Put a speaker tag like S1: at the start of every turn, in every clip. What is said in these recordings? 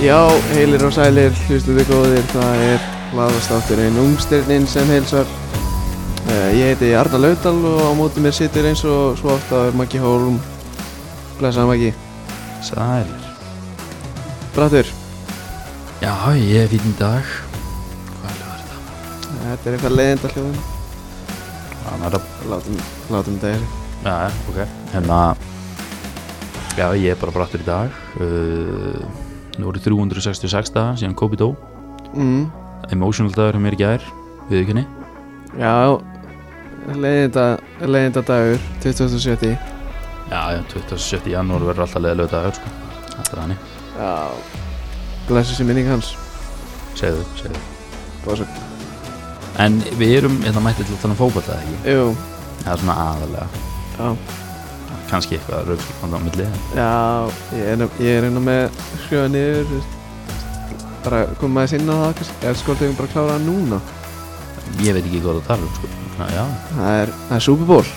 S1: Já, heilir og sælir, hlustuðu góðir, það er laðastátturinn Ungstyrnin sem heilsar. Eh, Ég heiti Arna Laudal og á móti mér situr eins og svo oft að er Maggi Hólm. Blessaði Maggi.
S2: Sælir
S1: Brattur,
S2: Já, ég er fínn í dag Hvað er það?
S1: þetta er eitthvað leiðinda hljóðin.
S2: Það er að
S1: Látum, látum þetta er.
S2: Já, já, ok Hérna Já, ég er bara brattur í dag uh, Nú voru 366 dagar síðan Kobe dó
S1: Mm.
S2: Emotional dagur hjá mér í gær Við ekki henni
S1: Já, leiðinda, leiðinda dagur, 2070.
S2: Já, já, 27. janúar verður alltaf leðilega dagur sko. Alltaf þannig
S1: Já. Blessu sem minning hans.
S2: Segðu, segðu
S1: Bóðsum.
S2: En við erum, hérna mætti til að tala um fótball eða ekki
S1: Jú,
S2: Það er svona aðalega
S1: já.
S2: Kanski eitthvað raukskipand á milli en-
S1: Já, ég er, nú- ég er einu með skjóða niður þú veist. bara komum maður sinna á það kannski, eða sko tegum bara að klára það núna
S2: Ég veit ekki hvað það tala um sko. Ná, Já,
S1: það er, það er Super Bowl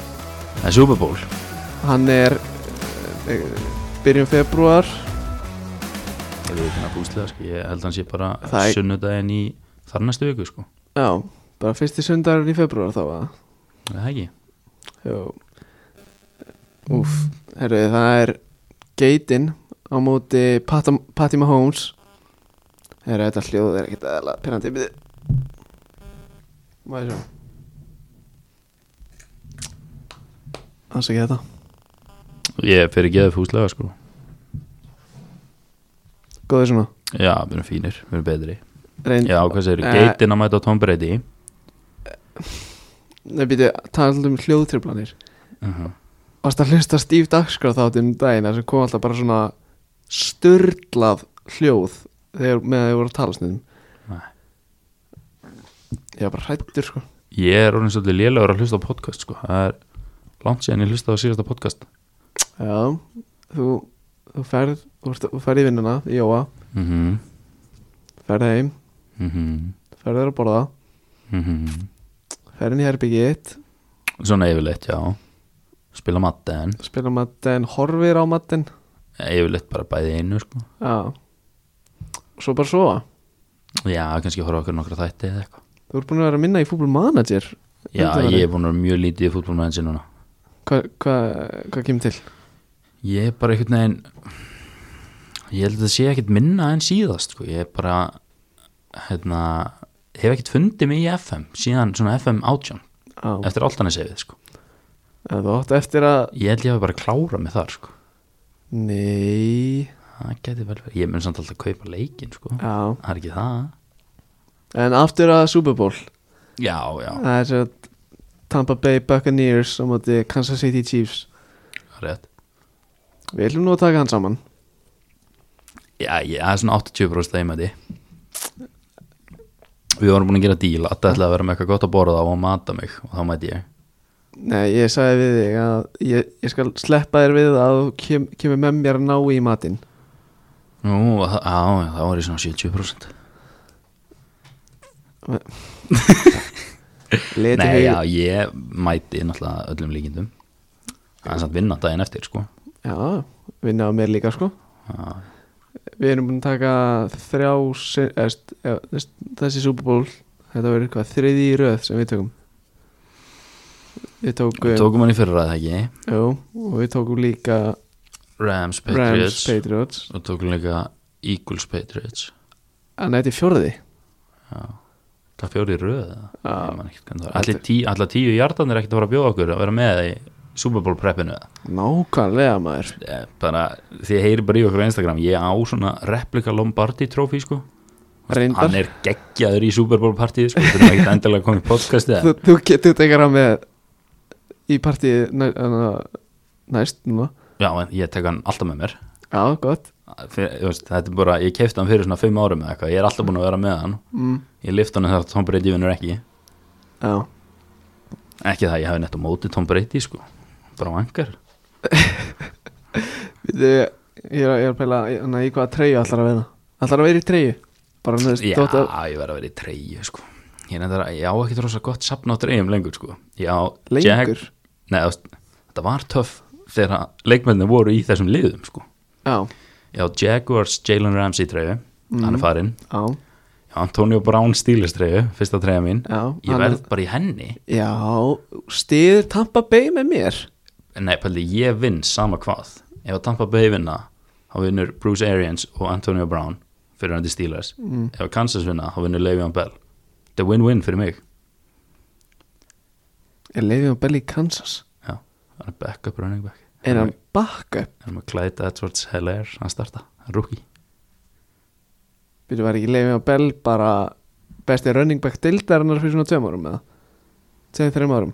S2: það er Super Bowl
S1: hann er eh, byrjun februar
S2: Ég veit ekki að bústlega sko, ég held að hann sé bara
S1: Það er-
S2: sunnudaginn í þar næstu viku sko
S1: já, bara fyrsti sundarinn í februar þá að
S2: Er Það ekki?
S1: jú úf, herru það er geitin á móti Pata, Patty Mahomes herru þetta hljóð er ekkert eðla pyrrandi byrði maður sjá hans ekki þetta
S2: Ég fyrir geðið fúslega sko
S1: Góðið svona
S2: Já, við erum fínir, við erum betri
S1: Reynd,
S2: Já, hvað segir,
S1: Eh.
S2: geitin að mæta Tom Brady
S1: Nei, býtu, talað um hljóðtriplanir
S2: uh -huh.
S1: Varst að hlusta Steve Dagskrá þátt um dagina sem kom alltaf bara svona störlað hljóð þegar, meðan þau voru að tala snum
S2: Nei.
S1: Ég var bara hrættur sko
S2: Ég er orðin svolítið lélegur að hlusta á podcast sko Það er langt séðan ég hlusta á síðasta podcast
S1: Já, þú, þú ferð þú, ert, þú ferð í vinnuna, í jóa
S2: Mhm,
S1: ferð heim,
S2: mhm,
S1: ferð þér að borða
S2: mhm
S1: ferð inn í herbyggi 1
S2: Svona yfirleitt, já Spila matten,
S1: spila matten, horfir á matten
S2: yfirleitt bara bæði í einu sko
S1: Já Svo bara sofa
S2: Já, kannski horfa okkur nokkra þætti eða eitthvað
S1: Þú ert búin að vera að minna í fútbol manager
S2: Já,
S1: Undanfarið.
S2: ég er búin að vera mjög lítið í fútbolmæðin sinna
S1: Hvað hva, hva kemur til?
S2: Ég er bara einhvern veginn Ég held að það sé ekkert minna en síðast sko. Ég er bara hérna, hef ekkert fundið mig í FM síðan svona FM átján
S1: Já,
S2: eftir allt hann er segið sko.
S1: en þú átt eftir að
S2: Ég held ég hafi bara klárað mig þar sko.
S1: Nei
S2: Það geti vel verið Ég mun samt alltaf að kaupa leikinn sko.
S1: Já,
S2: Það er ekki það
S1: en aftur að Super Bowl
S2: Já, já,
S1: Það er svo að Tampa Bay Buccaneers á móti Kansas City Chiefs
S2: rétt
S1: Við ætlum nú að taka hann saman
S2: Já, ég, það er svona 80% þeim að því Við vorum búin að gera díl að það ætlaði að vera með eitthvað gott að borða og að mata mig og þá mæti ég
S1: Nei, ég sagði við þig að ég, ég skal sleppa þér við að þú kem, kemur með mér að ná í matinn
S2: Nú, það- á, það var ég svona 70%
S1: Leti
S2: Nei,
S1: hug-
S2: já, ég mæti náttúrulega öllum líkindum Það er samt vinna daginn eftir, sko
S1: já vinna á mér líka sko
S2: Já,
S1: Við erum búin að taka þrjá sin- eða, st- eða, þess- þessi Super Bowl þetta verður hvað þriði í röð sem við tökum Við tókum
S2: Við tókum hann í fyrra, það ekki
S1: Jú, og við tókum líka
S2: Rams,
S1: Rams,
S2: Patriots
S1: Patriots
S2: Og tókum líka Eagles, Patriots
S1: En þetta er fjórði
S2: Það fjóri í röð eða?
S1: Já.
S2: Ég man ekkert hvernig það var. Allir tí- Alla tíu hjartan er ekkert að fara að bjóða okkur að vera með í Super Bowl preppinu eða?
S1: Nákvæmlega maður
S2: Eh, bara, Þið heyri bara í okkur á Instagram Ég á svona replika Lombardi trófi, sko Hann
S1: Reyndar
S2: er geggjaður í Super Bowl partíð, sko Það er ekkert endilega komið í podcastið
S1: Þú,
S2: en-
S1: þú getur tekið hann með í partíð næ- þarna- næst núna
S2: Já, en ég tek hann alltaf með mér
S1: Já, gott
S2: fyrir, þú veist, þetta er bara, ég kefti hann fyrir svona fimm árum eða eitthvað, ég er alltaf búin að vera með hann
S1: mm.
S2: ég lift hann þegar Tom Brady vinnur ekki
S1: Já,
S2: ekki það, ég hafi netta mótið Tom Brady sko bara vangar,
S1: við þau Ég er að- ég er að pæla hana, í hvaða treyju allar að vera Allar að vera í treyju Bara hann
S2: já,
S1: veist dótt að
S2: ég verð að vera í treyju sko, ég, nefndar, ég á ekki rosa gott sapna á treyjum lengur sko ég á
S1: Lengur?
S2: Jack, neða, þetta var töff þegar að leikmennin voru í þessum liðum sko
S1: Já,
S2: ég á Jaguars Jalen Ramsey treyju
S1: Mhm.
S2: hann er farinn
S1: Já,
S2: Já, Antonio Brown stílistreyju, fyrsta treyja mín
S1: já
S2: ég
S1: hann er-
S2: verð bara í henni
S1: Já, stiður Tampa Bay með mér
S2: nei, pældi, ég vinn sama hvað ef að Tampa Bay vinna þá vinnur Bruce Arians og Antonio Brown fyrir hann til Steelers ef að Kansas vinna, þá vinnur Le'Veon Bell þetta er win-win fyrir mig
S1: Er Leifjón Bell í Kansas?
S2: Já, hann er backup running back
S1: Er hann bakka?
S2: hann er með Clyde Edwards Heller hann starta, hann er rookie
S1: Byrju var ekki Leifjón Bell bara besti running back deildarinnar fyrir svona tveim árum eða? Tveim, þreim árum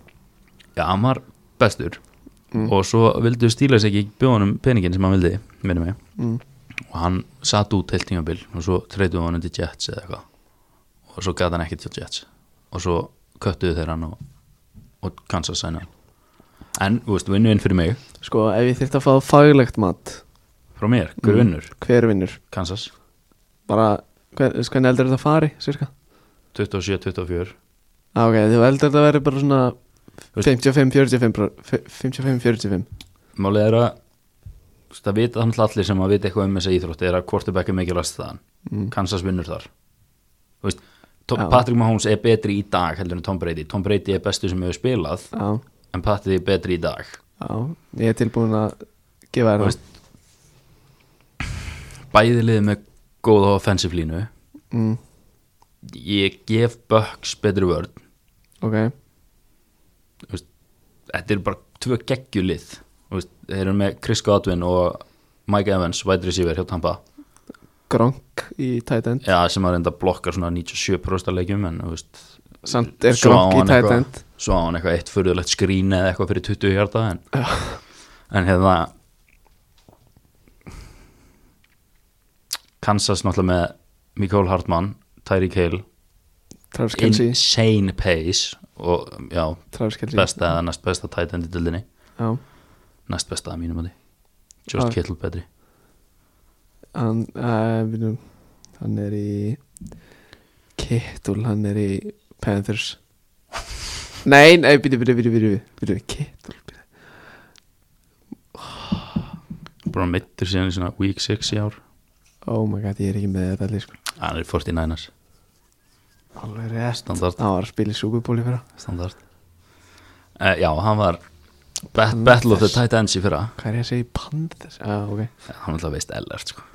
S2: Já, hann var bestur
S1: Mm.
S2: og svo vildu Steelers ekki bjóða hann peningin sem hann vildi, minni mig
S1: mm.
S2: og hann satt út heilt tímabil og svo treytuðu hann til Jets eða eitthvað og svo gæti hann ekki til Jets og svo köttuðu þeir hann og, og Kansas sæna hann en, þú veist, vinnu inn fyrir mig
S1: Sko, ef ég þyrfti að fá faglegt mat
S2: frá mér, hver
S1: Mm.
S2: vinnur,
S1: Hver vinnur?
S2: Kansas
S1: Bara, hver, veist hvernig eldur þetta fari, sirka?
S2: 27-24
S1: Á, ok, þú eldur þetta verið bara svona
S2: veist-
S1: 55-45 55-45
S2: Málið er að þú veist, það vita þannig allir sem að vita eitthvað um þessa íþrótt er að quarterback er mikilvægst þaðan
S1: Mm.
S2: Kansas vinnur þar Þú veist, Tom,
S1: Já.
S2: Patrick Mahomes er betri í dag heldur en Tom Brady Tom Brady er bestu sem hefur spilað
S1: Já,
S2: en Patrick er betri í dag
S1: já, ég er tilbúin að gefa þér það
S2: Þú veist, bæði liðið með góða offensive línu
S1: mm,
S2: ég gef Bucks betri vörn
S1: Ok,
S2: Þú veist, þetta eru bara tvö geggjulið Þú veist, þeir eru með Chris Godwin og Mike Evans, wide receiver hjá Tampa
S1: gronk í tight end
S2: ja, sem að reynda blokkar svona 97% af leikjum en þú veist,
S1: Samt er
S2: Svo á
S1: gronk í
S2: hann
S1: tight
S2: eitthvað-
S1: end
S2: svo á hann eitthvað eitt furðulegt skrín eða eitthvað fyrir 20 hjarta en,
S1: Já.
S2: en hérna Kansas náttúrulega með Mikael Hartmann, Tyreek Hill
S1: Travis Kelsey
S2: insane pace og já,
S1: Travis Kelsey
S2: besta eða næst besta tight end í dildinni,
S1: Já,
S2: næst besta að mínum að því Just
S1: Já.
S2: Kittle betri
S1: hann, uh, við, hann er í Kittul, hann er í Panthers Nei, nei, byrju, byrju, byrju, byrju, byrju, Kittul
S2: bara mittur síðan í svona week 6 í ár
S1: Oh my god, ég er ekki með þetta allir sko
S2: hann er 49ers,
S1: Alveg rétt
S2: standard,
S1: Hann var að spila í Superbóli fyrir
S2: standard. Uh, já, hann var bet, Battle of the Tight Ends í fyrra
S1: Hvað er ég að segja í Panthers? Já, ah, ok
S2: hann alltaf veist ellert sko.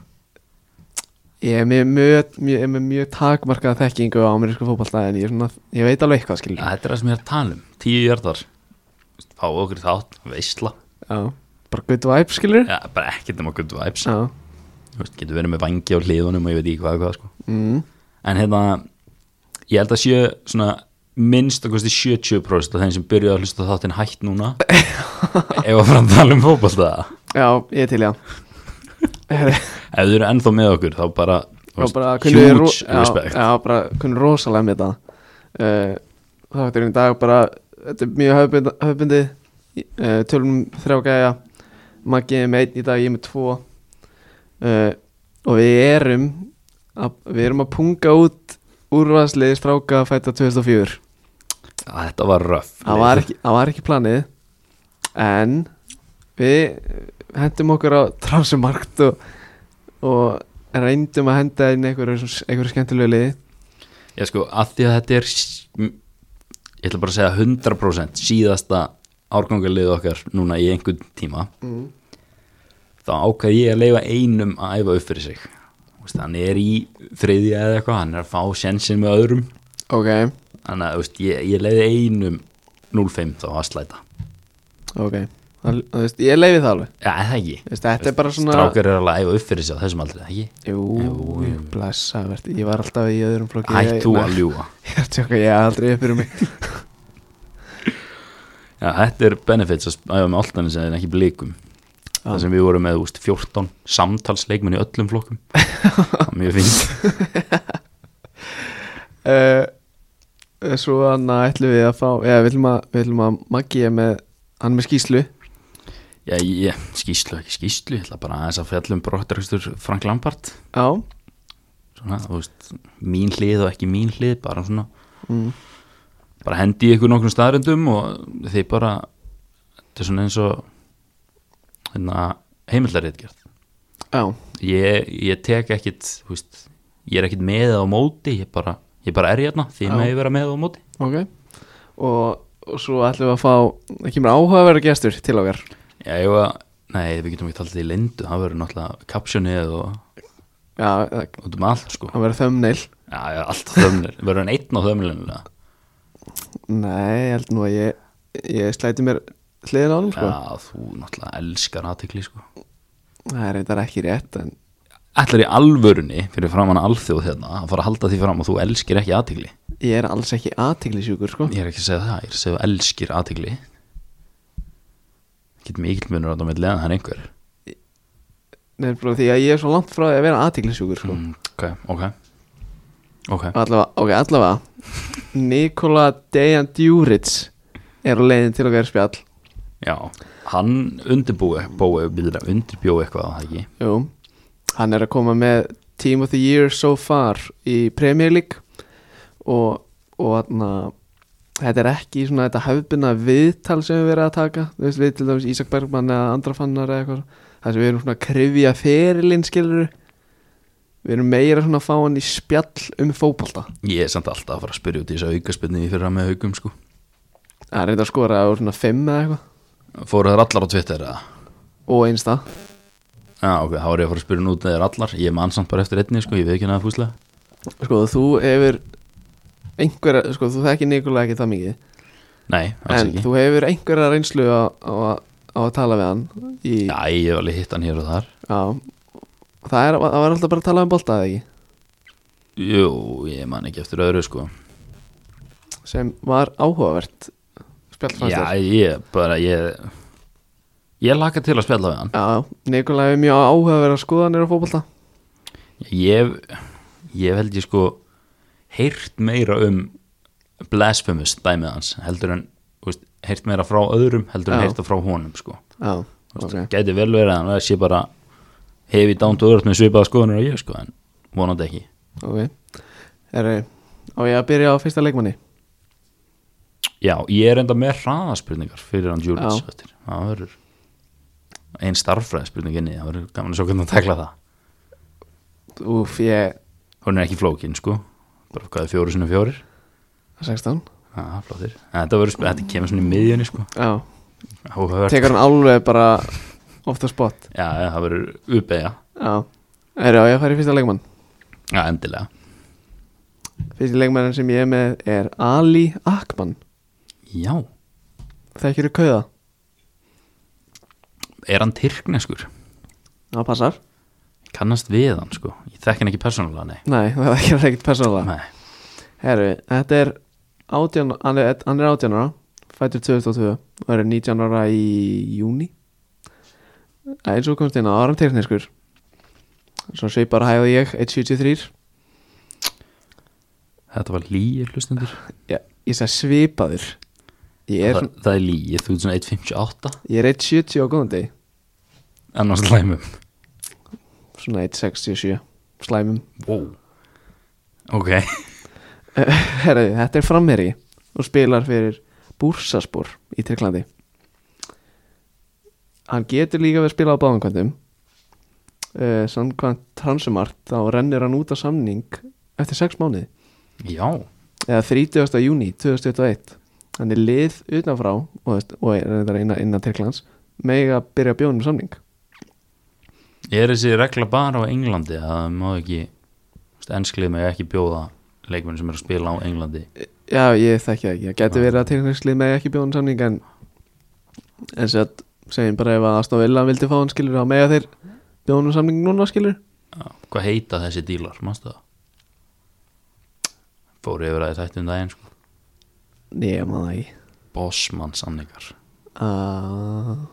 S1: Ég er með mjög, mjög, ég er með mjög takmarkað þekkingu á amerísku fótballta en ég, er svona, ég veit alveg eitthvað skilur
S2: ja, þetta er það sem ég er að tala um, 10 hjartar fá okkur þátt, veistla
S1: Já, bara good vibe skilur
S2: ja, bara ekkert nema good vibes
S1: Já,
S2: Þú veist, getur verið með vangi á hliðunum og ég veit ekki hvað, og hvað sko.
S1: mm,
S2: en hérna ég held að sé svona minnst að kosti 70% af þeim sem byrjuðu að hlusta á þáttinn hætt núna ef að framtala um fótballta
S1: já ég er til já Herri
S2: ef þau eru ennþá með okkur þá bara, þú
S1: og
S2: veist,
S1: bara kunni
S2: huge
S1: ro-
S2: respect
S1: já, já, bara kunni rosalega með það uh, þátturinn í dag bara þetta er mjög höfbund- höfbundið uh, tölum þrjá gæja Maggi er með einn í dag, ég er með tvo uh, og við erum að, við erum að punga út úrvarsliði stráka fæta 2004
S2: Að þetta var röf
S1: það var, ekki, það var ekki planið en við hendum okkur á trásumarkt og, og reyndum að henda inn einhverju, einhverju skemmtilegu liði
S2: Já sko, að því að þetta er ég ætla bara að segja 100% síðasta árgangalið okkar núna í einhvern tíma
S1: mm.
S2: þá ákvað ég að leifa einum að æfa upp fyrir sig Þú veist, hann er í þriðja eða eitthvað, hann er að fá sjensin með öðrum
S1: ok,
S2: þannig að þú veist, ég, ég leiði einum 0-5 þá að slæta
S1: ok það, þú veist, ég leiði það alveg
S2: Já, er það ekki,
S1: Þú veist, þetta er bara svona
S2: strákar er alveg að æfa upp fyrir sig á þessum aldrei, ekki
S1: jú,
S2: Jú,
S1: jú,
S2: jú.
S1: blessavert ég var alltaf í öðrum flokki
S2: Hætt þú að
S1: ég,
S2: ljúa
S1: ég er að tjóka, ég er aldrei upp fyrir mig
S2: Já, þetta er benefits að æfa með alltaf en ekki blikum
S1: Já.
S2: það sem við vorum með úst, 14 samtalsleikmenn í öllum flokkum það er mjög fint
S1: uh, svo hann ætlum við að fá já, við ætlum að, við ætlum að Maggi er með hann er með skýslu
S2: Já, ég, skýslu, ekki skýslu, ég ætla bara aðeins að fjallum brottrækstur Frank Lampard
S1: já,
S2: svona, þú veist, mín hlið og ekki mín hlið bara svona,
S1: mm.
S2: bara hendi ykkur nokkrum staðrendum og þeir bara þetta er svona eins og hérna, heimildarrið
S1: já
S2: ég, ég tek ekkit þú veist, ég er ekkit með eða á móti ég bara, ég bara er hérna, því
S1: Já.
S2: með ég vera með eða á móti
S1: ok og, og svo ætlum við að fá það kemur áhugaverða gestur til okkar
S2: Já, ég var, nei, við getum ekki talað í lindu það verður náttúrulega kapsjónið og
S1: já, það
S2: út um allt sko
S1: það verður þömmneil
S2: Já, já, allt á þömmlun, verður hann einn á þömmlun
S1: nei, ég held nú að ég, ég slæti mér hliðin á hann sko.
S2: Já, þú náttúrulega elskar aðtekli sko
S1: það er reyndar ekki rétt en
S2: Ætlar í alvörunni fyrir framann alþjóð hérna að fara að halda því fram og þú elskir ekki aðtekli
S1: ég er alls ekki aðtiklisjúkur sko.
S2: Ég er ekki að segja það, ég er að segja þú elskir aðtegli Get mikill munur á það með leðan hann einhver
S1: nefnilega því að ég er svo langt frá því að vera aðtiklisjúkur sko.
S2: mm, Ok, ok Ok,
S1: allavega, ok, allavega Nikola Dejan Djuric er á leiðin til okkar í spjall
S2: já Hann undirbúi, bói, byrja, undirbjói eitthvað á það ekki
S1: Jú, hann er að koma með Team of the Year so far í Premier League og, og atna, þetta er ekki svona þetta hefðbunna viðtal sem við verið að taka þú veist, við til dæmis Ísak Bergmann eða andra fannar eða eitthvað það sem við erum svona að krifja ferilinn skilur við erum meira svona að fá hann í spjall um fótbolta
S2: Ég er samt alltaf að fara að spyrja út í þessu aukaspilni fyrir að með haugum sko
S1: að reynda að skora á svona 5 eða eitthvað
S2: Fóru þær allar á Twitter eða?
S1: og einsta
S2: Já, ok, þá er ég að fara að spyrja út þeir allar Ég er mann samt bara eftir einni sko, ég veit ekki að fúslega
S1: sko þú hefur einhverja, sko þú þekki Nikola ekki það mikið
S2: Nei, alls
S1: En
S2: ekki
S1: þú hefur einhverja reynslu á, á, á að tala við hann í,
S2: Já, ég hef alveg hitt hann hér og þar
S1: á, Það er, það var alltaf bara að tala um bolta eða ekki
S2: Jú, ég man ekki eftir öðru sko
S1: sem var áhugavert
S2: Já,
S1: spjallfæstur
S2: ég bara, ég ég laka til að spjalla við hann
S1: Já, Nikola hefur mjög áhugaverða skoðanir á fótbolta
S2: ég, ég held ég sko heyrt meira um blasphemous dæmið hans heldur en, þú veist, heyrt meira frá öðrum heldur en
S1: Já.
S2: heyrt það frá honum sko
S1: Já,
S2: Þú
S1: ok
S2: veist, gæti vel verið að hann sé bara hefi dánt og öðrt með svipaða skoðunir og ég sko en vonandi ekki
S1: Ok Herru, á ég að byrja á fyrsta leikmanni
S2: Já, ég er enda með hraðaspurningar fyrir hann Júlits
S1: Já.
S2: eftir. Það verður ein starffræðaspurning inni, það verður gaman að sjá hvernig að tekla það.
S1: Úf, ég
S2: Hún er ekki flókin, sko. Bara hvað er fjóri sinni fjórir?
S1: 16
S2: Já, flottir. En þetta, verður, sp- þetta kemur svona í miðjunni, sko.
S1: Já,
S2: Áhugavert.
S1: tekur hann alveg bara off the spot
S2: Já, já, það verður uppeigja.
S1: Já Herru, á ég að fara í fyrsta leikmann
S2: Já, endilega.
S1: Fyrsti leikmannin sem ég er með er Ali Akman
S2: Já,
S1: Þekkir þú kauða?
S2: er hann tyrkneskur?
S1: Það passar
S2: Ég Kannast við hann, sko. Ég þekk hann ekki persónulega, nei.
S1: Nei, það er ekki ekkert persónulega
S2: Nei.
S1: Herru, þetta er 18, hann er hann er 18 ára Fættur 2002 og er 19 ára í júni Eins og komst inn á áram tekniskur Svo sveipar hæði ég 1.73
S2: Þetta var líi, hlustundur.
S1: Já, Ég sagði svipaður Ég er,
S2: Það, það er líi, þú ert svona 1.58.
S1: ég er 1.70 á góðan deg
S2: Annars læmum.
S1: Svona 1.67 Slæmum
S2: Wow. Ok.
S1: Eh, Herru, þetta er framherji og spilar fyrir Búrsaspor í Tyrklandi Hann getur líka verið að spila á báðankvöndum uh, samkvæmt transumart þá rennir hann út á samning eftir 6 mánuði
S2: Já.
S1: eða 30. júni 2021 hann er lið utanfrá og, veist- og er þetta innan, innan Tyrklands mega að byrja að bjóðum samning
S2: Er þessi regla bara á Englandi að það má ekki ennsklið með ekki bjóða leikmenn sem eru að spila á Englandi
S1: Já, ég þekki það ekki, það getur verið að Tyrklandslið megi ekki bjóðum samning en en sér að segjum bara ef að Aston Villa vildi fá hann skilur þá mega þeir bjóðum samning núna skilur
S2: Já, Hvað heita þessi dílar, mannstu það? Fóru yfir að þetta um daginn sko.
S1: Nei, ég maður það ekki
S2: Bossmann samningar
S1: uh,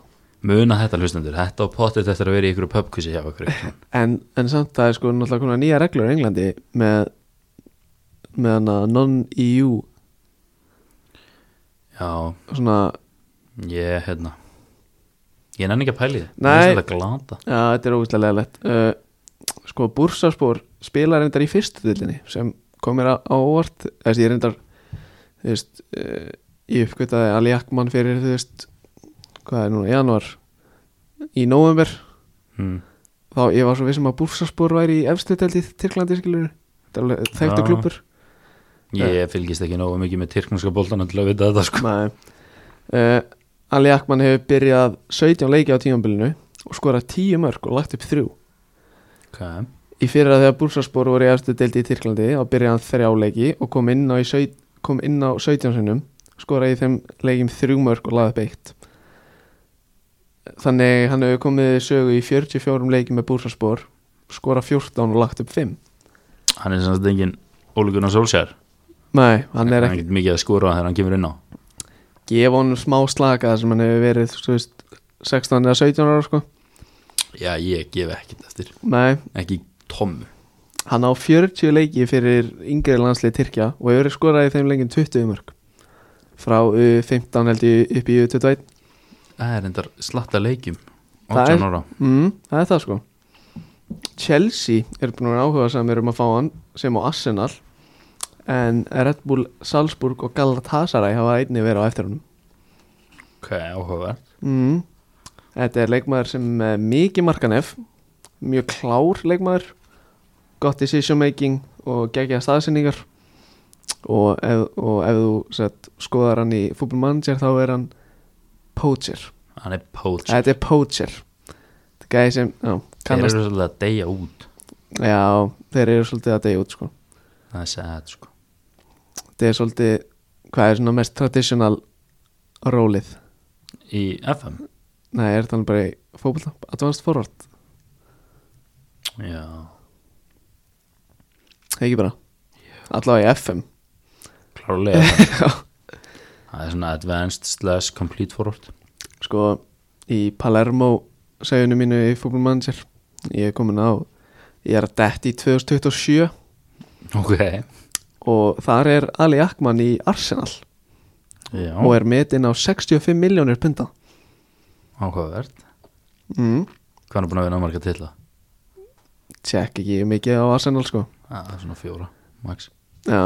S2: Muna þetta hlustendur, þetta og pottet eftir að vera í ykkur pubkvissi hjá ykkur
S1: en, en samt það er sko náttúrulega konar nýja reglur í Englandi með með hana non-EU
S2: Já,
S1: svona,
S2: ég, hérna Ég nenni ekki að pæli þið
S1: Nei.
S2: Þetta glata
S1: já, þetta er ógustlega leðalegt uh, sko, Bursaspor spilar reyndar í fyrstu dildinni sem komir á, á óvart þessi ég reyndar þú veist, uh, ég uppgötaði Ali Akman fyrir, þú veist hvað er núna, januar í november,
S2: hm.
S1: þá ég var svo vissum að Bursaspor væri í efstu dildi Tyrklandi skilur þetta er alveg þekktu
S2: Já.
S1: klubur
S2: Ég fylgist ekki nógu mikið með tyrknarska boltan til að vita þetta sko
S1: Nei uh, Ali Akman hefur byrjað 17 leiki á tímambilinu og skorað 10 mörg og lagt upp 3
S2: okay.
S1: Í fyrra þegar Búrsaspor voru í eftir deildi í Tyrklandi þá byrjaði hann 3 leiki og kom inn á, í sau- kom inn á 17 sinnum skoraði í þeim leikim 3 mörg og lagði upp eitt Þannig hann hefur komið í sögu í 44 leiki með Búrsaspor skorað 14 og lagt upp 5
S2: Hann er sannsagt engin ólíkunar sólsjær
S1: Nei, hann er ekki
S2: ekkert mikið að skora þegar hann kemur inn á
S1: gefa honum smá slaka þar sem hann hefur verið þú veist, 16 eða 17 ára sko
S2: Já, ég gef ekkert eftir
S1: Nei,
S2: Ekki tommu
S1: Hann á 40 leiki fyrir yngri landslið Tyrkja og hefur skorað í þeim leikin 20 mörg frá U15 held ég upp í U21
S2: Það er endar slatta leikjum
S1: Það
S2: 18
S1: er-
S2: ára
S1: mm, Það er það sko Chelsea er búin að vera áhuga samir um að fá hann sem á Arsenal en Red Bull Salzburg og Galatasaray hafa einni verið á eftir honum
S2: Ok, áhugavert
S1: mm. Þetta er leikmaður sem er mikið markanef mjög klár leikmaður gott decision making og geggja staðsynningar og ef, og ef þú sett, skoðar hann í fútbolmanager þá er hann poacher,
S2: Hann er poach
S1: þetta er poacher þetta er gæði sem já,
S2: Þeir eru
S1: kannast,
S2: svolítið að deyja út
S1: já, þeir eru svolítið að deyja út sko.
S2: Það er sætt sko
S1: þetta er svolítið hvað er svona mest traditional rólið,
S2: Í FM
S1: nei, er þetta alveg bara í fútbolta, advanced forward,
S2: Já
S1: ekki bara allavega í FM
S2: Klárlega Það er svona advanced slash complete forward
S1: sko í Palermo segjunu mínu í fútbolmanager ég er komin á ég er að detti í 2027
S2: Ok
S1: og þar er Ali Akman í Arsenal
S2: Já,
S1: og er metinn á 65 miljónir punta
S2: áhugavert
S1: mm.
S2: Hvað er hann búin að vera marga til það?
S1: tjekk ekki mikið á Arsenal sko
S2: Það er svona fjóra, max
S1: já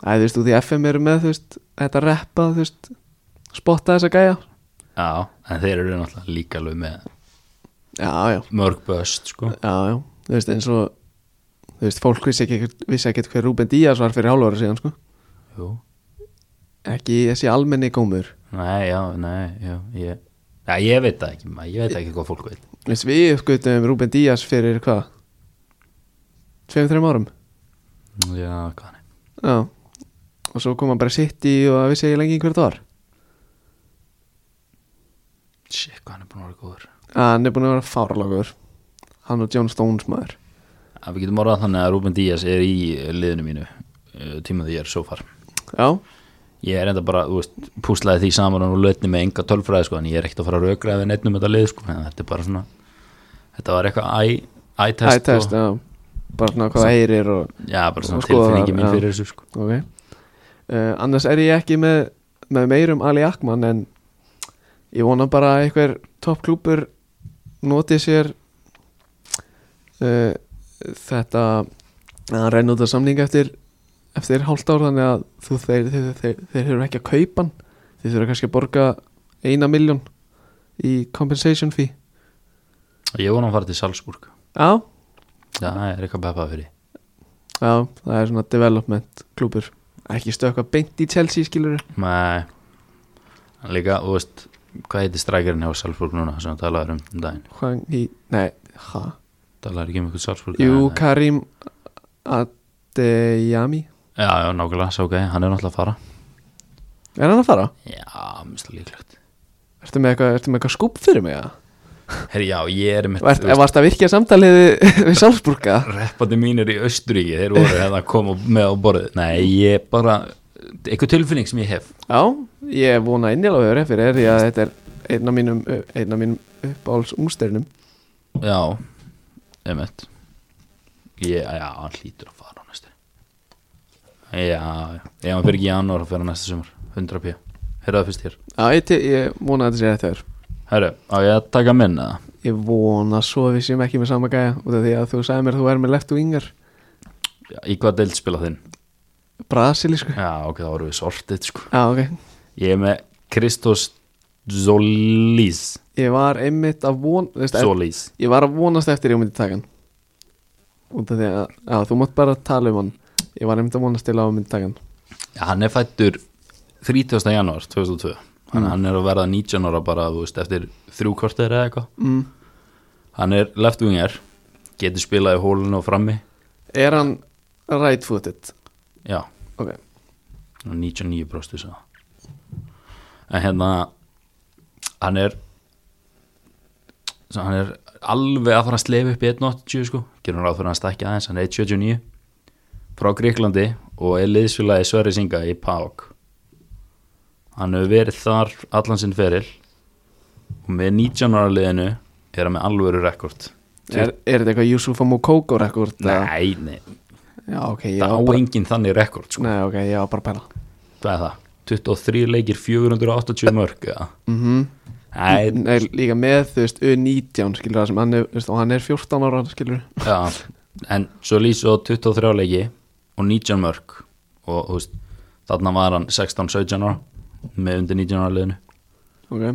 S1: Æ, þú veist, út í FM eru með, þú veist, þetta reppa, þú veist, spotta þessa gæja.
S2: Já, en þeir eru náttúrulega líka alveg með
S1: Já, já,
S2: mörg böst sko
S1: já, já, þú veist, eins og, þú veist, fólk vissi ekki, vissi ekki hver Rúben Díaz var fyrir hálfára síðan, sko.
S2: Jú
S1: Ekki þessi almenni gómur.
S2: Nei, já, nei, já, ég Já, ég veit það ekki, maður, ég veit ekki hvað fólk veit
S1: Veist, við uppgötum Rúben Díaz fyrir hvað? Tveim, þreim árum
S2: Já, hvað nei
S1: Já Og svo kom hann bara sitt í og það vissi ég lengi hvert var
S2: Shit, hvað hann er búin að vera góður
S1: Hann er búin að vera fáralagur Hann og John Stones maður
S2: að Við getum orðað þannig að Ruben Díaz er í liðinu mínu uh, tíma því ég er so far
S1: Já,
S2: Ég er enda bara, þú veist, púslaði því saman og lötni með enga tölfræði sko en ég er ekkert að fara að rökra eða neittnum þetta lið sko en þetta er bara svona Þetta var eitthvað eye- eye
S1: hæ
S2: test
S1: test,
S2: og,
S1: já Bara svona hvað það heyrir og
S2: Já, bara
S1: og
S2: svona
S1: skoða
S2: tilfinningi
S1: þar,
S2: mín
S1: já.
S2: fyrir þessu sko
S1: Ok uh, Annars er ég ekki með, með meirum Ali Akman En ég vona bara að einhver toppklúpur Noti sér uh, Þetta að Hann reyna út að samninga eftir Eftir hálft ár þannig að þú, þeir, þeir, þeir, þeir þurfa ekki að kaupa hann Þeir þurfa kannski að borga Eina miljón Í compensation fee
S2: Og ég vona að fara til Salzburg
S1: Já,
S2: Já, það er eitthvað beppað fyrir
S1: já það er svona development klúpur Ekki stökka beint í Chelsea skilur
S2: Nei En Líka, þú veist, hvað heitir strækjarinn hjá Salzburg núna sem þú talaður um um daginn
S1: Hvaðan í, nei, hæ
S2: Talaður ekki um eitthvað Salzburg
S1: Jú,
S2: eða-
S1: Karim Adeyami
S2: Já, já, nákvæmlega, sá ok, hann er náttúrulega að fara
S1: Er hann að fara?
S2: Já, mista líklegt
S1: Ertu með eitthvað, ertu með eitthvað skúp fyrir mig? eða?
S2: Herri, já, ég er mitt
S1: Vart, varst að virkja samtalið við- við Salzburga?
S2: Reppandi mínir í Östuríki, þeir voru hérna að koma með á borðið Nei, ég bara, eitthvað tilfinning sem ég hef
S1: Já, ég vona innilega að höfður fyrir því að þetta er einn af mínum, einn af mínum uppáhalds ungsternum
S2: Já, einmitt ég, Já, hann hlýtur að fara á næstu Já, já, ef hann fyrir ekki í janúar að fyrir næsta sumar 100 p Herraðu fyrst hér
S1: Já, ég, te- ég vona að þetta sé rétt þér
S2: Herru, á ég að taka minn eða?
S1: Ég vona svo að við séum ekki með sama gæja út af því að þú sagði mér að þú er með left wingar
S2: Já, Í hvað deild spila þinn?
S1: Brasilísku
S2: Já, ok, þá vorum við sortið sko
S1: Já, ok
S2: Ég er með Kristos Zolís
S1: Ég var einmitt að von, þú veist,
S2: Zolís
S1: ég var að vonast eftir ég myndi taka hann út af því að, að þú mátt bara tala um hann ég var einmitt að vonast til á myndtakan
S2: Já, hann er fættur 30. janúar 2002 Þannig að hann er að verða 19 ára bara þú veist, eftir þrjú kortir eða eitthvað
S1: mm.
S2: Hann er left winger getur spilað í hólinu og frammi
S1: er hann right footed
S2: Já,
S1: ok,
S2: og 99 brostu sá En hérna hann er svo hann er alveg að fara að sleifa upp í 1.80 sko, gerum ráð fyrir að hann stækja aðeins hann er 1.79 frá Gríklandi og er liðsfélagi Sverri Singa í PAOK hann hefur verið þar allan sinn feril og með 19 ára liðinu er hann með alvöru rekord
S1: er, er þetta eitthvað Yusufa Mokoko rekord
S2: Nei, nei,
S1: já, ok, ég
S2: það á
S1: var bara,
S2: enginn þannig rekord sko.
S1: nei, okay, ég var bara að pæla
S2: hvað er það? 23 leikir 480 mörg ja.
S1: mm
S2: Mhm. Nei,
S1: nei, líka með þú veist U19 skilur það sem hann er, þú veist, og hann er 14 ára skilur
S2: Já, en svo lýsa á 23 leiki og 19 mörg og þú veist, þarna var hann 16-17 ára með undir 19 ára liðinu
S1: ok,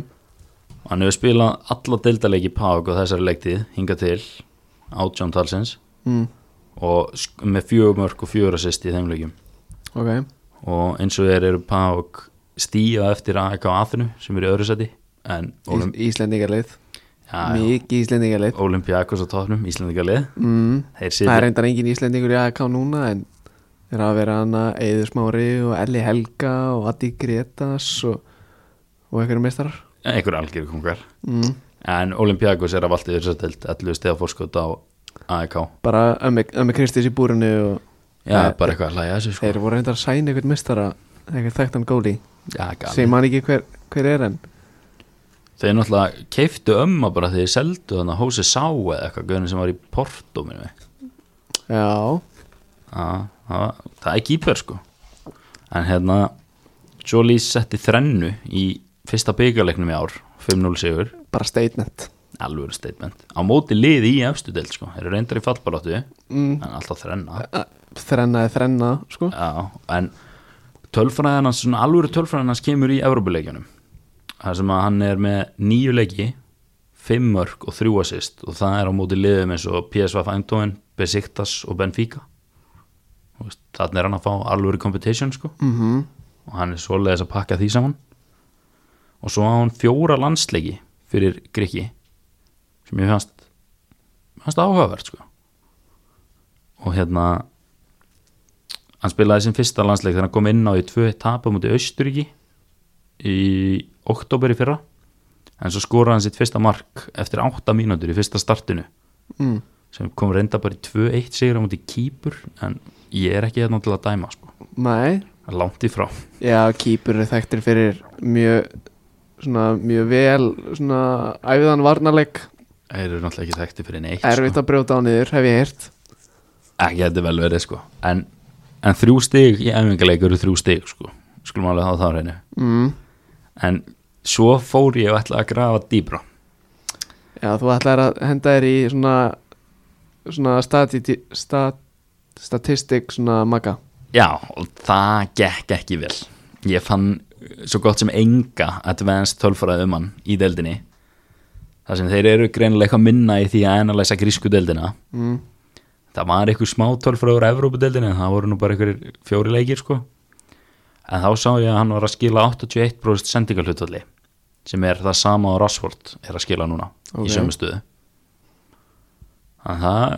S2: hann hefur spilað alla deildaleiki Pák og þessari leiktið hinga til átján talsins
S1: mm.
S2: og sk- með fjögur mörg og fjögur assist í þeim leikum
S1: ok,
S2: og eins og þeir eru Pák stíða eftir AEK Aþinu sem er í öðru seti en Olymp-
S1: Í- Íslendingarleið
S2: um- Já, já,
S1: mikið Íslendingarleið
S2: Olympiakos á tóknum, Íslandingalið
S1: mm.
S2: þeir
S1: það er
S2: sitja
S1: reyndar engin Íslendingur í AEK núna en þeir hafa verið hana Eður Smári og Elli Helga og Addi Gretas og, og einhverjum meistarar
S2: einhver algjör kongar
S1: mm.
S2: En Olympiakos er af allt í þessu deild 11 stiga fórskot á AEK
S1: bara ömmi ömmi Kristis í búrinu og
S2: Já,
S1: Nei.
S2: bara eitthvað að hlæja þessu sko
S1: þeir voru reyndar að sæna einhvern meistara einhvern þekktan góli
S2: Já,
S1: sem
S2: galið
S1: man ekki hver, hver er en
S2: Þeir náttúrulega keiftu ömma bara þegar þeir seldu þannig að Hósi Sá eða eitthvað gauðin sem var í Porto minni mig
S1: já,
S2: Já, það var- það er kýper sko En hérna Jolie setti þrennu í fyrsta byggarleiknum í ár 5-0 sigur,
S1: bara statement
S2: alvöru statement Á móti liði í efstu deild sko Þeir eru reyndar í fallbaróttu
S1: mm.
S2: En alltaf þrenna
S1: þrenna er þrenna sko.
S2: Já, en tölfræðan hans, svona alvöru tölfræðan hans kemur í Evrópuleikjunum þar sem að hann er með nýju leiki fimm mörg og þrjú assist og það er á móti liðum eins og PSV Eindhoven, Besiktas og Benfica Þú veist, þannig er hann að fá alvöru competition sko
S1: mm
S2: og hann er svoleiðis að pakka því saman og svo á hann fjóra landsleiki fyrir Grikki sem ég fannst fannst áhugavert sko og hérna hann spilaði sin fyrsta landsleik þegar hann kom inn á í tvö tapa múti Austuríki í oktober í fyrra en svo skoraði hann sitt fyrsta mark eftir átta mínútur í fyrsta startinu
S1: Mm.
S2: sem kom reynda bara í 2-1 sigur á múti Kýpur en ég er ekki hérna til að dæma sko,
S1: nei
S2: langt í frá
S1: Já, kýpur er þekktir fyrir mjög, svona, mjög vel svona æfiðan varnarleik
S2: Þeir eru náttúrulega ekki þekkti fyrir neitt
S1: erfitt að brjóta á niður, hef ég heyrt
S2: sko. Ekki þetta er vel verið sko En, en þrjú stig í æfingarleik eru þrjú stig sko Skulum alveg hafa það á reynu
S1: mm.
S2: En svo fór ég og ætla að grafa dýbra
S1: Já, þú ætlar að henda þér í svona svona stati, stat, statistik svona maga
S2: Já, og það gekk ekki vel Ég fann svo gott sem enga advanced tölfræði um hann í deildinni þar sem þeir eru greinilega eitthvað minna í því að analysa grísku deildina
S1: mm.
S2: það var einhver smá tölfræði úr Evrópudeldinni en það voru nú bara einhverjir fjóri leikir sko en þá sá ég að hann var að skila 81% sendingalhutvalli sem er það sama á Rashford er að skila núna
S1: Ok.
S2: í sömu stöðu en það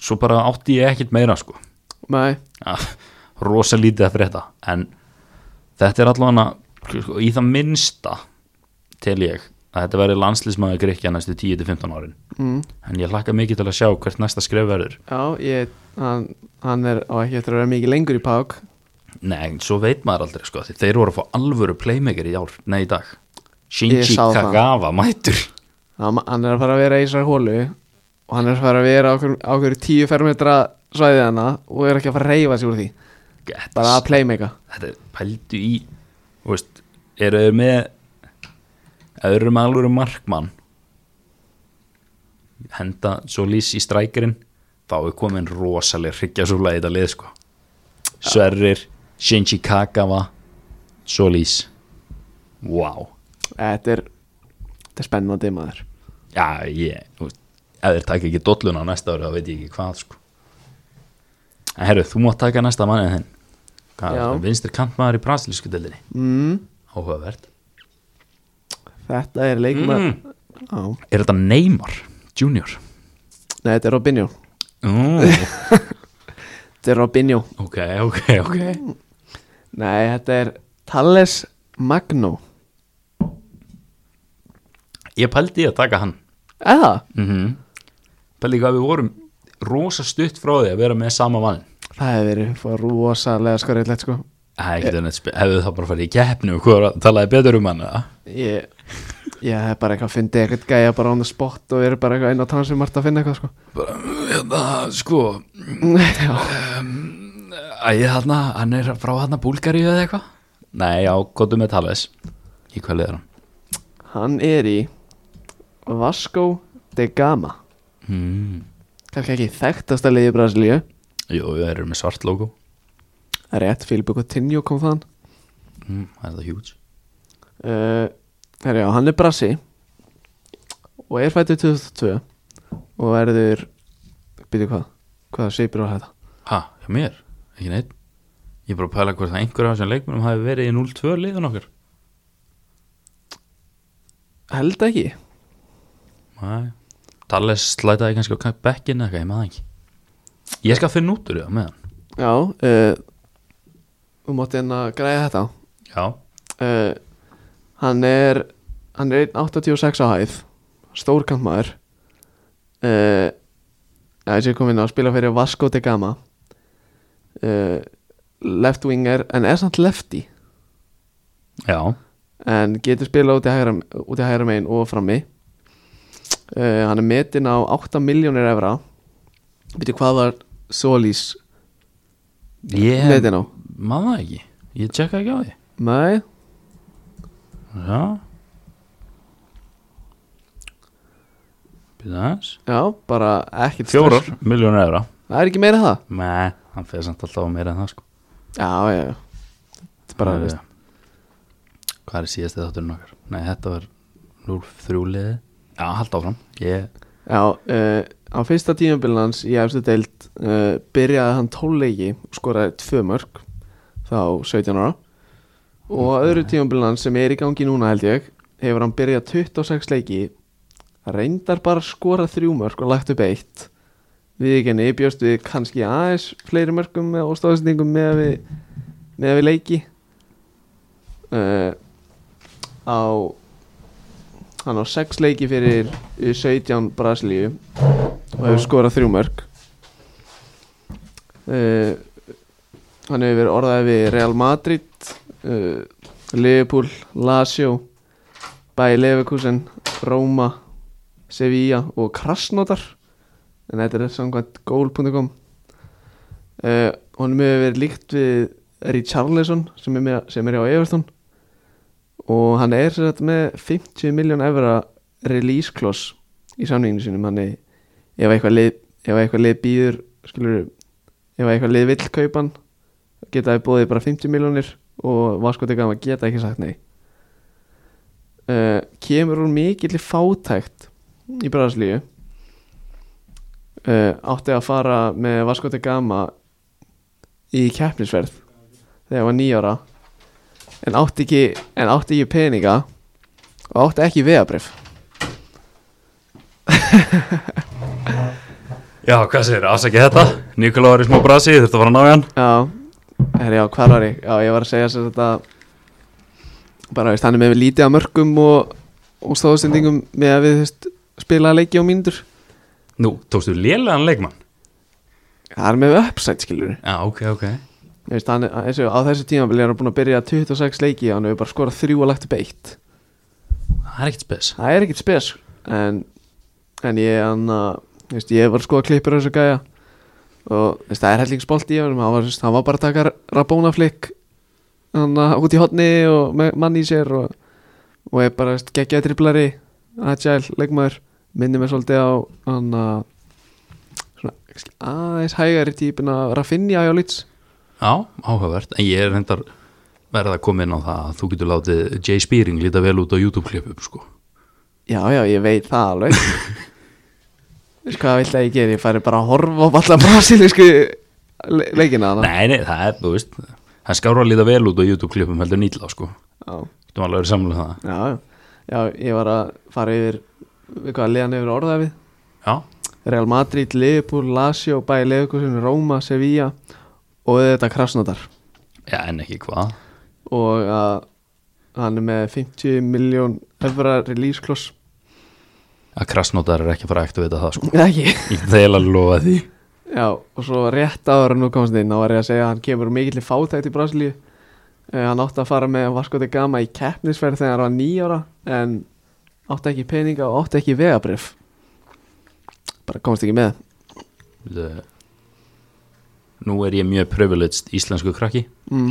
S2: svo bara átti ég ekkert meira sko
S1: Nei,
S2: Ja, rosa lítið að frétta en þetta er allavega sko, í það minnsta tel ég að þetta verði landslísmaður Gríkja næstu 10-15 árin
S1: mm.
S2: en ég hlakka mikið til að sjá hvert næsta skref verður
S1: já, ég hann, hann er á ekki eftir að vera mikið lengur í pák
S2: Nei, en svo veit maður aldrei sko því þeir voru að fá alvöru playmaker í ár Nei, í dag
S1: Ég
S2: Shinji
S1: sá það.
S2: Kagawa mætur
S1: hann, hann er að fara að vera í þessar hólu og hann er að fara að vera á hverju- á hverju tíu fermetra svæðið hana og er ekki að fara að reyfa sig úr því
S2: Þetta
S1: bara að playmaker
S2: þetta er pældu í þú veist, eru þau með ef þau eru með alvöru markmann henda svo lýs í strækirinn þá er komin rosaleg hryggjasúla í þetta lið sko Sverrir, Shinji Kagawa svo lýs wow
S1: Þetta er, þetta er spennandi maður
S2: já ég, þú veist, ef þeir taka ekki dolluna á næsta ári þá veit ég ekki hvað sko. en herru, þú mátt taka næsta mannið þinn hvað,
S1: Já.
S2: vinstir kantmaður í brasilísku delinni
S1: mm,
S2: áhugavert
S1: Þetta er leikmaður
S2: Mm.
S1: á,
S2: er þetta Neymar Junior?
S1: Nei, þetta er Robinho
S2: Mm.
S1: Þetta er Robinho
S2: ok, ok, ok
S1: Nei, þetta er Thales Magno
S2: ég pældi í að taka hann
S1: Eða,
S2: mm -hmm. pældi í hvað við vorum rosa stutt frá því að vera með sama mann
S1: það hefur verið fór rosalega skorillegt sko
S2: Það er ekkert annað spil, hefðu það bara farið í keppni og hvað talaði betur um hann eða?
S1: Ég, ég hef bara eitthvað fundið eitthvað gæja bara on the spot og verið bara eitthvað inn á transum margt að finna eitthvað sko
S2: Bara, hérna, sko,
S1: Já,
S2: æ, hérna, hann er frá hérna Búlgaríu eða eitthvað? Nei, já, gotum með Thales. Í hvað liður hann?
S1: hann er í Vasco de Gama
S2: Hmm.
S1: Kannski ekki þekktasta liði Brasilíu
S2: Jú, við erum með svart logo.
S1: Það er rétt, Filipe Coutinho kom þaðan
S2: Hmm, það er það huge.
S1: uh, Herjá, hann er Brasi og er fættur 2002 og verður byrju hvað, hvað seipir á þetta
S2: Ha, hjá mér? Ekki neitt? Ég er bara að pæla hvort það einhverja af þessum leikmennum hafi verið í 0-2 liðun okkar.
S1: held ekki,
S2: Nei. Thales slætaði kannski á bekkinu eða eitthvað, ég maður það ekki. Ég skal finna út úr það með hann.
S1: já uh, þú mátti henn að græja þetta
S2: Já.
S1: uh, hann er hann er 186 á hæð stórkantmaður uh, já, þessi er komin að spila fyrir Vasco de Gama uh, left winger en er samt lefty
S2: Já.
S1: en getur spilað út í hægra, út í hægra megin og frammi uh, hann er metinn á 8 miljónir evra veitir hvað var Solís
S2: Ég...
S1: metinn á?
S2: maður það ekki ég tjekka ekki á því
S1: Nei,
S2: já byrða aðeins
S1: já, bara ekkert stress.
S2: miljónur eðra
S1: það er ekki meira en það
S2: nei, hann fyrir samt alltaf á meira en það sko
S1: já, já, já þetta er bara,
S2: Nei,
S1: veist,
S2: hvað er síðast eða þátturinn okkar nei, þetta var 0-3 liði já, halda áfram ég,
S1: já uh, á fyrsta tímabil hans í efstu deild uh, byrjaði hann 12 leiki og skoraði 2 mörg þá 17 ára og á öðru tímabil hans sem er í gangi núna held ég hefur hann byrjað 26 leiki reyndar bara að skora 3 mörg og lagt upp eitt við ekki henni bjóst við kannski aðeins fleiri mörgum með- og stóðsendingum með að við, með að við leiki uh, á hann á sex leiki fyrir 17 Brasilíu og hefur skorað þrjú mörg uh, hann hefur verið orðaði við Real Madrid uh, Liverpool, Lazio Bayer Leverkusen Roma, Sevilla og Krasnodar en þetta er samkvæmt goal.com uh, honum hefur verið líkt við Richarlison sem er, með, sem er hjá Everton og hann er sér þetta með 50 miljón evra release kloss í samninginu sínum hann er ef eitthvað lið, ef eitthvað lið býður skilur, ef eitthvað lið vill kaupan geta þið bóðið bara 50 miljónir og vaskotið gama geta ekki sagt nei uh, kemur hún mikill fátækt í Brasilíu uh, átti að fara með vaskotið gama í keppnisverð þegar hann var nýjára en átti ekki, en átti ekki peninga og átti ekki vegabrif
S2: já, hvað segir, afsækja þetta Nikola var í smá brasi, þurftu að fara að ná í hann
S1: já, herri, já, hvar var ég? Já, ég var að segja sér þetta bara, veist, hann er með lítið af mörgum og, og stóðsendingum með að við, þú veist, spila leiki á mínútur
S2: nú, tókstu lélegan leikmann
S1: það er með uppsætt, skilur
S2: já, ok, ok
S1: veist, hann, er- eins og á þessu tímabili er hann búin að byrja 26 leiki og hann hefur bara skorað þrjú og lagt upp eitt
S2: það er ekkert spes
S1: það er ekkert spes en, en ég hann að þú veist, ég var að skoða klippur á þessu gæja og þú veist, það er hellingsbolt í honum hann var, þú veist, hann var bara að taka rabónaflik hann að út í hotni og með mann í sér og, og er bara þú veist, geggjaði triplari agile, leikmaður, minni mig svolítið á hann að svona, kannski aðeins hægari típin að Raffinja á lits
S2: Já, áhugavert, en ég er reyndar verða að koma inn á það að þú getur látið Jay Spearing líta vel út á YouTube-klipum sko.
S1: já já, ég veit það alveg Veist hvað vill að ég gera, ég færi bara að horfa á alla brasilísku le leikina hana
S2: Nei, nei, það er, þú veist Það skára að líta vel út á YouTube-klippum heldur nýtla sko
S1: já,
S2: Þú maður alveg samlega það
S1: já, já. já, ég var að fara yfir við hvað liðan yfir orðað við
S2: Já,
S1: Real Madrid, Liverpool, Lazio, Bæi Leifkusin, Róma, Sevilla og þetta Krasnodar
S2: já en ekki hvað
S1: og að hann er með 50 miljón efra release kloss
S2: Að krasnótar er ekki að fara að aktivita það sko
S1: ekki
S2: Ég get þeil að lofa því
S1: Já, og svo rétt áður en nú komst inn þá var ég að segja að hann kemur mikill í fátækt í Brasilíu uh, hann átti að fara með Vaskoti Gama í keppnisferð þegar hann var nýjára en átti ekki peninga og átti ekki vegabrif bara komst ekki með
S2: Bíddu. Nú er ég mjög privileged íslensku krakki
S1: mm.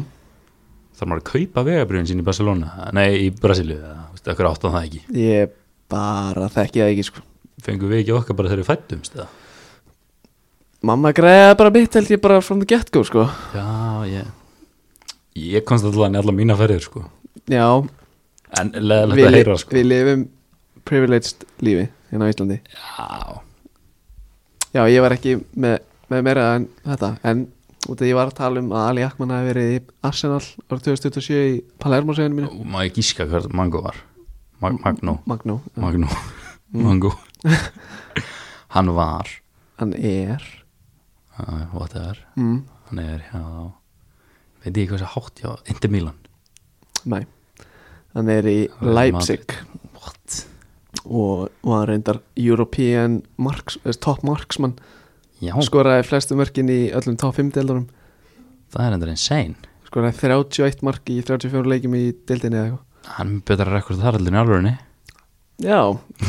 S2: Þarf maður að kaupa vegabrifin sín í Barcelona Nei, í Brasilíu, eða, þú veist, okkur áttan það ekki
S1: ég bara þekki það ekki sko
S2: Fengum við ekki okkar bara þegar við fættumst eða?
S1: mamma greiði bara mitt held ég bara from the get go sko
S2: Já, ég Ég komst alltaf að nefna mína ferðir sko
S1: já,
S2: En leðilegt
S1: við,
S2: að
S1: li-
S2: heyra sko
S1: við lifum privileged lífi hérna á Íslandi
S2: Já,
S1: Já, ég var ekki með, með meira en þetta En út að ég var að tala um að Ali Akman hafi verið í Arsenal árið 2027 í Palermo seginu mínu
S2: og maður gíska hvað Mango var Mag Magnó
S1: Magnó,
S2: Magnó Mango Hann var
S1: hann er
S2: uh, whatever,
S1: mm.
S2: hann er hjá veit ég hvað það hátt hjá Inter Milan
S1: Nei, hann er í
S2: er
S1: Leipzig
S2: What?
S1: og var reyndar European marks, eh, top marksman
S2: Já,
S1: Skoraði flestu mörkin í öllum top 5 deildurum
S2: það er endur insane
S1: Skoraði 31 mark í 34 leikjum í deildinni eða eitthvað
S2: Hann er með betra rekord þar allir í alvörinni
S1: Já,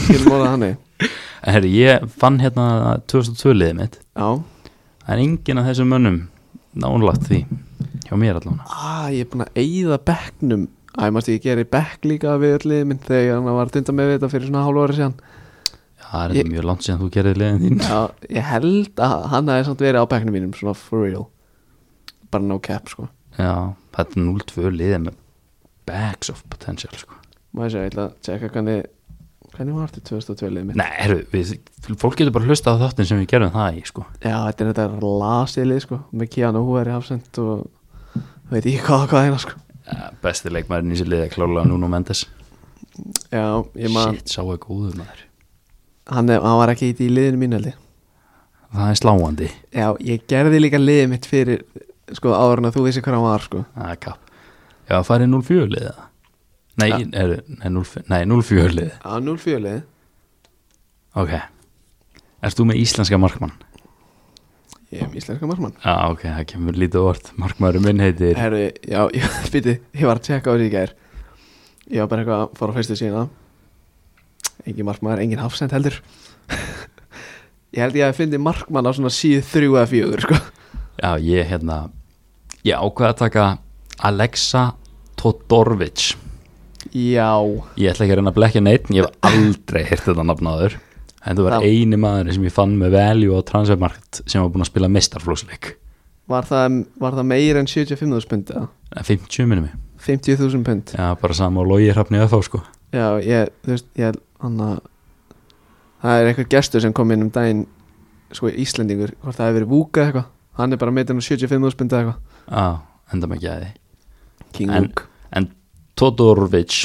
S1: skilum orðað hann
S2: En herri, ég fann hérna 2002 liðið mitt
S1: Já,
S2: Það er enginn af þessum mönnum nánlagt því hjá mér allavega
S1: Ah, ég er búin að eyða bekknum Æ, mást ég gera í bekk líka við öll liðið minn þegar hann var að dynda með við þetta fyrir svona hálf ára síðan
S2: Já, það er
S1: Ég-
S2: þetta mjög langt síðan þú gerði liðin þín
S1: Já, ég held að hann hafi samt verið á bekknum mínum svona for real bara no cap sko
S2: Já, þetta er 0-2 liðið með bags of potential sko
S1: Má ég segja, ég ætla að tjekka hvernig hvernig var þetta 2002 liðið mitt
S2: Nei, herru, við, fólk getur bara hlusta á þáttin sem við gerum það í, sko.
S1: Já, þetta er þetta lasið lið sko með Keanu Húver í hafsend og veit ekki hvað hvað hérna sko
S2: Ja, besti leikmærin í sér liði er klálega Nuno Mendes.
S1: Já, ég man,
S2: Shit, sá er góður maður.
S1: hann, er- hann var ekki í liðinu mínu held ég
S2: Það er sláandi.
S1: Já, ég gerði líka liðið mitt fyrir sko áður en að þú vissi hvað hann var sko
S2: Það er Ah, kapp. Já, það farið 0-4 liðið það. Nei,
S1: Ja.
S2: herru, nei, 0-5 nei, 0-4 liðið.
S1: Já, 0-4 liðið
S2: Ok. Erst þú með íslenska markmann?
S1: Ég er með íslenska markmann
S2: Já, ok, það kemur lítið vort. Markmæri minn heitir...
S1: Herru, já, ég, býti, ég var að tjekka á þessu í gær Ég var bara eitthvað að fara á fyrstu sína Engin markmann, engin hafsend heldur Ég held ég að fyndi markmann á svona síð þrjú eða fjögur sko.
S2: Já, ég, hérna, ég ákveða að taka Alexa Todorovic.
S1: Já,
S2: Ég ætla ekki að reyna að blekja neitt ég hef aldrei heyrt þetta nafn áður en þú var
S1: Já.
S2: eini maður sem ég fann með value á transfermarkt sem var búin að spila mestarflósleik
S1: var það, var það meir en 75.000 pund eða?
S2: 50 minnum ég
S1: 50.000 pund
S2: Já, bara sama og logið hrafni að fá sko
S1: Já, ég, þú veist, ég hann að Það er einhver gestur sem kom inn um daginn Sko Íslendingur, hvort það hefur verið vúka eða eitthvað Hann er bara um meitinn á 75.000 pund eða eitthvað
S2: Já, enda með gæði
S1: King
S2: En-
S1: Vuk
S2: En Todorovic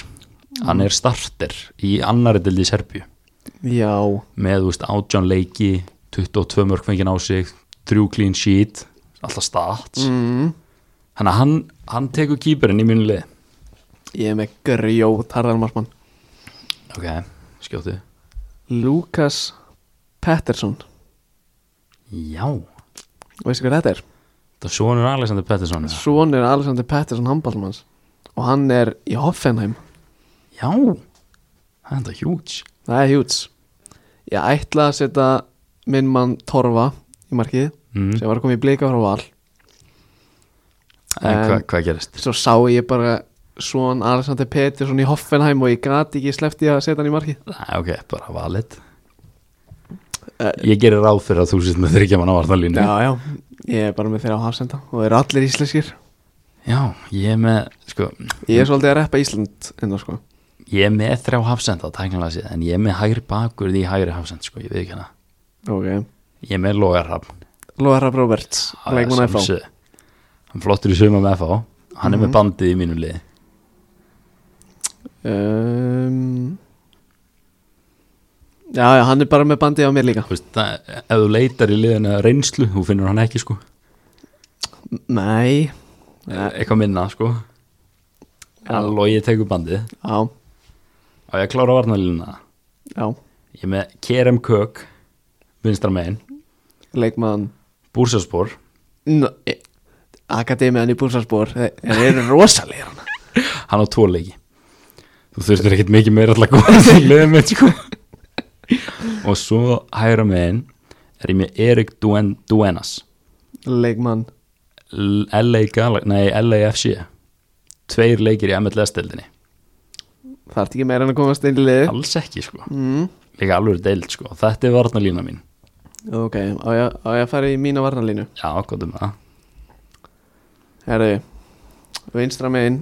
S2: hann er starter í annari dildi í Serbju
S1: Já,
S2: með, þú veist, átján leiki 22 mörg fengið á sig þrjú clean sheet, alltaf stats
S1: mm,
S2: Þannig að hann, hann tekur kýperinn í mínu lið
S1: Ég er með grjót harðarmarsmann
S2: Ok, skjóttu
S1: Lukas Pettersson
S2: Já,
S1: Veistu hvað þetta er?
S2: Það er sonur Alexander Pettersson eða?
S1: Svonur Alexander Pettersson handballmanns Og hann er í Hoffenheim
S2: Já Það er enda huge
S1: Það er hjúts Ég ætla að setja minn mann Torfa í markið
S2: mm.
S1: sem var að koma í blika frá val
S2: En
S1: En-
S2: hva, hvað gerist?
S1: Svo sá ég bara svon Alexander Pettersson í Hoffenheim og ég gat ekki sleppt í að setja hann í markið
S2: Æ, ok, bara valid
S1: Eh,
S2: Ég gerir ráð fyrir að þú sést með þryggja mann á vartalínu
S1: Já, já, ég er bara með þeirra á hafsenda og þeir eru allir íslenskir
S2: Já, ég er með sko,
S1: Ég er svolítið að reppa Ísland enná sko
S2: Ég er með þrjá hafsenda tæknilega séð En ég er með hægri bakur því hægri hafsend sko, Ég veit ekki hana
S1: ok
S2: Ég er með Lógarhafn
S1: Lóðarab Roberts,
S2: Ah,
S1: leikmann FH
S2: Hann flottur í suma með FH Hann er með bandið í mínu liði
S1: um, Já, já, hann er bara með bandið á mér líka
S2: Þú veist, það, Ef þú leitar í liðinu að reynslu Þú finnur hann ekki sko
S1: Nei,
S2: Eitthvað minna sko Hann logið tekur bandið
S1: já,
S2: Á ég að klára varnalínuna
S1: já
S2: Ég er með Kerem Kök Vinstra megin
S1: Leikmann
S2: Búrsaspor
S1: N- e- Akademiðan í Búrsarsbúr Þeir eru rosalegir hérna. hann
S2: Hann á tvo leiki Þú þurftir ekkert mikið meira alltaf góð í liðinu mitt sko Og svo hægra megin Er ég með Erik Duen, Duenas
S1: Leikmann
S2: L- LA Gal nei, LAFC tveir leikir í MLS-deildinni
S1: Þarf ekki meira en að komast inn í liðu
S2: alls ekki sko,
S1: mm,
S2: líka alveg deild sko þetta er varnalína mín,
S1: Ok, á ég, á ég að fara í mína varnalínu
S2: já, gott um það
S1: Herðu, vinstra megin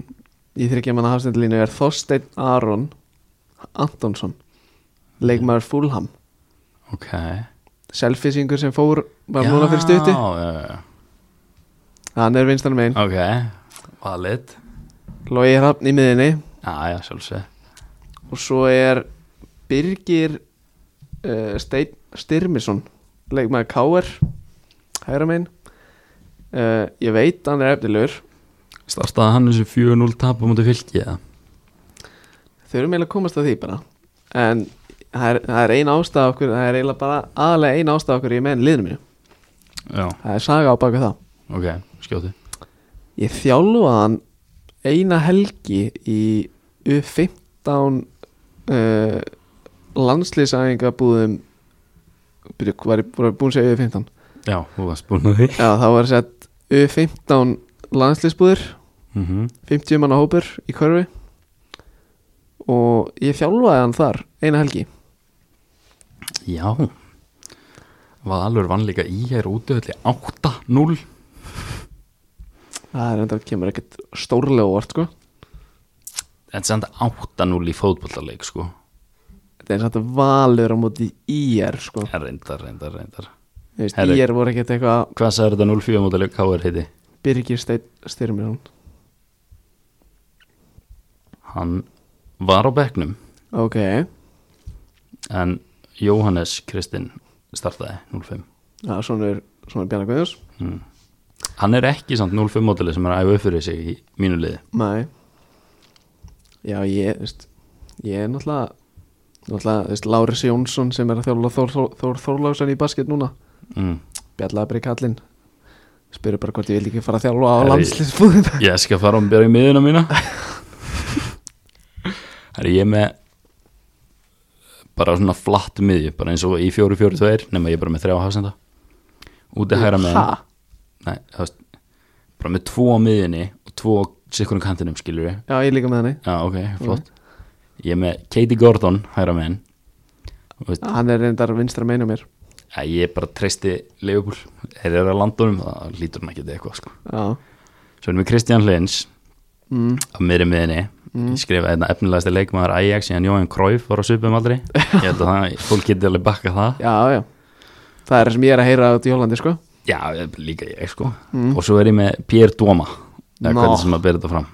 S1: í þryggjamanna hafstendalínu er Þorsteinn Aron Antonsson leikmaður Fulham
S2: ok,
S1: selfisingur sem fór bara núna fyrir stutti
S2: já, já, já.
S1: hann er vinstra megin
S2: ok, valid
S1: Lói Hrafn í miðinni
S2: já, já, sjálfsög,
S1: og svo er Birgir uh, Steinn Styrmisson leikmaður Káer hægra megin uh, ég veit hann er efnilegur
S2: startaði hann þessu 4-0 tap á múti fylki eða?
S1: þau eru meila að komast að því bara en það er, það er ein ástæða okkur það er eiginlega bara aðalega ein ástæða okkur ég menn liðinu mínu
S2: já,
S1: Það er saga á baka það
S2: ok, skjóti
S1: Ég þjálfaði hann eina helgi í U15 uh, landslýsæðingabúðum Byrju, var ég var ég búinn að segja U15?
S2: já, þú varst búin að því
S1: Já, það var sett U15 landslýsbúður
S2: mm
S1: 50 manna hópur í körfi og ég þjálfaði hann þar eina helgi
S2: já Valur vann líka í hér útöðli 8-0
S1: Það er enda kemur ekkert stórlega óvart sko
S2: en senda 8-0 í fótbollaleik sko
S1: Þetta er samt valur á móti IR sko
S2: Ja, reyndar, reyndar, reyndar
S1: Þú veist,
S2: Herri.
S1: IR voru ekkert eitthvað
S2: Hvað sagði þetta 0-4 mótileg K.R. heiti?
S1: Birgir Steinn Styrmisson
S2: Hann var á bekknum
S1: Ok,
S2: en Jóhannes Kristinn startaði 0-5
S1: já, svona er, svona er Bjarni Guðjós
S2: mm. Hann er ekki samt 0-5 mótileg sem er að æfa upp fyrir sig í mínu liði
S1: Nei Já, ég, veist Ég er náttúrulega Náttúrulega, veist, Láris Jónsson sem er að þjóla Þór, Þór, Þór Þórlásen í basket núna
S2: mm.
S1: Bjallaði bara í kallinn Spyrir bara hvort ég vil ekki fara að þjálfa á
S2: Herri.
S1: landslisbúðina
S2: Ég skal fara og um byrja í miðuna mína Það er ég er með bara svona flatt miðju bara eins og í 4-4-2 nema ég er bara með 3 hafsenda Úti hægra með
S1: Ha?
S2: Nei, það veist bara með tvo á miðjunni og tvo á sikkurum kantinum skilur við
S1: Já, ég er líka með henni
S2: Já, ok, flott Ég er með Katie Gordon, hæra megin Og veist,
S1: Hann er reyndar vinstra meina mér
S2: ja, ég bara treysti Leifupúl Þeir eru að landa honum, það lítur hann ekki til eitthvað sko.
S1: Já,
S2: Svo erum við Kristján Hlins
S1: mm,
S2: á miðri miðinni Ég skrifa þetta efnilegasti leikmaður Ajax síðan Jóhann Króif var á svipum aldrei Ég held að það, fólk geti alveg bakka það
S1: já, já Það er það sem ég er að heyra út í Hollandi, sko
S2: Já, líka ég sko
S1: Mm.
S2: Og svo er ég með Pierre Dóma Eða
S1: Nó.
S2: hvernig sem að bera þetta fram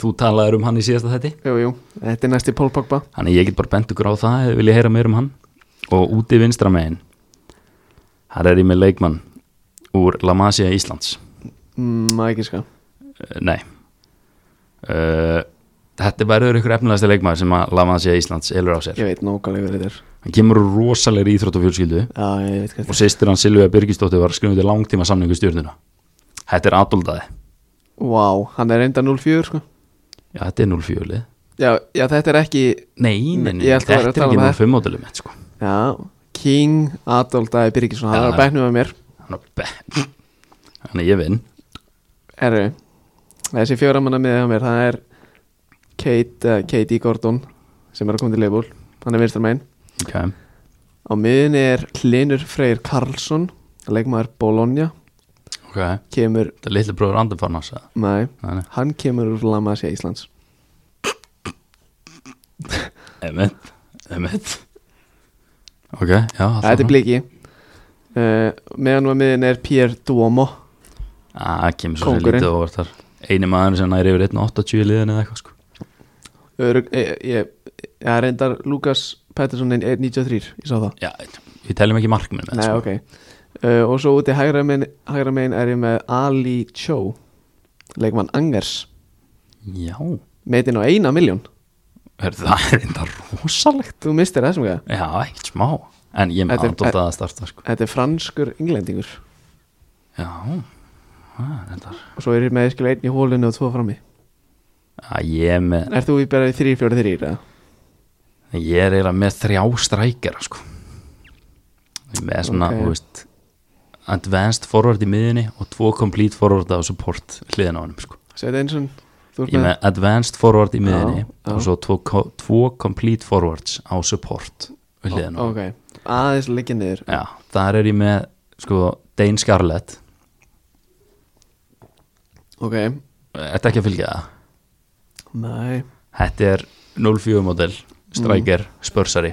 S2: Þú talaður um hann í síðasta þetti
S1: Jú, jú, þetta er næsti Pól Pogba
S2: Þannig ég get bara bent ykkur á það eða vilja heyra meir um hann og úti vinstra megin þar er ég með leikmann úr La Masia Íslands
S1: mm, Má ekki, sko
S2: uh, Nei uh, Þetta er bara öður ykkur efnilegasti leikmann sem að La Masia Íslands elur á sér
S1: Ég veit nógulega þetta er
S2: Hann kemur úr rosalegri íþrótt og fjölskyldu
S1: Já, ég veit hvað
S2: og sýstir hann Silvija Birgisdóttir var skrifandi langtíma samningu stjórnuna Þetta er adultaði
S1: Vá, hann er reynda 0-4 sko
S2: Já, þetta er 0-4 lið
S1: já, já, þetta er ekki
S2: Nei, nei, nei,
S1: Ég ætla að vera
S2: þetta er
S1: að tala
S2: ekki
S1: um
S2: 0-5 mótilum sko.
S1: Já, King Adolf Dæði Birgisson Hann
S2: Já.
S1: er að bæknu með mér
S2: Hann er be- Þannig ég vinn
S1: Herru, þessi fjóra manna miðið á mér Það er Kate, uh, Katie Gordon Sem er að koma til leifból Hann er vinstar megin
S2: okay.
S1: Á miðinni er Hlinur Freyr Karlsson Leikmaður Bologna
S2: Okay.
S1: Kemur,
S2: Þetta er litli bróður Andar Farnas eða?
S1: nei,
S2: Nei, nei.
S1: hann kemur úr Lamasja Íslands
S2: Emmett Emmett Ok, já
S1: Þetta er bliki uh, meðan og miðin er Pierre Duomo
S2: að það kemur svo sem
S1: Kóngurinn.
S2: lítið óvart þar eini maður sem næri yfir 1.80 liðin eða eitthvað sko
S1: Örug, ég, ég, ég reyndar Lukas Pettersson er 93, ég sá það
S2: já, við teljum ekki markminn
S1: Nei, ok uh, Og svo úti hægra megin, hægra megin er ég með Ali Cho Leikmann Angers
S2: já,
S1: Metin á eina miljón
S2: Hörðu, það er enda rosalegt
S1: Þú mistir þessum gæða
S2: já, ekkert smá en ég með
S1: Þetta er-
S2: andótt að það starta sko
S1: Þetta er franskur englendingur
S2: já, það er enda
S1: Og svo er ég með skil einn í hólunni og tvo frammi
S2: að ég er með
S1: Er þú í bara í 3-4-3 eða?
S2: ég er eiginlega með þrjá strækjara sko Ég er með svona,
S1: Ok.
S2: þú veist advanced forward í miðinni og tvo complete forward á support hliðin á honum sko
S1: Sveit Einsson Þú ert
S2: Ég er
S1: með
S2: með advanced forward í miðinni
S1: Já, já.
S2: og svo tvo, co- tvo complete forwards á support við hliðina.
S1: Ok Aðeins liggja niður
S2: Já, þar er ég með sko Dane Scarlett
S1: Ok
S2: Þetta ekki að fylgja það
S1: Nei
S2: Þetta er 04 model striker,
S1: Mm.
S2: spörsari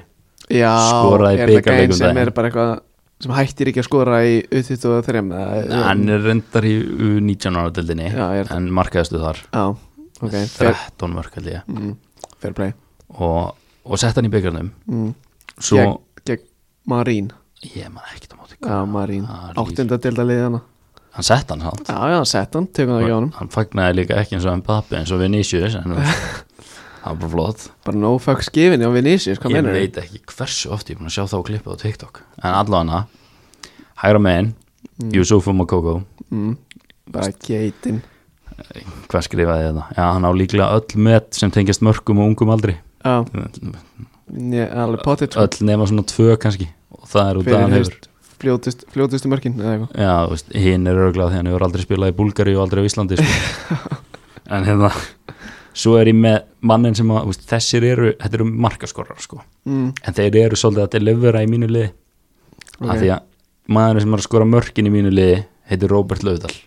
S1: Já
S2: Skoraði í
S1: Er það
S2: bikarleik
S1: gæn
S2: um
S1: sem
S2: daginn.
S1: er bara eitthvað Sem hættir ekki að skora í U23 eða-
S2: Hann er reyndar í 19 ára dildinni
S1: Já, ég er-
S2: en markaðistu þar
S1: Já Ok Fair,
S2: 13 mörk held ég
S1: mm, fair play
S2: og, og sett hann í byggarnum
S1: mm.
S2: svo
S1: gegn, gegn Marín
S2: ég maður ekkert á móti
S1: Já, Marín,
S2: Ah, líf.
S1: áttunda delda liðana
S2: hann sett hann samt
S1: Já, já, sett hann, tökum það ekki á hann
S2: Og hann fagnaði líka ekki eins og hann pappi eins og Vinicius en þú veist, það var bara flott
S1: Bara no fucks given á Vinicius, hvað
S2: ég
S1: mennur
S2: veit ekki hversu oft ég er búin að sjá þá klippa á TikTok en allavega hægra megin mm. Yusufu Makoko
S1: Mm, bara geitin
S2: hvað skrifaði þetta? Já, hann á líklega öll met sem tengjast mörgum og ungum aldri
S1: Já, ég, alveg potið sko,
S2: öll nema svona tvö kannski og það er út að
S1: Fyrir
S2: hann hefur
S1: hefst fljótust, fljótustu mörkin eða eitthvað
S2: Já, þú veist, hinn er örglað því hann hefur aldrei spilað í Búlgari og aldrei á Íslandi sko. en hérna svo er ég með mannin sem að þú veist, þessir eru, þetta eru markaskorrar sko.
S1: mm,
S2: en þeir eru svolítið að delivera í mínu liði
S1: Ok.
S2: af því að maðurinn sem er að skora mörkin í mínu liði heitir Robert Laudal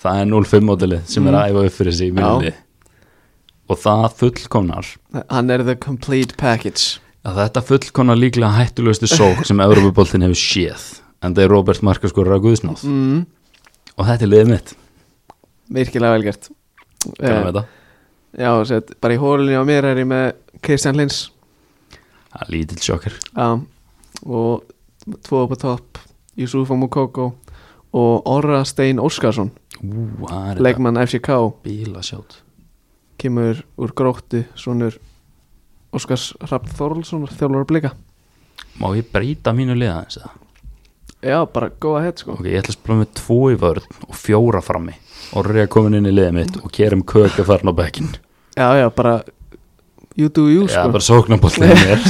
S2: það er 05 mótilið sem er að æfa upp fyrir sig í mínu
S1: Mhm. Já.
S2: liði og það fullkomnar
S1: Hann er the complete package
S2: að þetta fullkomnar líklega hættulegustu sók sem Európa-boltin hefur séð en það er Robert markaskorrar að guðsnáð
S1: mm,
S2: og þetta er liðið mitt,
S1: Virkilega velgjart
S2: kannan við þetta
S1: Já, sett, bara í hólunni á mér er ég með Kristján Lins
S2: Það er lítill sjokkar
S1: Já, og tvo upp á topp Yusufa Mukoko og Orra Stein Óskarsson
S2: Ú, það er þetta
S1: leikmann FCK
S2: bíla sjátt
S1: kemur úr gróttu svonur Óskars Rapp Þorlssonar þjálfur að blika
S2: Má ég breyta mínu liða eins og
S1: Já, bara góða hett sko
S2: Ok, ég ætla að spila með tvo í vörð og fjóra frammi og reyja komin inn í liðið mitt og kerum köka farin á bekkin
S1: Já, já, bara you do you
S2: Já,
S1: sko
S2: bara sóknarboltið mér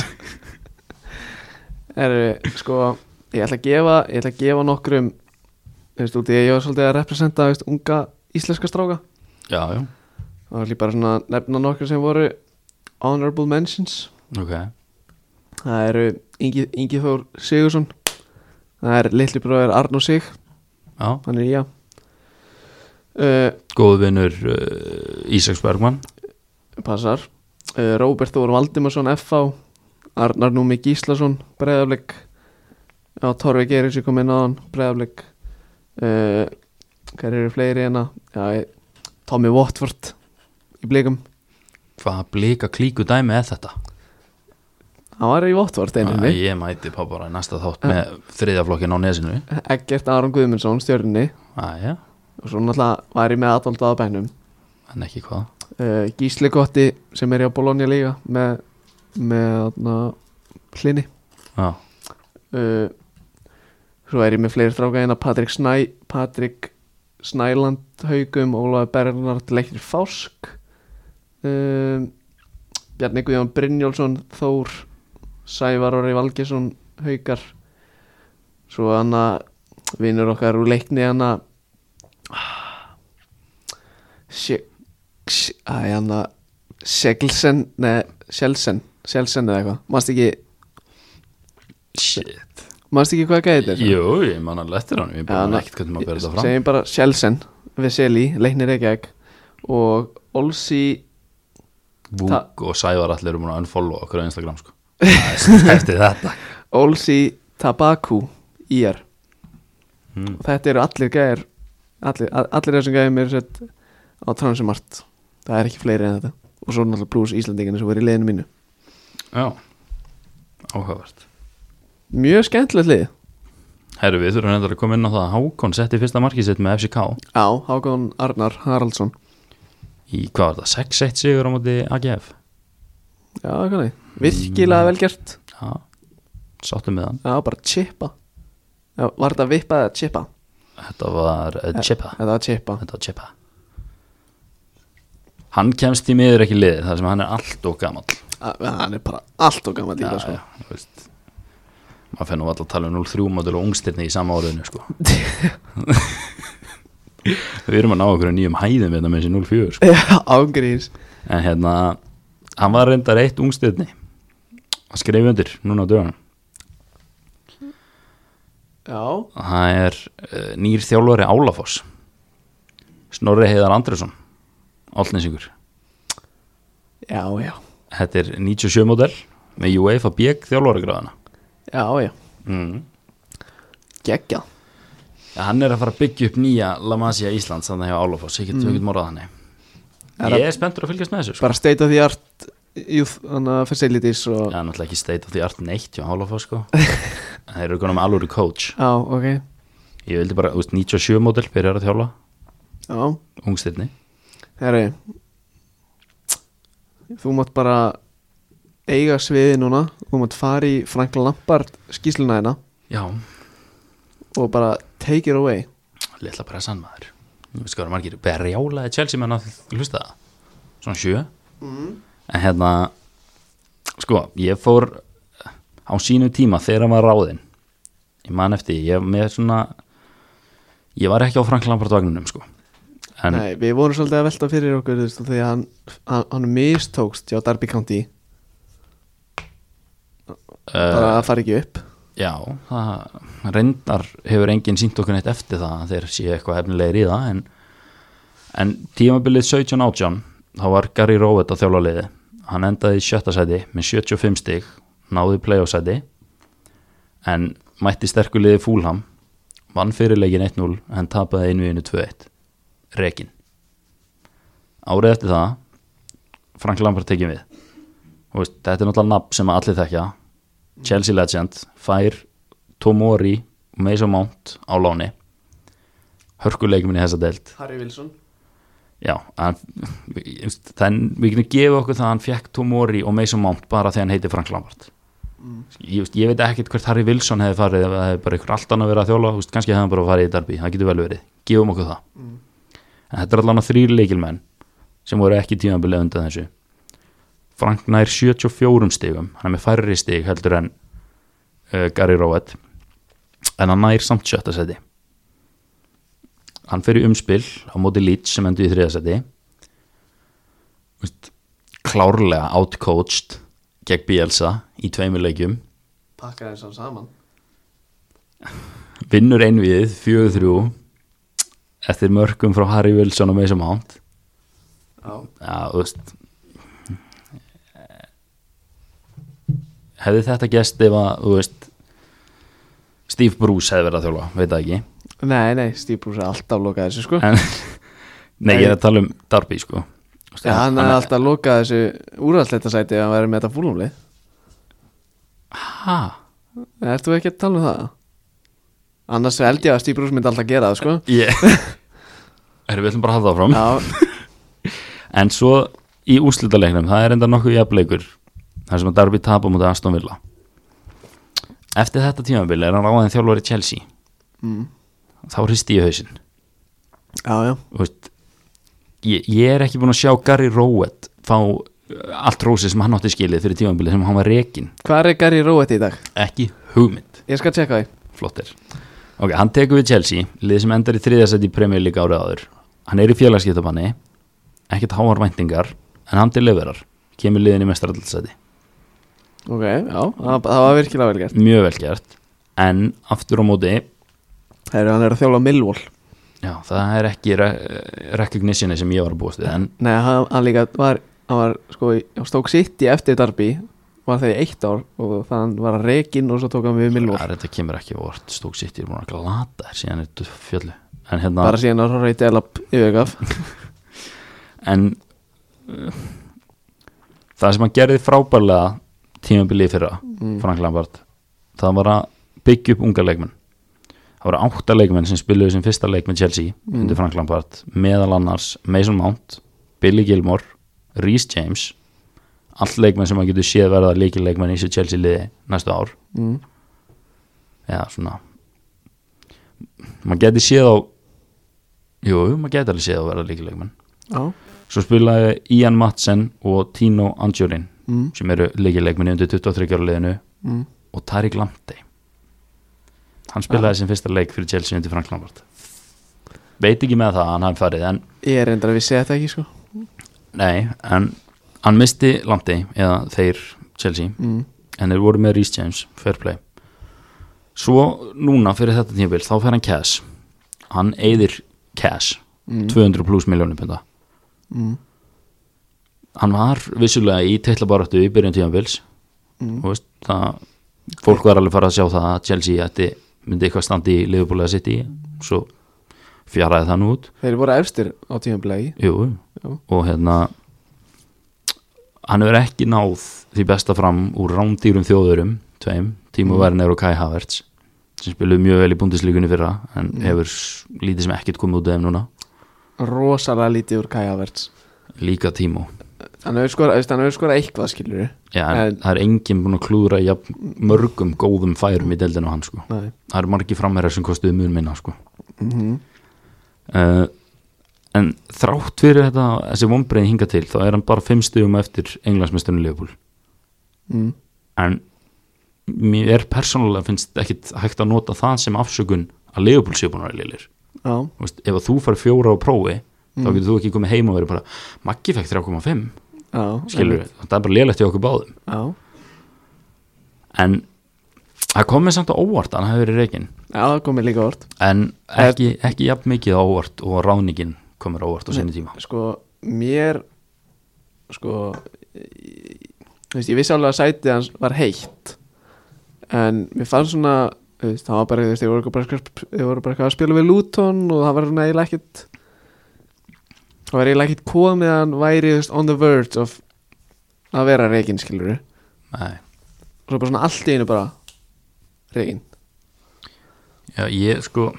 S1: Herru, sko, ég ætla að gefa ég ætla að gefa nokkrum þú veist, út í að ég var svolítið að representa þú veist, unga íslenska stráka
S2: Já, já,
S1: og ætla ég bara svona að nefna nokkur sem voru honorable mentions
S2: ok
S1: Það eru Ingi, Ingi Þór Sigursson Það er litli bróðir Arnó Sig
S2: Já,
S1: Hann er í já uh,
S2: góð vinnur uh, Ísaks Bergmann
S1: Passar uh, Róbert Þór Valdimarsson FH Arnar Númi Gíslason Breiðaflik Já, Torfi Gerins ég kom inn á hann Breiðaflik uh, Hver eru fleiri hérna Já, ég- Tommy Watford Í blikum
S2: Hvað blika klíku dæmi er þetta?
S1: Hann var í Watford
S2: Æ,
S1: eininni
S2: Ég mæti pabara í næsta þátt með þriðaflokkin á nesinu
S1: Eggert Aron Guðmundsson stjörninni
S2: Æja,
S1: Og svo náttúrulega var ég með Adolf að bænum
S2: en ekki hvað
S1: uh, Gísli Gotti sem er hjá Bologna líka með, með na, hlinni
S2: Já,
S1: uh, svo er ég með fleiri stráka hérna Patrik Snæ Patrik Snæland Haugum, Ólaður Bernhard Leiknir Fásk um, Bjarni Guðjón Brynjólfsson Þór Sævar Orri Valgesson Haugar svo hana vinnur okkar úr leikni hana Sj- Sj- Æ, hana Sjelsen Nei, Sjelsen Sjelsen eða eitthvað Manst ekki
S2: shit
S1: Manst ekki hvað gæði þetta?
S2: Jú, ég man alveg eftir hann Ég
S1: Já,
S2: bara man
S1: na-
S2: ekkert hvernig maður berði það fram
S1: Segjum bara Sjelsen, Veseli, Leiknir Reykjavík og Olsi
S2: Vúk og Sævar allir eru múin að unfollow okkur á Instagram sko Það er eftir þetta
S1: Olsi Tabaku IR
S2: mm.
S1: þetta eru allir gæðir allir, a- allir þessum gæðum eru sett á transumart það er ekki fleiri en þetta og svo náttúrulega pluss Íslandingarnir sem voru í liðinu mínu
S2: Já, áhugavert
S1: mjög skemmtilegt lið
S2: Herru, við þurfum reyndar að koma inn á það að Hákon setti fyrsta markið sitt með FCK
S1: á Hákon Arnar Haraldsson
S2: í, hvað var það, 6-1 sigur á móti AGF
S1: já, kanni,
S2: Mm.
S1: virkilega vel gert
S2: Já, sáttum með hann
S1: já, bara chipa já, var þetta vippa eða chipa?
S2: Þetta var uh, Chipa
S1: þetta var chipa
S2: Þetta var Chipa Hann kemst í miður ekki í liðið þar sem hann er allt og gamall
S1: Að- hann er bara allt og gammal líka sko.
S2: já, þú veist maður fennum alltaf að tala um 0-3 mótil og ungstirni í sama áriðinu sko við erum að ná okkur nýjum hæðum hérna með þessi 0-4 sko.
S1: já, ángríns
S2: en hérna, hann var reyndar eitt ungstirni að skrifa undir núna á dögunum
S1: já,
S2: það er uh, nýr þjálfari Álafoss Snorri Heiðar Andresson Áltnesingur
S1: já, já
S2: þetta er 97 mótel með UEFA BG þjálfari gráðana
S1: já, já,
S2: mm.
S1: geggja
S2: Ja, hann er að fara að byggja upp nýja La Masia Íslands þannig að Álafoss, ekki tökut morðað hann
S1: Er
S2: Ég Mm. er spenntur að fylgjast með þessu sko.
S1: bara state of the art youth hana, facilities og
S2: Það er náttúrulega ekki state of the art neitt hjá Álafoss sko. Þeir eru konum alvöru coach
S1: já, ok
S2: Ég vildi bara, þú veist, 97 módel byrjar að þjála,
S1: já,
S2: ungstirni
S1: herri þú mátt bara eiga sviði núna þú mátt fara í Frank Lampard skýsluna hérna
S2: Já,
S1: og bara take it away
S2: litla pressan maður Ég veist hvað eru margir, berjálaði Chelsea menn að hlusta það Svona sjö En hérna, sko, ég fór á sínum tíma þegar hann var ráðinn Ég man eftir, ég með svona Ég var ekki á Frank Lampard vagninum sko En
S1: Nei, við vorum svolítið að velta fyrir okkur þú veist, því að hann, hann, hann mistókst hjá Darby County
S2: uh,
S1: bara að fara ekki upp
S2: Já, það reyndar hefur enginn sínt okkur neitt eftir það þegar séu eitthvað efnilegir í það en, en tímabilið 17-18 þá var Gary Rowett á þjálfaliði hann endaði í sjötta sæti með 75 stig náði playoff sæti en mætti sterku liði Fúlham vann fyrirleikin 1-0 en tapaði einu einu 2-1 Rekin Árið eftir það Frank Lampard tekið við Þú veist, þetta er náttúrulega nafn sem allir þekkja Chelsea legend fær Tomori og Mason Mount á láni hörkuleikminn í þessa deild
S1: Harry Wilson
S2: já, hann, þann, við getum gefið okkur það að hann fekk Tomori og Mason Mount bara þegar hann heiti Frank Lampard ég, veist, ég veit ekkert hvert Harry Wilson hefði farið ef það hefði bara ykkur allt annað verið að þjóla veist, kannski hefði hann bara farið í derby, það getur vel verið gefum okkur það en þetta er allan að þrýr leikilmenn sem voru ekki tímabilið undan þessu Frank nær 74 stigum hann er með færri stig heldur en uh, Gary Rowett en hann nær samt sjötta seti hann fer í umspil á móti Leeds sem endur í þriða seti Vist, klárlega outcoached gegn Bielsa í tveimur leikjum
S1: pakkaði hans saman
S2: vinnur einvið 4-3 eftir mörgum frá Harry Wilson og Mason Mount
S1: Já,
S2: Já, þú veist eh, Hefði þetta gæst ef að, þú veist Steve Bruce hefði verið að þjóla, veit það ekki
S1: Nei, nei, Steve Bruce er alltaf lokað þessu sko
S2: en, Nei, ég er að tala um Darby, sko Þú veist,
S1: Já, hann er alltaf lokað þessu úrvalsleta sæti ef hann væri með þetta fúlumli
S2: Ha?
S1: Ert þú ekki að tala um það? Annars held ég að Steve Bruce myndi alltaf gera það sko
S2: Ég Erum við ætlum bara að hafa það fram
S1: Já,
S2: En svo í úrslitaleiknum, það er enda nokkuð jafnleikur þar sem að Darby tapa mútið Aston Villa Eftir þetta tímabili er hann ráðin þjálfari Chelsea
S1: mm.
S2: Þá hristi ég hausinn
S1: já, já
S2: Þú veist, ég, ég er ekki búin að sjá Gary Rowett fá uh, allt rósið sem hann átti skilið fyrir tímanbilið sem hann var rekin
S1: Hvar er Gary Rowett í dag?
S2: ekki hugmynd,
S1: Ég skal tjekka því
S2: flottir ok, hann tekur við Chelsea, lið sem endar í þriðasæti í Premier League árið áður hann er í félagskiptabanni ekkert háar væntingar, en hann til leverar kemur liðin í mestarallsæti
S1: Ok, já, það, það var virkilega vel gert
S2: mjög vel gert, en aftur á móti,
S1: Herru, hann er að þjóla Millwall
S2: já, það er ekki re recognitioni sem ég var að búast við en
S1: Nei, hann, hann líka var, hann var sko í- á stók sitt í eftir Darby var það í eitt ár og þann var að rekinn og svo tók hann við Millwall
S2: Það er þetta kemur ekki á vort Stók sitt er búin að glata þér síðan þetta fjölu En hérna
S1: bara síðan að Rory Delap yfirgaf
S2: En uh, Það sem hann gerði frábærlega Tímabilið fyrra
S1: mm.
S2: Frank Lampard það var að byggja upp unga leikmenn það voru átta leikmenn sem spiluðu sem fyrsta leik með Chelsea
S1: Mm.
S2: undir Frank Lampard meðal annars Mason Mount, Billy Gilmore Rhys James allt leikmenn sem maður getur séð verða líki leikmenn í þessu Chelsea liði næstu ár
S1: Mm.
S2: eða svona maður getur séð á jú, maður getur alveg séð á verða líki leikmenn
S1: já
S2: svo spilaði Ian Madsen og Tino Angelin
S1: mm.
S2: sem eru líki leikmenn undir 23 ára liðinu
S1: Mm.
S2: og Tariq Lamptey hann spilaði sem fyrsta leik fyrir Chelsea undir Frank Lampard veit ekki með það að hann hafi farið en
S1: ég er reyndar að vissi þetta ekki sko
S2: nei, en hann misti Lamptey eða þeir Chelsea
S1: mm.
S2: en þeir voru með Reece James, fair play svo núna fyrir þetta tímabil þá fer hann cash hann eyðir cash
S1: Mm.
S2: 200 pluss miljónum punda
S1: Mm.
S2: hann var vissulega í teitlabaratu í byrjun tímabils
S1: Mm.
S2: Þú veist, það, fólk var alveg farið að sjá það að Chelsea ætti, myndi eitthvað standi í Liverpool að sitt í svo fjaraði það nú út
S1: þeir voru efstir á tíma blei
S2: Jú.
S1: Já.
S2: og hérna hann hefur ekki náð því besta fram úr rándýrum þjóðurum tveim, Timo
S1: Mm.
S2: Werner og Kai Havertz sem spiluðu mjög vel í búndislíkunni fyrra en
S1: Mm.
S2: hefur s- lítið sem ekkert komið út af þeim núna
S1: rosalega lítið úr Kaja Verts
S2: líka Timo
S1: hann hefur skorað veist, hann hefur skorað eitthvað skilur
S2: Já, en,
S1: En-
S2: það er enginn búin að klúðra jafn, mörgum góðum færum í deildinu á hann sko.
S1: nei
S2: það eru margi framherjar sem kostuðu mjög minna sko.
S1: mm
S2: uh, en þrátt fyrir þetta þessi vonbreið hinga til þá er hann bara fimm stugum eftir englandsmesturinn Leopold
S1: Mm.
S2: en mér er persónulega finnst ekkit hægt að nota það sem afsökun að Leopold sé búin að vera leilir
S1: já
S2: ef að þú far fjóra á prófi þá getur þú ekki komið heim og verið bara Maggi fekk 3,5
S1: já
S2: skilur við, það er bara leilegt í okkur báðum
S1: já
S2: en það komið samt á óvart að hann hafi verið reygin
S1: já það komið líka orð
S2: en ekki, ekki jafn mikið á óvart og ráningin komur á óvart á sinni tíma
S1: sko mér sko ég, þú veist, ég vissi alveg að sætið hans var heitt en mér fannst svona þú veist, það var bara, þú veist, ég voru bara, eitthvað- þeir voru bara eitthvað að spila við Luton og það var svona eiginlega ekkit það var eiginlega ekkit komið að hann væri þú veist, on the verge of að vera reikin skilur og
S2: Nei.
S1: svo bara svona allt í einu bara reikin
S2: Já, ég sko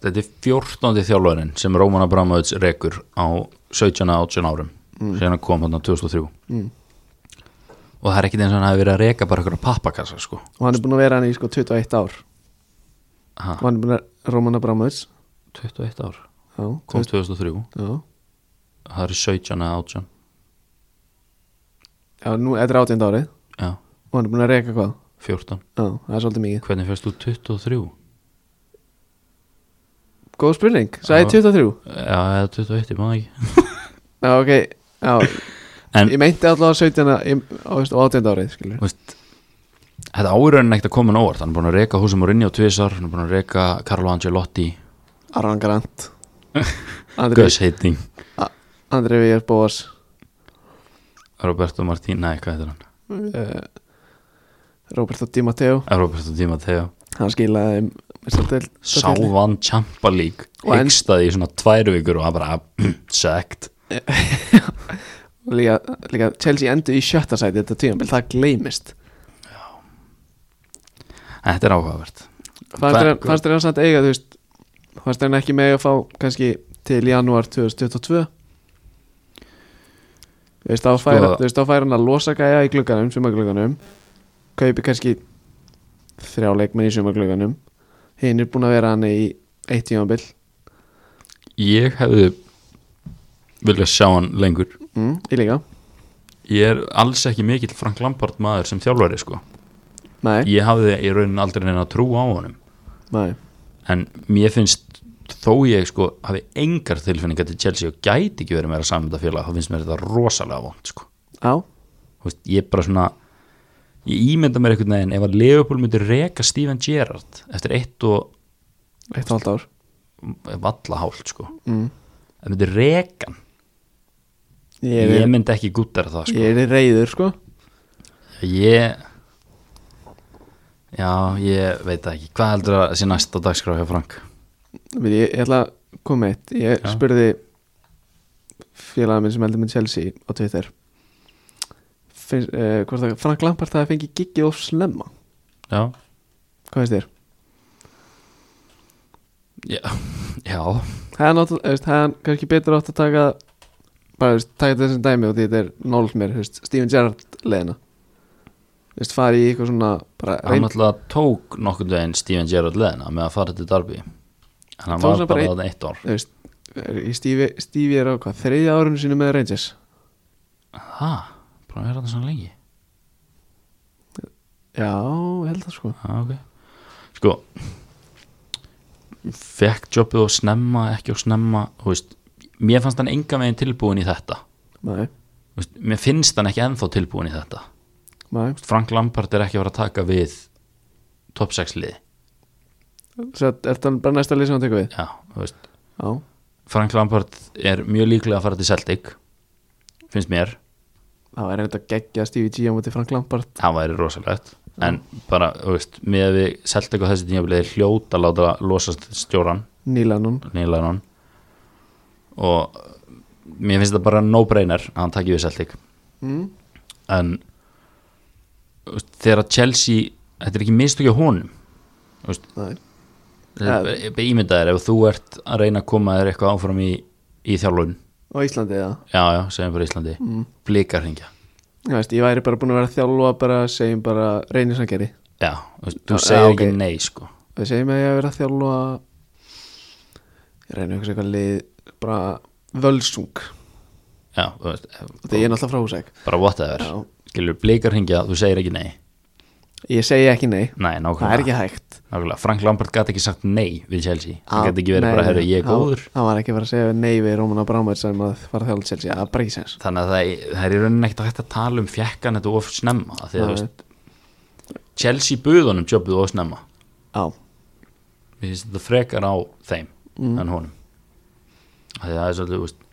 S2: þetta er 14. þjálfarinn sem Róman Abramovits rekur á 17-18 árum mm. sem hann kom hann 2003
S1: Mm.
S2: og það er ekkit eins og hann hafi verið að reka bara ykkur pappakassa sko
S1: og hann er búin að vera hann í sko 21 ár
S2: ha,
S1: og hann er búin að Roman Abramovits
S2: 21 ár,
S1: já,
S2: kom
S1: þú
S2: 2003
S1: veist, já.
S2: það eru 17-18
S1: já, nú þetta er 18 árið
S2: já,
S1: og hann er búin að reyka hvað
S2: 14,
S1: Já, það er svolítið mikið
S2: hvernig fyrst þú 23?
S1: Góð spurning, sagði
S2: Já.
S1: 23
S2: Já, eða 21, ég maður ekki
S1: Já, ok, já,
S2: en,
S1: ég meinti allavega 17 í- á veist, á 18 árið, skilur
S2: þú veist þetta áraun ekkert að koma hann óvart hann er búin að reka húsum og rinni á tvisar hann er búin að reka Carlo Angelotti
S1: Aron Grant Andri,
S2: Gus Heiting,
S1: Andri Vier Bóas
S2: Roberto Martín nei, hvað heitir hann?
S1: uh, Roberto Di Matteo
S2: Roberto Di Matteo
S1: Hann skilaði þeim meistaradeild-
S2: sá vann Champa League
S1: Og en-
S2: hegstaði í svona tvær vikur og hann bara mm, sagt
S1: líka, líka Chelsea endur í sjötta sæti þetta tíma, það gleymist
S2: þetta er áhugavert
S1: Fannst
S2: Hvað-
S1: þér hann- fannst þér hann samt eiga, þú veist Fannst þér hann ekki með að fá kannski til janúar 2022 Þú veist, þá fær,
S2: Sko-
S1: þú veist, þá fær hann að losa gæja í glugganum, sumaglugganum Kaupi kannski þrjá leikmenn í sumaglugganum Hinn er búin að vera hann í eitt tímabil
S2: ég hefði viljað sjá hann lengur
S1: mm, Í líka,
S2: ég er alls ekki mikill Frank Lampard maður sem þjálfari sko
S1: nei,
S2: ég hafði í raunin aldrei neina trú á honum
S1: nei
S2: en mér finnst þó ég sko hafi engar tilfinningar til Chelsea og gæti ekki verið meira samvendafélag þá finnst mér þetta rosalega vond sko
S1: Á,
S2: Þú veist, ég bara svona ég ímynda mér einhvern veginn ef að Leopold myndi reka Steven Gerrard eftir eitt og
S1: eitt og halvt ár
S2: valla hált sko
S1: mm.
S2: það myndi rekan
S1: Ég
S2: ég
S1: er,
S2: myndi ekki gúttara það sko
S1: ég er reyður, sko
S2: Ég Já, ég veit það ekki Hvað heldur að sé næst á dagskrá hjá Frank?
S1: Við, ég, ég ætla að koma með eitt Ég
S2: Já.
S1: spurði félaga minn sem heldur með Chelsea á Twitter Finn, uh, hvort það Frank Lampart það fengi giggið of slemma
S2: Já
S1: Hvað finnst þér?
S2: Já, já,
S1: Það er náttúrulega, veist, það er kannski betur átt að taka bara, veist, taka þessum dæmi og þetta er nált mér, veist, Steven Gerrard leðina veist, fari í eitthvað svona bara,
S2: hann
S1: reyn,
S2: náttúrulega tók nokkurn veginn Steven Gerrard leðina með að fara til Darby en hann
S1: Tók
S2: var
S1: svona
S2: bara
S1: bara
S2: þarna eitt ár
S1: veist í Stevie, Stevie er á hvað, þriðja árunum sínu með Rangers
S2: Hæ, bara að vera þetta svona lengi
S1: Já, ég held það sko
S2: Já, ok Sko Fekk jobbið og snemma, ekki og snemma Þú veist, mér fannst hann enga veginn tilbúin í þetta
S1: Nei,
S2: Þú veist, Mér finnst hann ekki ennþá tilbúin í þetta
S1: nei,
S2: Frank Lampard er ekki að vera að taka við top 6 liði
S1: svo er það bara næsta lið sem hann tekur við
S2: Já, þú veist,
S1: Já,
S2: Frank Lampard er mjög líklega að fara til Celtic finnst mér,
S1: það er reynda geggja Stevie G á móti Frank Lampard
S2: það væri rosalegt en bara, þú veist, með að við Celtic á þessi tíma er hljóta að láta losa stjóran,
S1: Nílanum
S2: nýlæðan og mér finnst þetta bara no-brainer að hann takki við Celtic
S1: mm.
S2: en þú veist, þegar að Chelsea þetta er ekki mistökja honum
S1: Nei,
S2: Þetta er bara ímyndaðir ef þú ert að reyna að koma þér eitthvað áfram í, í þjálfun
S1: á Íslandi eða
S2: já, já, segjum bara Íslandi
S1: mm.
S2: blikar hringja
S1: Þú veist, Ég væri bara búin að vera að þjálfa bara, segjum bara reynir sem gerir
S2: já, þú veist, þú
S1: Já,
S2: segir
S1: já, ok.
S2: ekki nei sko
S1: Það segir mig að ég hef verið að þjálfa Ég reyna ykkur eitthvað lið bara völsung
S2: já, þú veist,
S1: Þetta er ég náttúrulega frá húsæk
S2: bara whatever
S1: Já.
S2: skilur blikar hringja, þú segir ekki nei
S1: Ég segi ekki nei,
S2: nei,
S1: það er
S2: nákvæmlega,
S1: ekki hægt
S2: nákvæmlega. Frank Lampard gæti ekki sagt nei við Chelsea hann
S1: Já,
S2: gæti ekki verið
S1: nei,
S2: bara, herru,
S1: nei,
S2: ég er
S1: hann-
S2: góður
S1: Hann var ekki bara að segja nei við Rómana Brámer sem að fara að þjálfa Chelsea, það er bara ekki sens
S2: þannig að það, það er í rauninni ekkert hægt að tala um fjekkan þetta of snemma því að þú
S1: Nei.
S2: veist Chelsea buðunum jobbið of snemma
S1: Já,
S2: mér finnst þetta frekar á þeim en honum Af því að það er svolítið, þú veist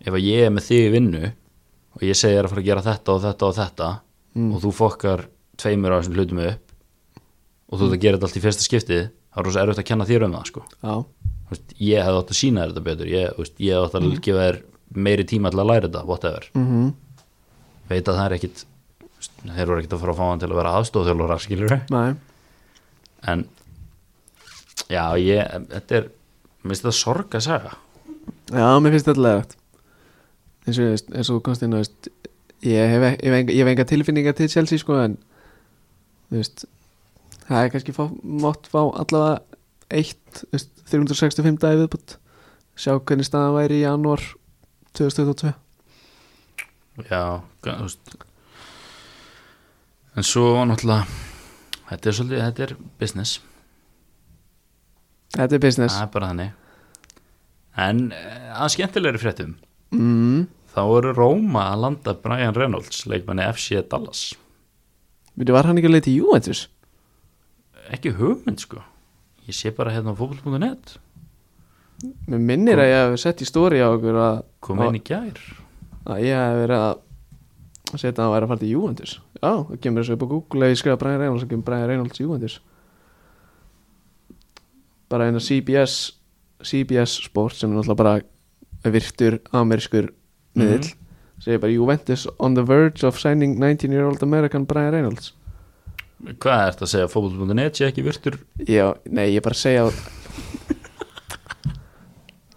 S2: ef að ég er með þig í vinnu og ég segi þér að fara að gera þetta og þetta og þetta og þú fokkar tveimur á þessum hlutum upp og þú ert að gera þetta allt í fyrsta skiptið þá er rosa erfitt að kenna þér um það sko.
S1: já,
S2: Þú veist, ég hefði átt að sína þér þetta betur ég, þú veist, ég hefði átt að gefa þér meiri tíma til að læra þetta, whatever
S1: mhm
S2: veit að það er ekkit þú veist, þeir voru ekkit að fara að fá hann til að vera aðstóðþjálfara skilur við
S1: Nei,
S2: en já, ég, þetta er mér finnst þetta sorg að segja
S1: já, mér finnst þetta leðrætt eins og, þú veist, eins og þú komst inn á, þú veist, ég hef, ég hef, enga, ég hef enga tilfinninga til Chelsea sko en þú veist, það er kannski fá, mátt fá allavega eitt, þú veist, 365 dagi viðbútt sjá hvernig staðan væri í janúar 2022
S2: já, þú veist en svo var náttúrulega þetta er svolítið, þetta er business
S1: Þetta er business
S2: það er bara þannig en eh, að skemmtilegri fréttum
S1: mm,
S2: þá voru Róma að landa Brian Reynolds leikmanni FC Dallas
S1: Við var hann ekki að leita í Juventus
S2: ekki hugmynd sko ég sé bara hérna á fókbol.net
S1: Mér minnir að ég hef sett í stóri á okkur að,
S2: kom inn í gær
S1: að ég hef verið að setja að hann væri að fara til Juventus Já, það kemur þessu upp á Google ef ég skrifa Brian Reynolds, það kemur Brian Reynolds Juventus bara eina CBS CBS Sport sem er náttúrulega bara virtur amerískur miðl segir bara Juventus on the verge of signing 19 year old American Brian Reynolds
S2: hvað er þetta að segja fókbol.net sé ekki virtur
S1: Já, nei, ég bara segja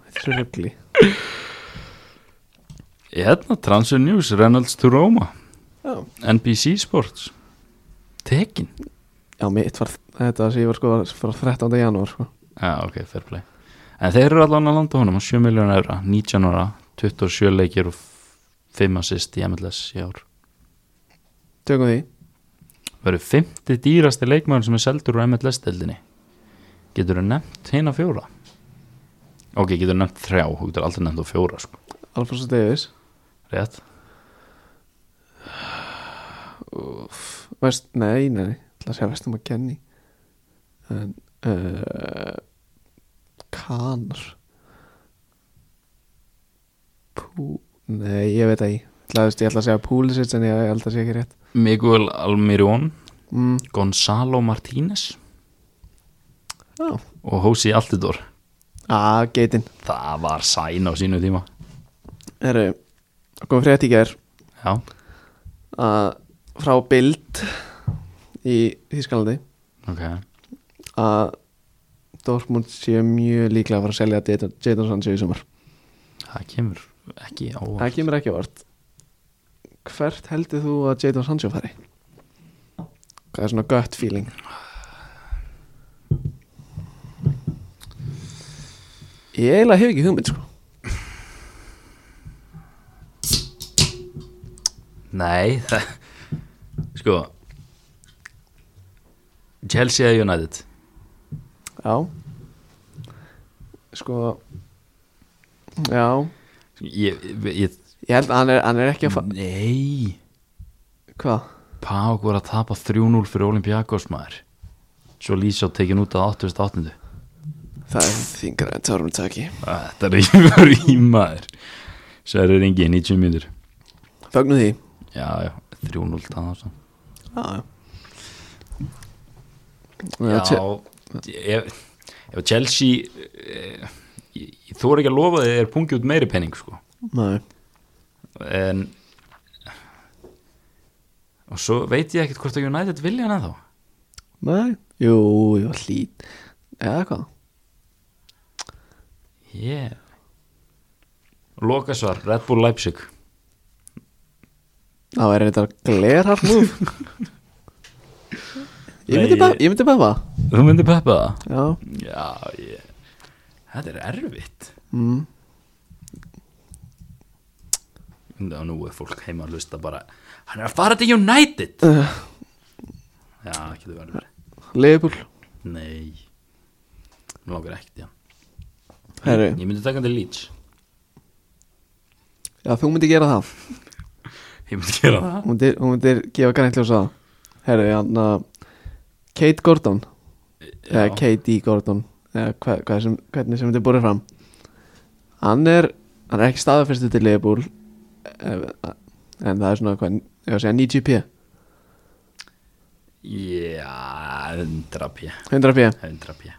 S1: Þetta er röggli
S2: hérna Transfer News Reynolds to Roma
S1: Já,
S2: NBC Sports tekin
S1: já mitt var þetta sem ég var sko frá 13. janúar sko.
S2: já ok, fair play en þeir eru allan að landa honum á 7 miljónu eura 19 ára, 27 leikir og 5 assist í MLS í ár
S1: Tökum því
S2: verður 50 dýrasti leikmæður sem er seldur úr MLS-deldinni getur þú nefnt hérna fjóra ok, getur þú nefnt þrjá þú getur aldrei nefnt þú fjóra sko.
S1: Alfonso Davis
S2: rétt,
S1: Vest, Nei, nei, ætla að segja vestum að kenni En uh, Kanar Pú Nei, ég veit það í Ég ætla að segja Púlisits en ég held að segja ekki rétt
S2: Miguel Almirón
S1: mm.
S2: Gonzalo Martínez
S1: Já,
S2: og Hósi Altidor
S1: að geitin
S2: það var sæn á sínu tíma
S1: Herru, það kom frétt í gær
S2: já,
S1: að frá Bild í Þískalandi
S2: ok
S1: að Dortmund sé mjög líklega að fara að selja Jadon- Jadon Sancho í sumar
S2: það kemur ekki á óvart.
S1: Það kemur ekki á vart Hvert heldur þú að Jadon Sancho fari? Hvað er svona gött feeling? Ég eiginlega hef ekki hugmynd sko
S2: nei, það sko Chelsea eða United
S1: Já Sko Já
S2: ég, ég,
S1: Ég held að hann er, hann er ekki að
S2: ég
S1: fa...
S2: nei
S1: Hvað?
S2: Pák var að tapa 3-0 fyrir Olympiakos maður svo Lísá tekin út að 88.
S1: Það er þingra en tárum taki
S2: Þetta er ekki maður Sverri Ringi, 90 mínútur
S1: Fögnu því
S2: Já, já, 3-0 taðan svo
S1: Já
S2: Já,
S1: Já tjö-
S2: ef, ef Chelsea eh, ég, ég þóra ekki að lofa þið er pungi út meiri penning sko
S1: Nei
S2: en og svo veit ég ekkert hvort að United vilja hann ennþá
S1: Nei Jú, jú, hlýt Eða hvað?
S2: yeah. Lokasvar, Red Bull Leipzig
S1: Það væri þetta glerhart nú Ég myndi
S2: Nei,
S1: bara
S2: ég-
S1: Ég myndi bara
S2: Þú myndir peppa það?
S1: Já
S2: Já, ég Þetta er erfitt
S1: mm.
S2: Ná, nú er fólk heima að hlusta bara Hann er að fara til United
S1: uh,
S2: Já, ekki þú verður
S1: Leifbúl
S2: Nei Mér langar ekkert, já
S1: Herru
S2: Ég myndi taka hann til Leeds
S1: Já, þú myndi gera það
S2: Ég myndi gera það
S1: Hún myndir, hún myndir gefa grænt ljós að Herru, hann að Kate Gordon Eða
S2: Já.
S1: Katie Gordon Eða hva, hva sem, hvernig sem þetta er borðið fram Hann er Hann er ekki staðafyrstu til Leifbúl En það er svona hvað, Ég var að segja 90p
S2: Já, 100 p
S1: 100p
S2: 100 p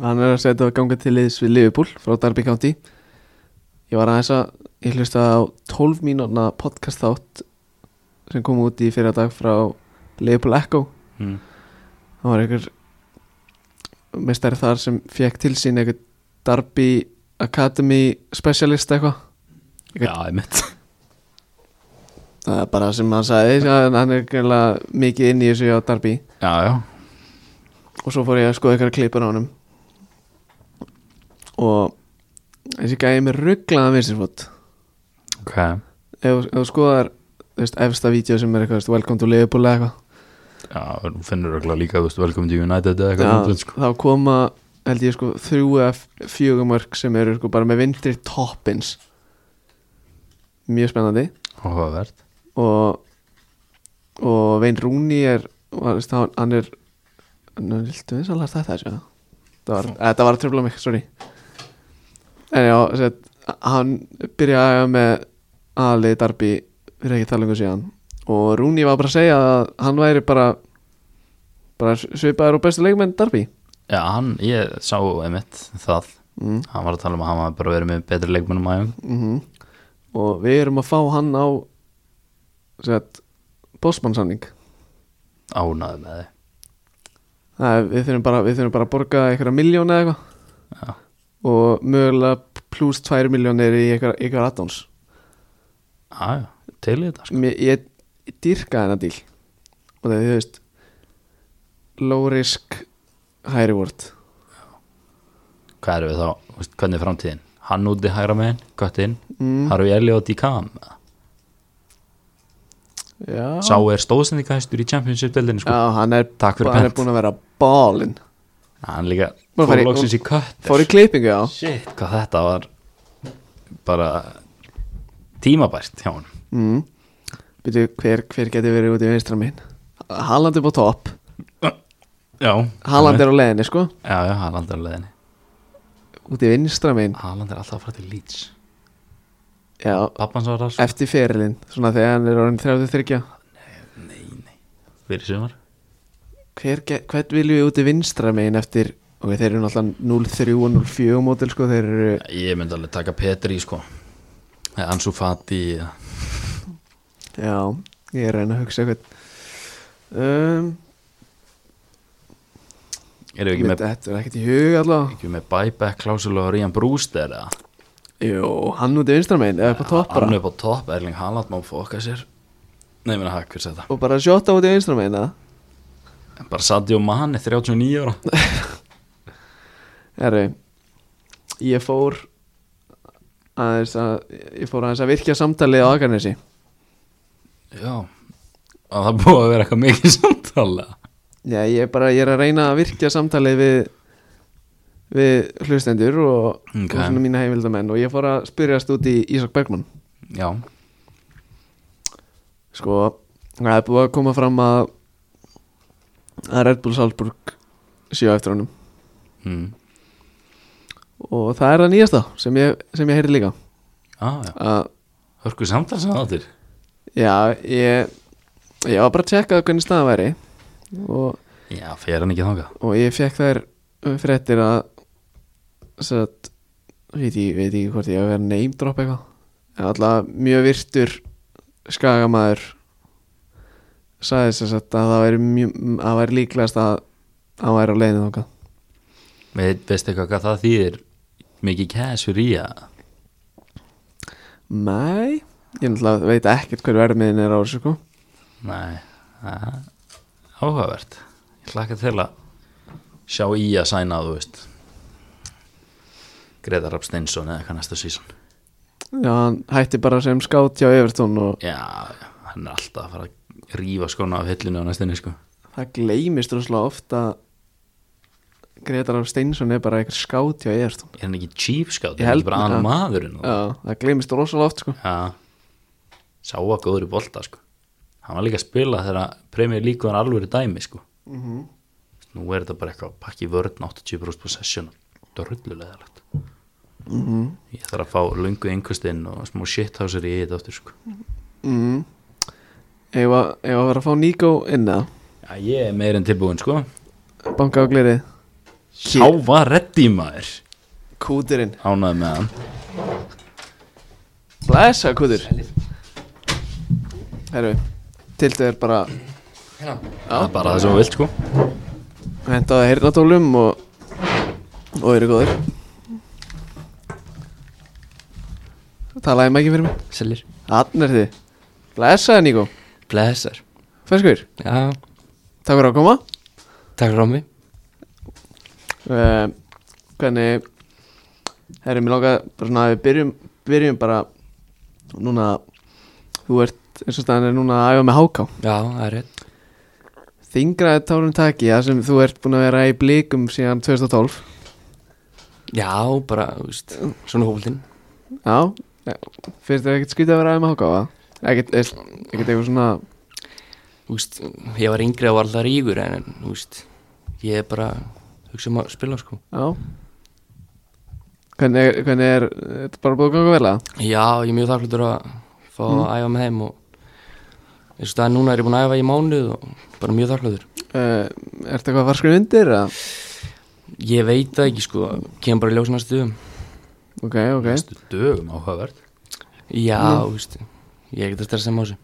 S1: Hann er að setja að ganga til liðs við Liverpool frá Darby County Ég var aðeins að ég hlusta á 12 mínúna podcast þátt sem kom út í fyrir dag frá Liverpool Echo
S2: mm.
S1: Það var einhver mestari þar sem fekk til sín einhver Darby Academy specialist eitthvað
S2: Já, ég mitt
S1: Það er bara sem hann sagði sem hann er greinlega mikið inn í þessu á Darby
S2: Já, já
S1: og svo fór ég að skoða ykkur klippur á honum og þessi gæði mér rugglaða vinsirfót
S2: Ok
S1: ef ef þú skoðar þú veist, efsta vídeo sem er eitthvað, þú veist, welcome to Liverpool eða eitthvað,
S2: Já, þú finnur örugglega líka, þú veist, velkomin til United eða eitthvað
S1: Já,
S2: svona, sko.
S1: þá koma held ég sko þrjú eða f- fjögur mörg sem eru sko bara með vindri toppins mjög spennandi
S2: Áhugavert
S1: og og Vein Rúni er var, veist, hann hann er hann er viltu eins að læra þetta þessu það var, eða, þetta var að tröfla mig, sorry en já, sett, hann byrjaði að æfa með aðlið Darby fyrir ekki það lengur síðan og Rúni var bara að segja að hann væri bara bara svipaður og bestu leikmenn Darby
S2: Já, hann, ég sá einmitt það
S1: mm.
S2: Hann var að tala um að hann var bara verið með betri leikmennum aðeim
S1: Mm og við erum að fá hann á sett, bósmannsanning
S2: Ánaði með þið
S1: Það, er- við, þurfum bara, við þurfum bara að borga einhverja miljónu eða
S2: Já.
S1: eitthvað og mögulega pluss 2 miljónir í einhverja einhver addons
S2: Já, já, til í þetta sko.
S1: Mér, ég, ég dýrka þennan díl og það er þú veist low risk high reward
S2: Hvað erum við þá, Þú veist, hvernig er framtíðin? Hann úti hægra megin, göttinn
S1: mm,
S2: Harfi Elliot í kam
S1: já.
S2: Sá er stóðsendingahæstur í Championship-deldinni sko.
S1: já, hann er,
S2: Takk fyrir
S1: hann er
S2: pent.
S1: búin að vera ballin
S2: Hann líka
S1: Búin að
S2: fór
S1: fara í-
S2: loksins í kött
S1: fór í klippingu já
S2: Shit, hvað þetta var bara tímabært hjá hann
S1: mm. Býtu, hver, hver getur verið út í vinstra minn Haaland er på topp
S2: Já
S1: Haaland er á leiðinni sko
S2: Já, já, Haaland er á leiðinni
S1: út í vinstra minn
S2: Haaland er alltaf að fara til Leeds
S1: já,
S2: Pappans var sko, alls
S1: eftir ferilinn svona þegar hann er orðin 33
S2: fyrir sumar
S1: hver, ge- hvern viljum við úti vinstra megin eftir ok, þeir eru náttúrulega 0-3 og 0-4 mótil sko, þeir eru
S2: Ég myndi alveg taka Petri sko eða Ansu Fati eða-
S1: já, ég er að reyna að hugsa eitthvað um,
S2: Erum við ekki með,
S1: þetta er ekkert í hug allavega
S2: ekki með buyback klásula og Rían Brúster eða
S1: jú, hann úti vinstra megin, eða upp á topp
S2: Hann
S1: bara
S2: upp á topp, Erling Haaland má fóka sér Nei, minna hakk fyrir þetta
S1: og bara sjóta úti vinstra megin það
S2: Bara Sadio Mane, 39 ára
S1: Herru, ég fór aðeins að ég fór aðeins að virkja samtalið á Akarnesi
S2: Já, að það er búið að vera eitthvað mikið samtala
S1: Já, ég er bara, ég er að reyna að virkja samtalið við við hlustendur og,
S2: Ok.
S1: og svona mína heimildamenn og ég fór að spyrjast út í Ísak Bergmann
S2: Já,
S1: sko, það er búið að koma fram að að Red Bull Salzburg séu á eftir honum
S2: mm.
S1: og það er það nýjasta sem ég, sem ég heyri líka
S2: ah, já.
S1: að
S2: hörku samtala sem þáttir
S1: Já, ég, ég var bara að tjekka hvernig staðan væri og,
S2: Já, fer hann ekki þangað
S1: og ég fekk þær uh, fréttir að satt, veit, ég, veit ég hvort ég hef verið neymdrop eitthvað en alltaf mjög virtur skagamaður sagði þess að það væri, mjög, að það væri líklegast að hann væri á leiðinu þangað
S2: Ve- Veistu eitthvað hvað það þýðir mikið cash fyrir í að
S1: Nei, ég náttúrulega veit ekkert hver verðmiðin er á þessu sko
S2: Nei, það er áhugavert Ég hlakka til að sjá í að sæna þú veist Gretar Rapp Steinsson eða hvað næsta sísón
S1: Já, hann hætti bara sem skátt hjá Evertón og
S2: Já, já, hann er alltaf að fara að rífa skona af hillinu á næstinni sko
S1: Það gleymist rosalega oft að Gretar Áf Steinsson er bara eitthvað skát hjá Eðarstón
S2: Er hann ekki chief scout,
S1: Ég
S2: er hann
S1: held-
S2: ekki bara annar
S1: ja.
S2: maðurinn og-
S1: Já, það gleymist rosalega oft sko
S2: Já, sá að góður í bolta sko Hann var líka að spila þegar Premier League var alveg dæmi sko Nú er þetta bara eitthvað að pakki vörn 80% possession Þetta er rullulegðalegt Ég þarf að fá lungu yngustinn og smá shithousar í þetta aftur sko
S1: mm. Ef að ef að vera að fá Nico inn að
S2: Já, ég er meir en tilbúin sko
S1: Banka á glerið
S2: Sá var reddi maður
S1: Kúturinn
S2: Ánæði með hann
S1: Blæsa kútur Herru, tiltu er bara
S2: Það er bara það sem þú vilt sko
S1: hentaði heyrnatólum og og eru góður Talaði maður ekki fyrir mig
S3: Selir
S1: Hann er þið Blæsaði Nico
S3: Blessar
S1: Feskur,
S3: Já,
S1: takk fyrir að koma
S3: takk fyrir á mig
S1: uh, hvernig herri, mér langar bara svona að við byrjum, byrjum bara núna þú ert eins og staðan er núna að æfa með háká
S3: Já, það er rétt
S1: þingraði tárum taki það sem þú ert búin að vera í blikum síðan 2012
S3: Já, bara, þú veist, svona hófaldinn
S1: já, finnst þér ekkert skrítið að vera að æfa með háká það? ekkert, ekkert eitthvað svona
S3: Þú veist, ég var yngri og var alltaf ríkur en, en, þú veist Ég er bara, hugsa um að spila, sko
S1: já hvernig, er- hvernig er þetta bara búið að ganga vel að
S3: Já, ég er mjög þakklútur að fá að æfa með þeim og eins og það núna er ég búin að æfa í mánuð og bara mjög þakklútur
S1: uh, ertu eitthvað að fara skrifa undir eða?
S3: Ég veit það ekki, sko, kemur bara í ljósina stuðum
S1: ok, ok
S2: Næstu dögum áhugavert
S3: Já, þú veist, ég er ekkert að stressa með þessu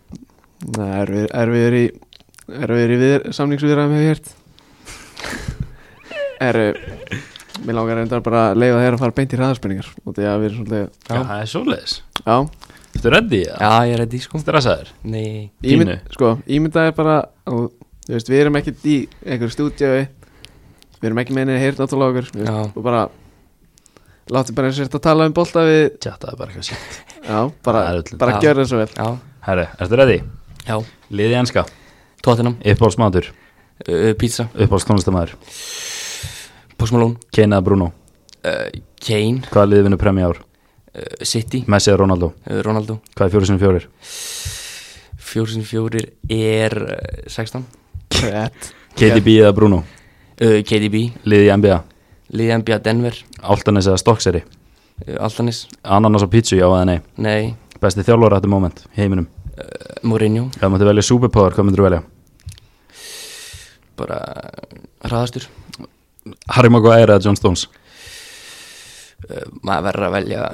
S1: Nei, erfiður erfiður í erfiður í viður, samningsviðræðum hefur ég hert Erru Mér langar reyndar bara að leifa þér að fara beint í hraðarspurningar og því að við erum svolítið
S2: Já, það er svoleiðis
S1: Já,
S2: Þetta er reddi að
S3: Já, ég er reddi, sko
S2: stressaður
S3: Nei,
S1: ímynd,
S2: Pínu.
S1: sko, ímyndað er bara og, þú veist, við erum ekkert í einhverju stúdíu við erum ekki með henni hert náttúrulega okkur þú veist,
S3: Já.
S1: og bara láttu bara eins og þetta að tala um bolta við
S2: Tjattaði bara eitthvað sér
S1: Já, bara,
S2: Það er öllum.
S1: bara
S3: Já.
S1: gjör það svo vel
S3: já,
S2: Herri, ertu reddi?
S3: já,
S2: Liði enska
S3: tóttinam,
S2: Uppáhaldsmatur,
S3: uh, pizza,
S2: uppáhaldstónlistamæður
S3: postmalón
S2: Kane eða Bruno,
S3: uh, Kane,
S2: hvaða liði vinnur premja ár
S3: uh, City,
S2: Messi eða Ronaldo,
S3: uh, Ronaldo
S2: hvað er fjóri sinni fjórir
S3: 404 er uh, 16
S1: Rétt.
S2: KDB eða Bruno,
S3: uh, KDB,
S2: liði í NBA
S3: liðið NBA Denver
S2: Áltanes eða Stokkseri,
S3: uh, Altanis,
S2: Ananas á pítsu já eða nei
S3: nei,
S2: Besti þjálfur á þetta moment í heiminum
S3: uh, Mourinho
S2: Hvað máttu velja superpower, hvað myndur velja?
S3: bara hraðastur
S2: Harry Maguire eða John Stones
S3: uh, maður verður að velja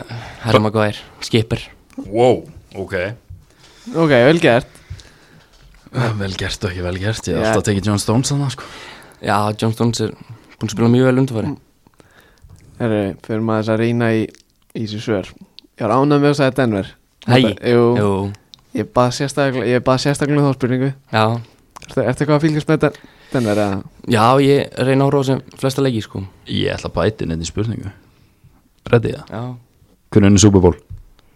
S3: Harry Maguire, skipper
S2: Wow, ok
S1: Ok, vel gert
S2: Vel gert og ekki vel gert, ég
S1: Já.
S2: hef alltaf tekið John Stones þannig sko.
S3: já, John Stones er búin að spila mjög vel undanfari
S1: Herru, fyrir maður þess að reyna í, í þessu svör Ég var ánægð með þess að Denver
S3: Hæ?
S1: Þetta- Jú,
S3: jú,
S1: ég bað sérstaklega, ég bað sérstaklega um þá spurningu
S3: já
S1: Ertu, ertu eitthvað að fylgjast með Den- Denver eða?
S3: já, ég reyna að horfa á sem flesta leiki sko
S2: Ég ætla að bæti neitt í spurningu Reddi það?
S3: já,
S2: Hvernig er Super Bowl?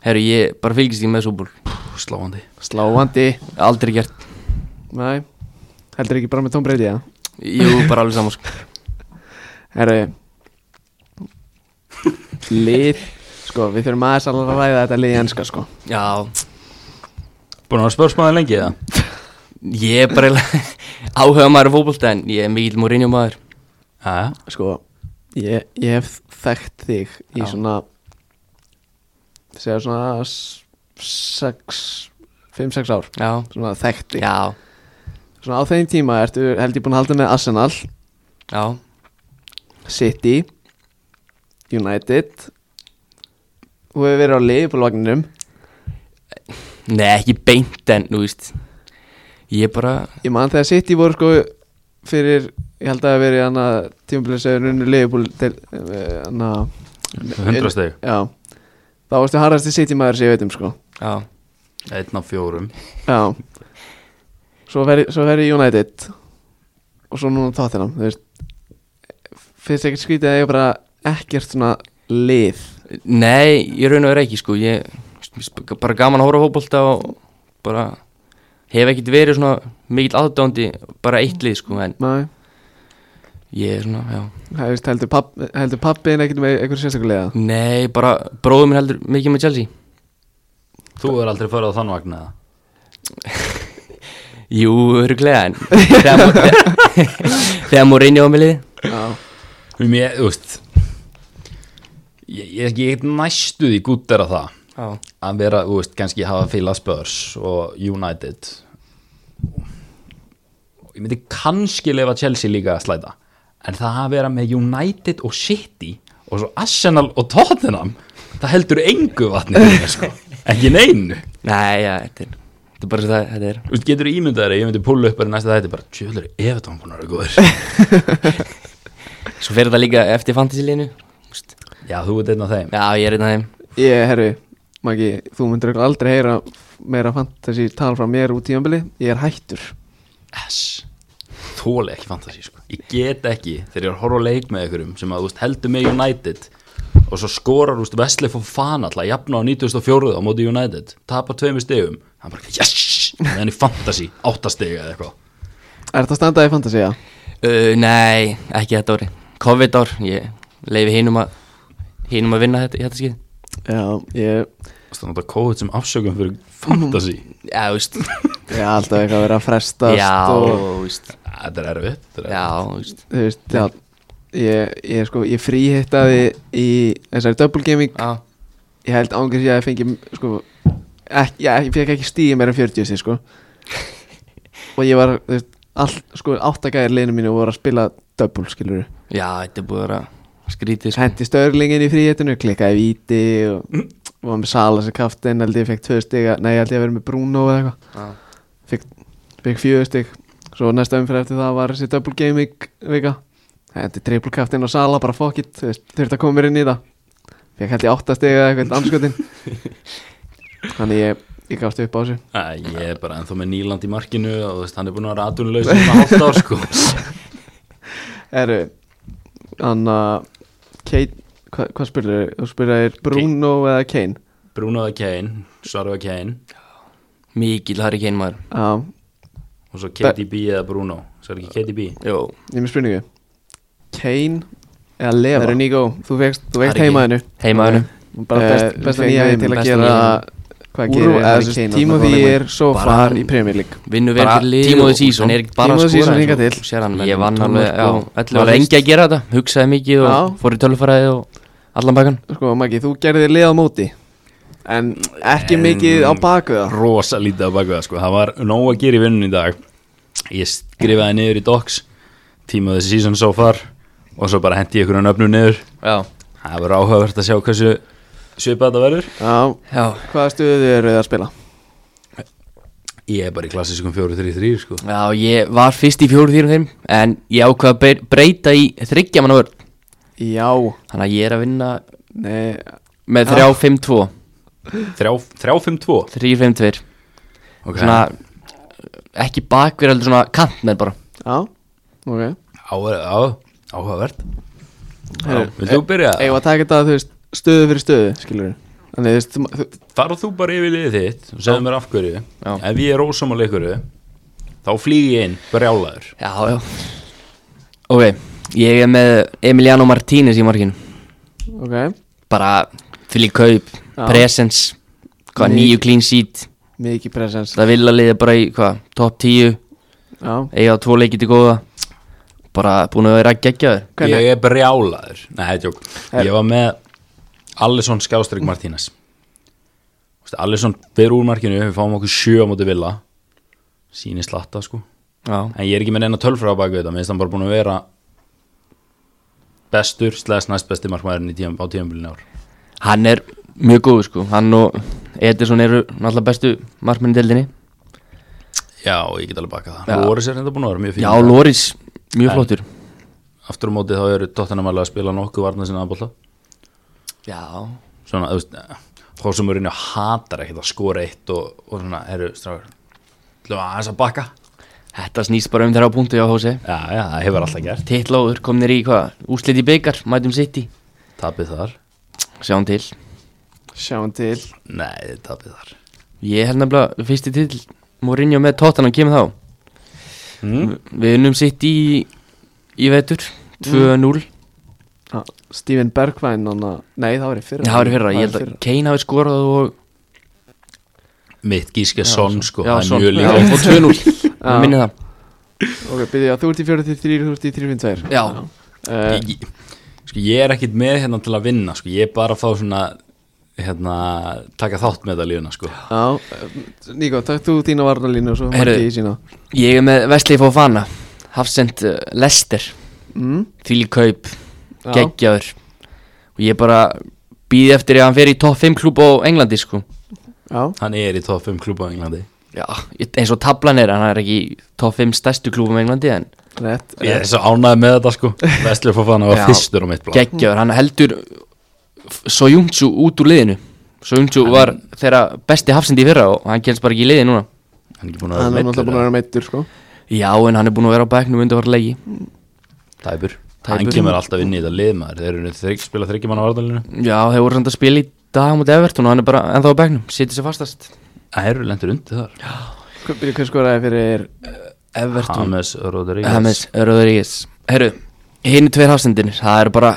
S3: herru, ég bara fylgist því með súból
S2: Pú, Sláandi
S1: Sláandi
S3: aldrei gert,
S1: Nei, heldur ekki bara með Tom Brady eða?
S3: jú, bara alveg saman sko
S1: Herru Lið Sko, við þurfum aðeins að ræða þetta lið í enska sko
S3: já,
S2: Búin að vera spörsmáðið lengi eða?
S3: ég er bara áhuga maður fókbólta en ég er mikill Mourinho maður
S2: Jæja,
S1: Sko, ég, ég hef þekkt þig í
S3: Já.
S1: svona segja svona s- sex 5-6 ár
S3: já,
S1: svona þekkt þig
S3: já,
S1: Svona á þeim tíma ertu held ég búin að halda með Arsenal
S3: já
S1: City United Þú hefur verið á liðbólvagninum
S3: Nei, ekki beint en, þú veist Ég bara,
S1: Ég man þegar City voru sko fyrir, ég held að það hafi verið hann að tímabliðsauður unnu Leifbúl til hann að
S2: 100 steg
S1: Já, þá varstu harðasti City maður sem ég veit um sko
S3: já,
S2: Einn af fjórum
S1: Já Svo verið, svo verið United og svo núna Tottenham þú veist finnst ekkert skrítið að ég bara ekkert svona lið
S3: nei, ég raun og er ekki, sko Ég, þú veist, bara gaman að horfa á fótbolta og bara Hef ekkert verið svona mikill aðdándi bara eitt lið, sko En
S1: Nei,
S3: ég er svona, já
S1: það veist heldur, papp, heldur pappiðin ekkert með einhverju sérstaklega
S3: Nei, bara bróðum minn heldur mikið með Chelsea
S2: Þú er aldrei farið á þann vagn eða?
S3: Jú, öruglega, en Þegar, Mo- þegar- þegar Mourinho á mig liði
S1: Já,
S2: Mér, Um þú veist Ég, ég, ég get næstu því gútt er að það
S3: Já,
S2: að vera, þú veist, kannski hafa fíla Spurs og United ég myndi kannski lefa Chelsea líka að slæta en það að vera með United og City og svo Arsenal og Tottenham það heldur engu vatni fyrir mér, sko. ekki neinu þú
S3: nei, já, þetta er Þetta er bara svo það, þetta er
S2: veist, getur ímyndaður, ég myndi púla upp bara í næsta þætti bara, tjölur, ef það hann er góður
S3: Svo fer þetta líka eftir fantasy-liðinu þú veist.
S2: já, þú ert einn af þeim
S3: Já, ég er einn af þeim
S1: ég herru Maggi, þú myndir örugglega aldrei heyra meira fantasi tala frá mér út í ömbili ég er hættur
S2: S Þóli ekki fantasi sko Ég get ekki þegar ég er að horfa á leik með einhverjum sem að þú veist, heldur með United og svo skorar úst, Vesli Fofana alltaf jafna á 94 á móti United tapar tveimur stegum hann bara yes en í fantasi áttastega eða eitthvað
S1: Er þetta að standa í fantasi, já?
S3: Uh, nei, ekki þetta ári COVID ár, ég leifi hinum að hinum að vinna þetta, í þetta skil
S1: Já, ég
S2: og það nota kóðið sem afsökum fyrir fantasi
S3: Já, þú veist
S1: ég er alltaf eitthvað að vera að frestast
S3: Já,
S1: og,
S3: þú veist
S2: Þetta er erfitt þetta er
S3: Já, þú veist
S1: þú veist, já ég, ég sko, ég fríhittaði í þessari double gaming
S3: Já,
S1: ég held ángriðs ég að fengi sko, ekki, já, ég fekk ekki stíði meira en 40 stig, sko og ég var, þú veist, all, sko áttagæðir leinu mínu voru að spila double, skilur
S3: já, þetta er búið að vera skrítið sko.
S1: hendi störlingin í fríhittinu, klikkaði víti og var með Sala sem kaftin held ég fekk tvö stiga, nei, held ég að vera með Bruno eða eitthvað
S3: Já,
S1: fekk, fekk fjögur stygg svo næsta umfyrir eftir það var þessi double gaming vika þetta er triple captain og sala bara fuck it þú veist, þurfti að koma mér inn í það fekk held ég átta stygg eða eitthvað anskotin þannig ég, ég gafst upp á þessu
S2: Æ, ég er bara ennþá með Nýland í markinu og þú veist, hann er búin að vera atunlaus í svona hálft ár sko
S1: eru hann að Kate hva, hvað spurðu, þú spurðu er Bruno eða Kane
S2: Brunoða Kane, Svarfa Kane
S3: mikil Harry Kane maður
S1: já,
S2: og svo KDB eða Bruno svo er ekki KDB
S3: Jó,
S1: ég er með spurningu Kane eða Leva það eru Nico, þú vext, þú vext
S3: Harry
S1: heimaðinu
S3: heimaðurinn
S1: bara best, besta nýja til að gera hvað gerir Harry Kane Timothy er so
S3: Bara
S1: far
S3: hann-
S1: í Premier League
S3: Vinnu vel
S2: Bara
S3: fyrir lið
S2: Tímóði
S3: og-
S2: Síson.
S3: Hann er ekki bara
S1: Tímóði
S3: að skora
S1: Síson
S3: eins
S1: hingað
S3: og-
S1: til.
S3: þú sér hann,
S2: Ég
S3: Ég vann
S2: vann
S3: alveg,
S2: tólf
S3: já,
S2: mörk og-
S3: allir var
S1: var
S3: lengi að gera þetta Hugsaði mikið
S1: Já.
S3: og fór í tölfræði og allan bakan
S1: sko Maggi, þú gerðir lið á móti en ekki
S2: En-
S1: mikið á baku það
S2: rosa lítið á baku það sko. það var nóg að gera í vinnun í dag ég skrifaði niður í docs Team of the season so far og svo bara hendi ég einhverjum nöfnum niður
S3: Já,
S2: það verður áhugavert að sjá hversu svipað þetta verður
S1: Já,
S3: já,
S1: hvaða stuðu eru þið að spila?
S2: ég er bara í klassískum 4-3-3 sko.
S3: já, ég var fyrst í fjóru þýrum þeim En ég ákvað að bre- breyta í þryggja manna vörn
S1: Já,
S3: Þannig að ég er að vinna
S1: nei,
S3: með 3-5-2
S2: Þrjá- 3-5-2
S3: 3-5-2
S2: Ok.
S3: Svona, ekki bakverð, heldur svona kantmenn bara
S1: já, ok
S2: Áhuga- á- áhugavert
S1: Heyrðu,
S2: Vilt þú byrja?
S1: Eða e- að taka þetta, þú veist, stöðu fyrir stöðu, skilur við Þannig, þú veist, þú- þú-
S2: Farðu þú bara yfir liðið þitt og segðu mér af hverju
S3: Já.
S2: ef ég er ósámála ykkur þá flýg ég inn, brjálaður
S3: Já, já Ok, ég er með Emiliano Martínez í markinu
S1: ok
S3: Bara fylg kaup,
S1: Já.
S3: presence Hvað, nýju clean sheet
S1: Mikið presens
S3: Það vil að liða bara í, hvað, top 10
S1: Já,
S3: Eiga á tvo leikið til góða Bara búin að vera að gegja þér
S1: hvernig,
S2: ég er brjálaður Nei, tjók,
S1: Er-
S2: ég var með Alisson skástrík Martínez Vistu, Alisson fyrir úr markinu við fáum okkur sjö á móti villa síni slatta sko
S3: Já,
S2: en ég er ekki með neina tölfra á baku þetta minnst hann bara búin að vera bestur, slæðis næst besti markmaðurinn í tíum, á tíumbilin ár
S3: hann er mjög góð sko Hann og Ederson eru náttúrulega bestu markmenni deildinni
S2: já, ég get alveg bakað
S3: Já.
S2: það Lóris er reynda búin að vera mjög fín
S3: Já, Loris, mjög flottur
S2: aftur á móti þá eru Tottenham alveg að spila nokkuð varna sinna aðbólta
S3: Já,
S2: svona, þú veist, þá sem eru hatar ekkert að skora eitt og, og svona, herru, strákar ætlum við aðeins að bakka
S3: þetta snýst bara um þrjá punktu hjá Hósi
S2: já, já, það hefur alltaf gert
S3: Tittláður komnir í hvað, úslit í byggar, mætum City
S2: tapið þar,
S3: Sjáum til
S1: sjáum til
S2: nei, tapið þar
S3: Ég held nefnilega fyrsti titill Mourinho með Tottenham kemur þá
S2: mm?
S3: Við unnum sitt í í vetur 2-0
S1: Já, Ah, Steven Bergwijn, hann að Nei, það var í fyrra
S3: Það var í fyrra, ég held að
S1: fyrra.
S3: Kane hafi skorað og
S2: mitt gíska son, sko,
S3: já,
S2: það
S3: svo,
S2: er mjög
S3: já,
S2: líka
S3: og 2-0
S1: Já.
S3: Ég minni það
S1: Ah, Ok, byrja, já, þú ert í 43, þú ert í 352
S3: Já,
S1: uh,
S2: Ég- ég- sko, ég er ekkert með hérna til að vinna, sko, ég er bara að fá svona hérna, taka þátt með þetta lífuna, sko
S1: Já, eh, Níko, takk þú þína varnalínu og svo
S3: Heyrðu.
S1: Marti í sína
S3: ég er með Vestlið Fofana Hafsend uh, Lester
S1: mm?
S3: Þvíli kaup,
S1: Já.
S3: geggjaður Og ég bara býði eftir að hann fer í topp 5 klúb á Englandi sko
S1: Já,
S2: hann er í top 5 klúpa á Englandi
S3: Já, eins og tablan er, hann er ekki í topp 5 stærstu klúbum á Englandi en
S1: rétt,
S2: ég er
S1: rétt
S2: svo ánægð með þetta, sko Vestlur Fofana var
S3: Já.
S2: fyrstur á mitt blá
S3: geggjaður, hann heldur Soyuncu út úr liðinu Soyuncu var þeirra besti hafsindi í fyrra og hann kemst bara ekki í liði núna
S2: hann er ekki búin að
S1: Hann er
S2: vera
S1: náttúrulega búin að
S2: meiddur,
S1: vera meittur, sko
S3: Já, en hann er búin að vera á bæknum undir var legi
S2: tæpur
S3: Tæpur.
S2: hann kemur alltaf inn í þetta lið maður þeir eru þrygg, spila þryggjumann á varðalinu
S3: Já, þeir voru samt að spila í dag á mútið Everton og hann er bara ennþá á bæknum, situr sér fastast
S2: það eru lendur undir þar
S1: Hver- Byrja, hver skoraði fyrir
S3: Everton,
S2: James Rodríguez
S3: Hames, Rodríguez Herru, hinn tveir hafsendinir, það eru bara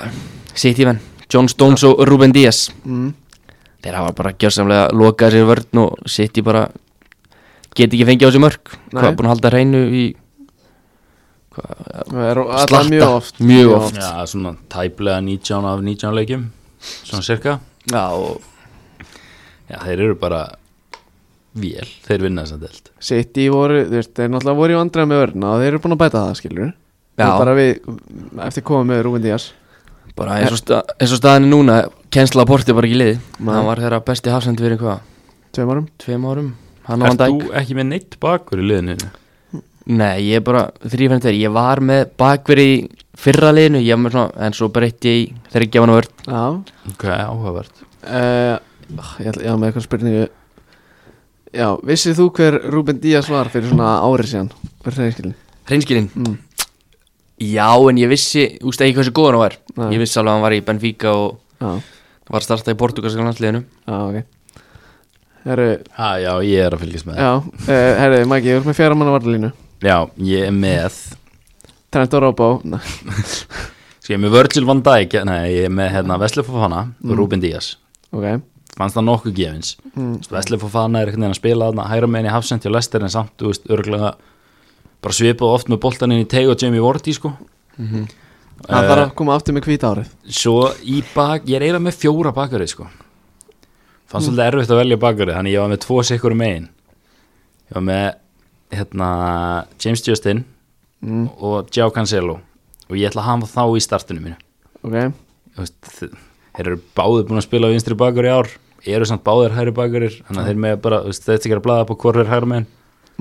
S3: City menn, John Stones og Ruben Díaz
S1: mm,
S3: Þeir hafa bara gjörsamlega lokað sér vörn og City bara get ekki fengið á sér mörg
S1: Nei.
S3: Hvað, búin að halda hreinu í
S1: Slatta
S3: Slatta.
S1: Mjög oft
S3: Mjög oft.
S2: já, svona tæplega 19 af 19 leikjum svona cirka
S3: Já, og
S2: já, þeir eru bara vél þeir vinna þess að delt
S1: City voru, þú veist, þeir náttúrulega voru í vandræðum með vörna og þeir eru búin að bæta það, skilur
S3: Já.
S1: bara við, eftir komum með Rúben Díaz
S3: bara eins og, sta, eins og staðan er núna Kensla Porti var ekki í liði
S1: Nei.
S3: Hann var þeirra besti hafsend fyrir hvað,
S1: Tveim árum
S3: tveim árum Hann á
S2: er
S3: hann dæk
S2: þú ekki með neitt bakur í liðinu þínu?
S3: Nei, ég er bara þrýfænd þeir Ég var með bakverið í fyrra liðinu ég var með svona, En svo breytti ég í þeirra gefana vörn
S1: Já
S2: ok, áhugavert
S1: uh, Ég ætla, já, með eitthvað spurningu Já, vissið þú hver Rúben Díaz var fyrir svona ári síðan? Fyrir hreinskilin
S3: Hreinskilinn
S1: mm.
S3: Já, en ég vissi, úst ekki hversu góðan hann var
S1: Nei.
S3: Ég vissi alveg að hann var í Benfica og
S1: Já,
S3: var að starta í portugalska landsliðinu
S1: já, ok Herru,
S2: ha, já, ég er að fylgjast með
S1: já, uh, herru, Maggi, þú ert með fjara manna varðalínu
S2: já, ég er með
S1: Trent og Róbó
S2: sko, ég er með Virgil van Dijk nei, ég er með hérna Vesli Fofana
S3: Mm.
S2: og Ruben Díaz
S1: Ok,
S2: fannst það nokkuð gefins mm. Vesli Fofana er einhvern veginn að spila þarna hægra meðin í hafsendi og lester en samt þú veist, örgulega bara svipað oft með boltaninn í teig og Jamie Vorti sko.
S1: hann þarf að koma aftur með hvita árið
S2: svo í bak, ég er eiginlega með fjóra bakarið sko. fannst svolítið erfitt að velja bakarið þannig ég var með um tvo sikkur megin ég var með hérna, James Justin
S1: mm,
S2: og Jao Cancelo og ég ætla að hafa þá í startinu mínu
S1: ok,
S2: Þú veist, þe- þeir eru báðir búin að spila á vinstri bakur í ár eru samt báðir hægri bakurir þannig að þeir með bara, þú veist, þetta ekki er að blaða upp á hvort er hægri megin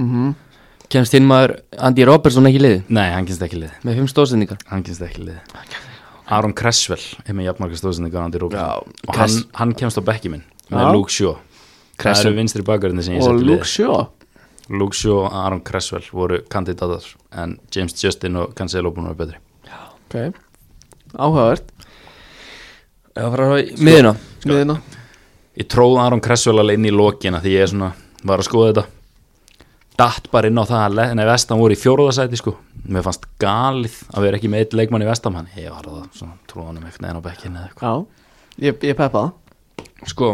S1: mhm
S3: Kemst inn maður Andy Robertson ekki í liðið
S2: nei, hann kynst ekki lið
S3: Með fimm stóðsendingar
S2: hann kynst ekki lið Aron Cresswell er með jafnmarka stóðsendingar Andy Robertson
S3: Já,
S2: og hann,
S3: Cress-
S2: hann kemst á bekki minn
S1: Já.
S2: með Luke Shaw það
S3: Cresswell.
S2: eru vinstri bakurinn sem ég
S1: og
S2: seti
S1: Luke
S2: lið
S1: Shaw
S2: Luke Shaw og Aron Cresswell voru kandidatar en James Justin og Cancelo búin að vera betri
S1: ok, áhugavert
S3: Já, bara á miðina
S1: miðina,
S2: ég tróð Aron Cresswell alveg inn í lokina því ég er svona, var að skoða þetta datt bara inn á það að le- nei, vestan voru í fjóruðasæti sko mér fannst galið að vera ekki með eitt leikmann í vestam hann, ég var það, svona tróðanum eitthvað neðan á bekkinu eða eitthvað
S1: já ég, ég peppa það
S3: Sko,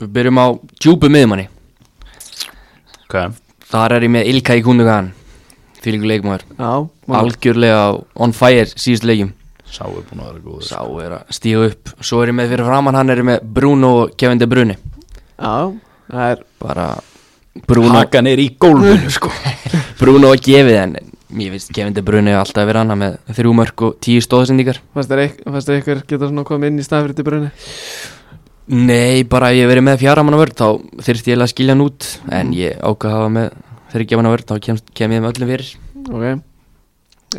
S3: við byrjum á djúbu miðmanni
S2: okay.
S3: Þar er ég með Ilka í kundugan Því líku leikmaður
S1: já, maður-
S3: Algjörlega on fire síðust leikjum
S2: sá er búin að vera góður
S3: Sá er að stíga upp Svo er ég með fyrir framann Hann er ég með Bruno og Kevin De Bruyne
S1: já, það er
S3: Bara Bruno
S2: hakan er í gólfinu sko
S3: Bruno að gefið en ég veist Kevin De Bruyne er alltaf að vera hann með þrjú mörg og tíu stóðsendingar
S1: fannst þér eik- fannst þér eitthvað geta svona komið inn í staðfyrir til brunni
S3: Nei, bara ef ég hef verið með fjara manna vörð þá þyrfti ég eiginlega að skilja hann út en ég ákvað að hafa með þryggja manna vörð þá kem, kem ég með öllum fyrir
S1: ok,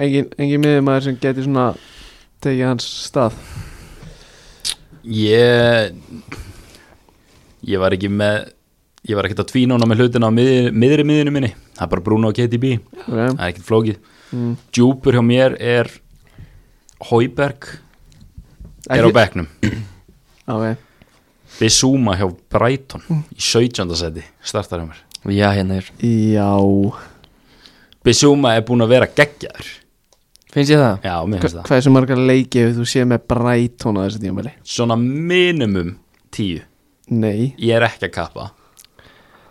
S1: engin, engin miðumæður sem geti svona tekið hans stað
S2: ég ég var ekki með ég var ekkert að tvínána með hlutina á miðri, miðri miðinu minni, það er bara Bruno og KTB
S1: ok,
S2: það er ekkert flókið
S1: mm.
S2: djúpur hjá mér er Hauberg er á
S1: Ekki-
S2: bekknum
S1: ok,
S2: Bissúma hjá Brighton í 17. seti, startar hjá mér
S3: og já, hérna er,
S1: já
S2: Bissúma er búin að vera geggjaður
S3: finnst ég það?
S2: Já, mér finnst það
S1: hvað er sem margar leiki ef þú sé með Brighton á þessu tímabili
S2: Svona minimum 10
S1: nei,
S2: Ég er ekki að kappa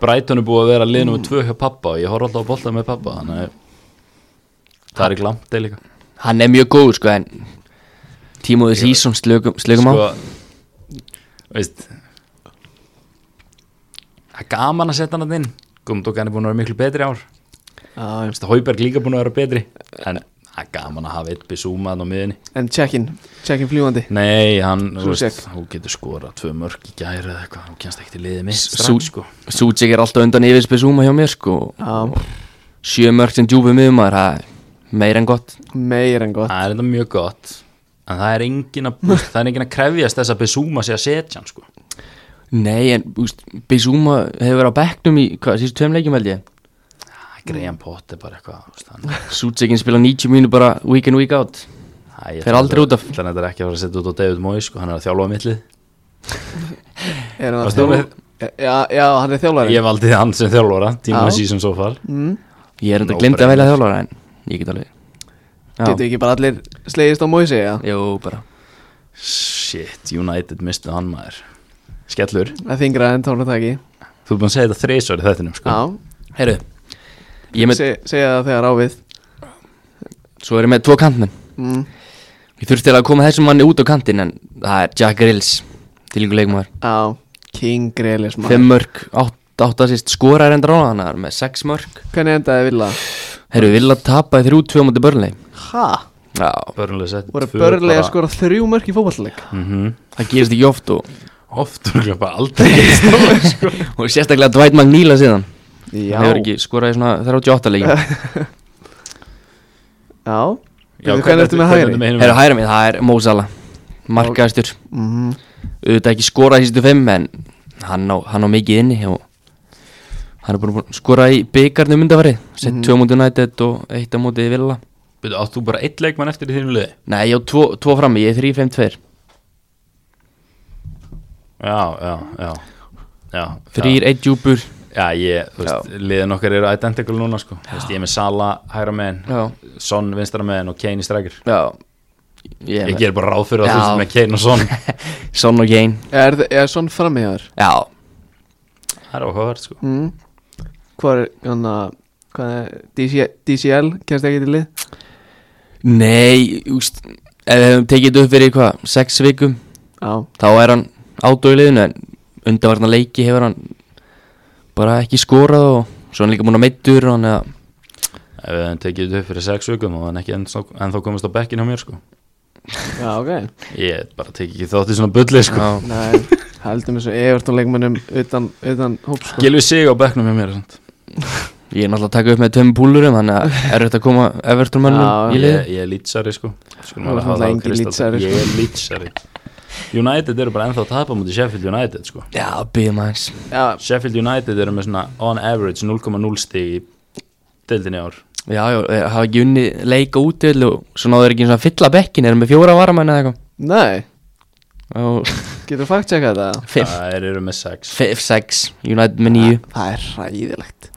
S2: Brighton er búin að vera liðnum mm. tvö hjá pappa og ég horf alltaf að bolta með pappa þannig að það er ekki langt eða líka
S3: Hann er mjög góð sko en Tímóði Sísson slökum, slökum á
S2: Sko, veist Það er gaman að setja hann að inn Gumdók hann er búin að vera miklu betri í ár
S1: já, já.
S2: Hauberg líka búin að vera betri en það er gaman að hafa eitt Bissúma þannig á miðinni
S1: en check-in, check-in fljúandi
S2: Nei, hann, þú
S1: Susek.
S2: veist, hún getur skorað tvö mörg í gæri eða eitthvað, hún kennst ekki til liðið mitt
S3: S-
S2: strax,
S3: Sú-
S2: sko.
S3: Sútsik er alltaf undan yfir spesúma hjá mér sko
S1: já,
S3: Sjö mörg sem djúbu miðmaður, það er meira en gott
S1: meir en gott
S2: Það er þetta mjög gott, en það er engin að, það er engin að krefjast þess að Besúma sé að setja hann, sko.
S3: Nei, en úst, Bissúma hefur verið á bekknum í, hvað, síðustu tveim leikjum held ég
S2: Það er greiðan pott, er Ah, bara eitthvað, þú veist, hann,
S3: Sútsekin spila 90 mínu bara week in week out
S2: það
S3: Fer aldrei út af.
S2: Þannig að þetta er ekki að fara að setja út á David Moyes, sko, hann er að þjálfa á mittlið.
S1: er hann að
S2: Varstu
S1: stjórna já, já, hann er þjálfari
S2: Ég valdi hann sem þjálfara, tíma
S1: Já.
S2: að síðan svo far.
S1: mm.
S3: Ég er enda
S2: Nó
S3: glimt að velja
S2: brennur.
S3: þjálfara en ég get alveg
S1: getur
S3: Já,
S1: ekki bara allir slegist á Moise já?
S3: jú, bara
S2: Shit, United mistu hann maður. Skellur,
S1: það þingra en tónataki
S2: þú er búin að segja þetta þreysvar í þettinum, sko.
S1: já,
S3: Herru, ég er með,
S1: Se, segja það þegar ávið
S3: svo er ég með tvo kantmenn
S1: mm.
S3: Ég þurfti eiginlega að koma þessum manni út á kantinn en það er Jack Grills til ykkur leikmaður
S1: Já, King Grealish maður
S3: Fimm mörg, átt, átt að sýst skorar enda rána hann er með sex mörg
S1: Hvernig endaði Villa?
S3: Herru, Villa tapaði þrjú tvö múti börnlei
S1: Ha?
S3: Já,
S2: Börnlega setti
S1: Voru
S2: tvö
S1: börlega
S2: bara-
S1: skora þrjú mörk í fótballleik
S2: Mhm.
S3: það gerist ekki oft og,
S2: Oft, örugglega bara aldrei.
S3: og sérstaklega Dwight McNeila síðan
S1: Já
S3: Hann hefur ekki skoraði svona 38 leikjum
S1: Já
S2: Já,
S1: Veitu, Hvernig ertu með hægri?
S2: með hinum?
S3: Herru, hæra mig, það er Mo Salah Markaðastur
S1: Mhm.
S3: auðvitað ekki skorað í sístu fimm en hann á, hann á mikið inni og hann er búin að skora í byggarnum undanfarið sett mm -hmm. tvö múti United og eitt á múti Villa
S2: Byrju, áttu bara eitt leikmann eftir í þínum liði?
S3: Nei, ég á tvo, tvo frammi, ég er 3-5-2
S2: Já, já, já Já,
S3: 3 1 djúpur
S2: já, ég, þú veist, liðin okkar eru identical núna, sko Þú veist, ég er með Sala, hægra megin
S3: Já,
S2: Son, vinstra megin og Kane í strækir
S3: já Ég,
S2: Ég
S3: ég
S2: ger bara ráð fyrir að þú
S3: Já.
S2: veist með Kane og Son
S3: Son og Kane
S1: Er, þi- er svona framhjáður?
S3: Já,
S2: Það er áhugavert, sko
S1: Mm. Hvað er, hann að Hvað er, DC, DCL, kennst ekki til lið?
S3: nei, úst ef við hefum tekið þetta upp fyrir hvað, 6 vikum
S1: Já,
S3: þá er hann ádóliðinu en undanvarna leiki hefur hann bara ekki skorað og svo er hann líka búin að meittur og hann eða
S2: Já, ef við hefum tekið þetta upp fyrir sex vikum og hann ekki ennþá, ennþá komist á bekkin á mér sko
S1: Já, ok
S2: ég bara tek ekki þátt í svona bulli sko
S3: Já.
S1: Nei, heldum þessu Everton leikmönnum utan, utan hóps sko.
S2: Gilvi sig á bekknum hjá mér sant?
S3: Ég er náttúrulega að taka upp með tömmu púlurum Þannig að er þetta að koma Everton
S1: Já,
S3: mönnum í lið
S2: ég, ég er lýtsari sko Skulum
S1: Þú
S2: alveg
S1: ert náttúrulega
S2: hafa það á
S1: engin
S2: kristalli.
S1: Leedsari, sko.
S2: ég er lýtsari United eru bara ennþá að tapa mútið Sheffield United sko
S3: Já, býðum aðeins
S1: Já,
S2: Sheffield United eru með svona on average 0,0 stig í deildinni í ár
S3: Já, já, þeir hafa ekki unni leika út og svo náður ekki eins og að fylla bekkin erum með fjóra varamenn eða
S1: nei,
S3: eitthvað og
S1: getur fakt tjekka þetta
S3: fimm,
S2: það eru með 6
S3: fimm, sex, United með nýju
S1: Það er ræðilegt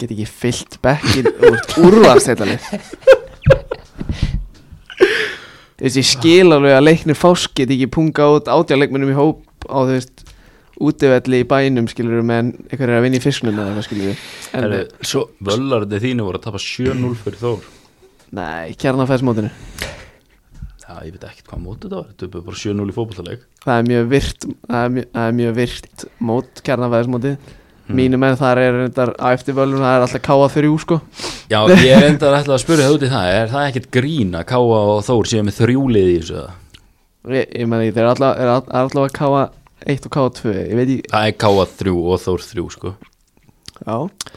S1: Get ekki fyllt bekkin úr úrvast þetta lið Þessi skil alveg að leiknir fásk get ekki punga út átjáleikmönnum í hóp á þú veist útivelli í bænum skilur meðan einhver er að vinna í fisknum eða hvað skilur en,
S2: Herru, svo völlarði þínu voru að tapa 7-0 fyrir Þór
S1: Nei, kjarnafæðsmótinu
S2: Já, ég veit ekkert hvað mótið það var Þetta er bara 7-0 í fótballtaleg
S1: Það er mjög virt Það er mjög, það er mjög virt mót Kjarnafæðismóti Mínu menn þar er reyndar á eftir völun Það er alltaf káa þurjú sko
S2: Já, ég er enda að ætla að spyrja það út í það Er það ekkert grín að Káa og Þór séu með þrjúlið í þessu eða?
S1: Ég, ég meni þeir eru alltaf, er all- er alltaf að káa 1 og káa 2 Ég veit ekki
S2: Það er Káa 3 og Þór 3 sko
S1: Já,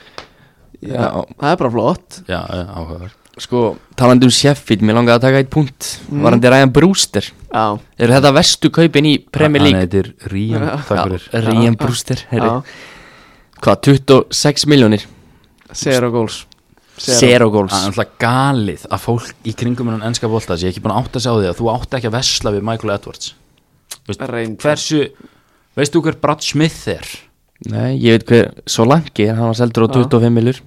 S1: Já.
S3: Já.
S1: Það er bara flott
S2: Já, eh, áhugaverð
S3: Sko, talandi um Sheffield, mér langaði að taka eitt punkt Varandi Ryan Brewster
S1: Já,
S3: Eru þetta vestu kaupin í Premier
S2: Hann
S3: League?
S2: heitir Rían, takk fyrir
S3: Já, Ryan Brewster, herri
S1: já
S3: Hvað, 26 miljónir?
S1: Zero goals
S3: Zero goals
S2: Það er alltaf galið að fólk í kringum hennan ennska bolta sé ekki búin að átta sig á því að þú átt ekki að vesla við Michael Edwards Veist,
S1: Reyndar.
S2: Hversu, veistu hver Brad Smith er?
S3: Nei, ég veit hver, svo langi, hann var seldur á 25 miljur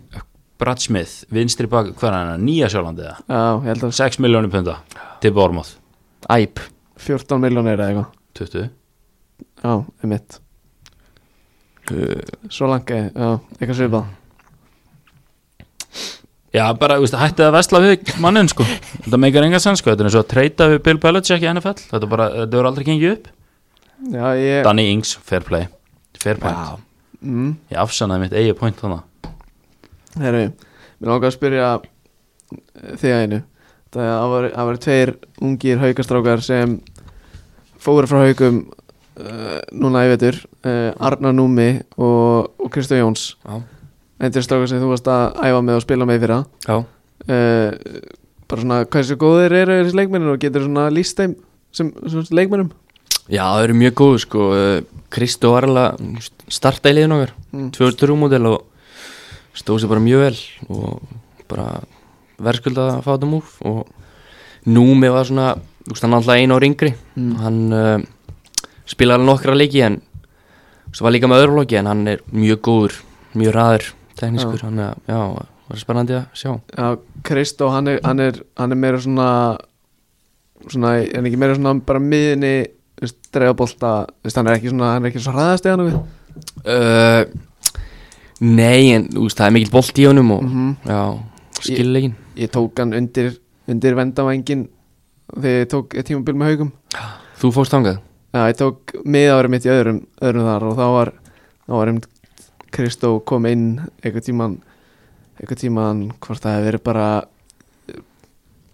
S2: Brad Smith, vinstri bak, hvað er hann, Nýja Sjálandi eða?
S1: Já, ég held að
S2: 6 miljónir punda til Bormoth
S3: Æp,
S1: 14 miljónir eða eitthvað
S2: 20
S1: Já, um mitt Svo langi, já, eitthvað svipað
S2: Já, bara, þú veist, hættið að vesla við mannin, sko Þetta meikar enga sens, sko, þetta er eins og að treyta við Bill Belichick í NFL Þetta er bara, þetta voru aldrei gengið upp
S1: Já, ég
S2: Danny Ings, fair play Fair point
S1: mm.
S2: Ég afsannaði mitt eigi point þannig
S1: Herru, mér langar að spyrja eh, þig að einu Það það voru, það voru tveir ungir haukastrákar sem fóru frá haukum uh, núna í vetur uh, Arnar Númi og, og Kristján Jóns
S3: Já.
S1: Þetta er strákar sem þú varst að æfa með og spila með fyrir það
S3: já
S1: uh, Bara svona, hversu góðir eru þessi leikmennir og getur svona líst þeim sem, sem leikmennum
S3: Já, það eru mjög góð, sko eh, Kristó var alveg að starta í liðin okkar
S1: Mm.
S3: 2-3 módel og stóð sér bara mjög vel og bara verðskulda að fá þetta múf og Númi var svona, þú veist, hann er alltaf einu ári yngri hann uh, spilaði alveg nokkra leiki en svo var líka með öðru loki en hann er mjög góður mjög raður, teknískur hann er, já, var spennandi að sjá
S1: Já, Kristó, hann er, hann er, hann er meira svona svona, en ekki meira svona bara miðinni dreifabólta, hann er ekki svona hann er ekki svona hraðast eða nokkuð
S3: uh, Nei, en þú veist, það er mikill bolt í honum og já, skillegin
S1: Mhm. ég tók hann undir, undir vendavængin þegar ég tók eitt tímabil með haugum
S3: Þú fórst þangað?
S1: Já, ég tók miðári mitt í öðrum, öðrum þar og þá var, þá var um Kristó kom inn eitthvað tíman eitthvað tíman hvort það hefði verið bara eh,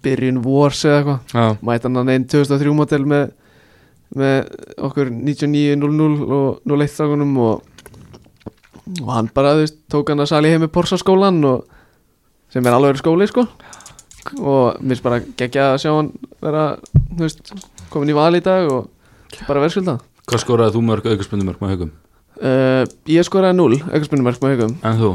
S1: byrjun vors eða eitthvað
S3: Já,
S1: mæta hann einn 2003 model með, með okkur 99.00 og 01 strákunum og, og hann bara þú veist, tók hann að sali heim með Porsaskólan og, sem er alveg skóli sko og mér finnst bara geggja að sjá hann vera þú veist, komin í val í dag og bara verðskulda
S2: Hvað skoraði þú mörg aukaspundumörg með haugum?
S1: uh, ég skoraði 0 aukarspunumverk með haugum
S2: En þú?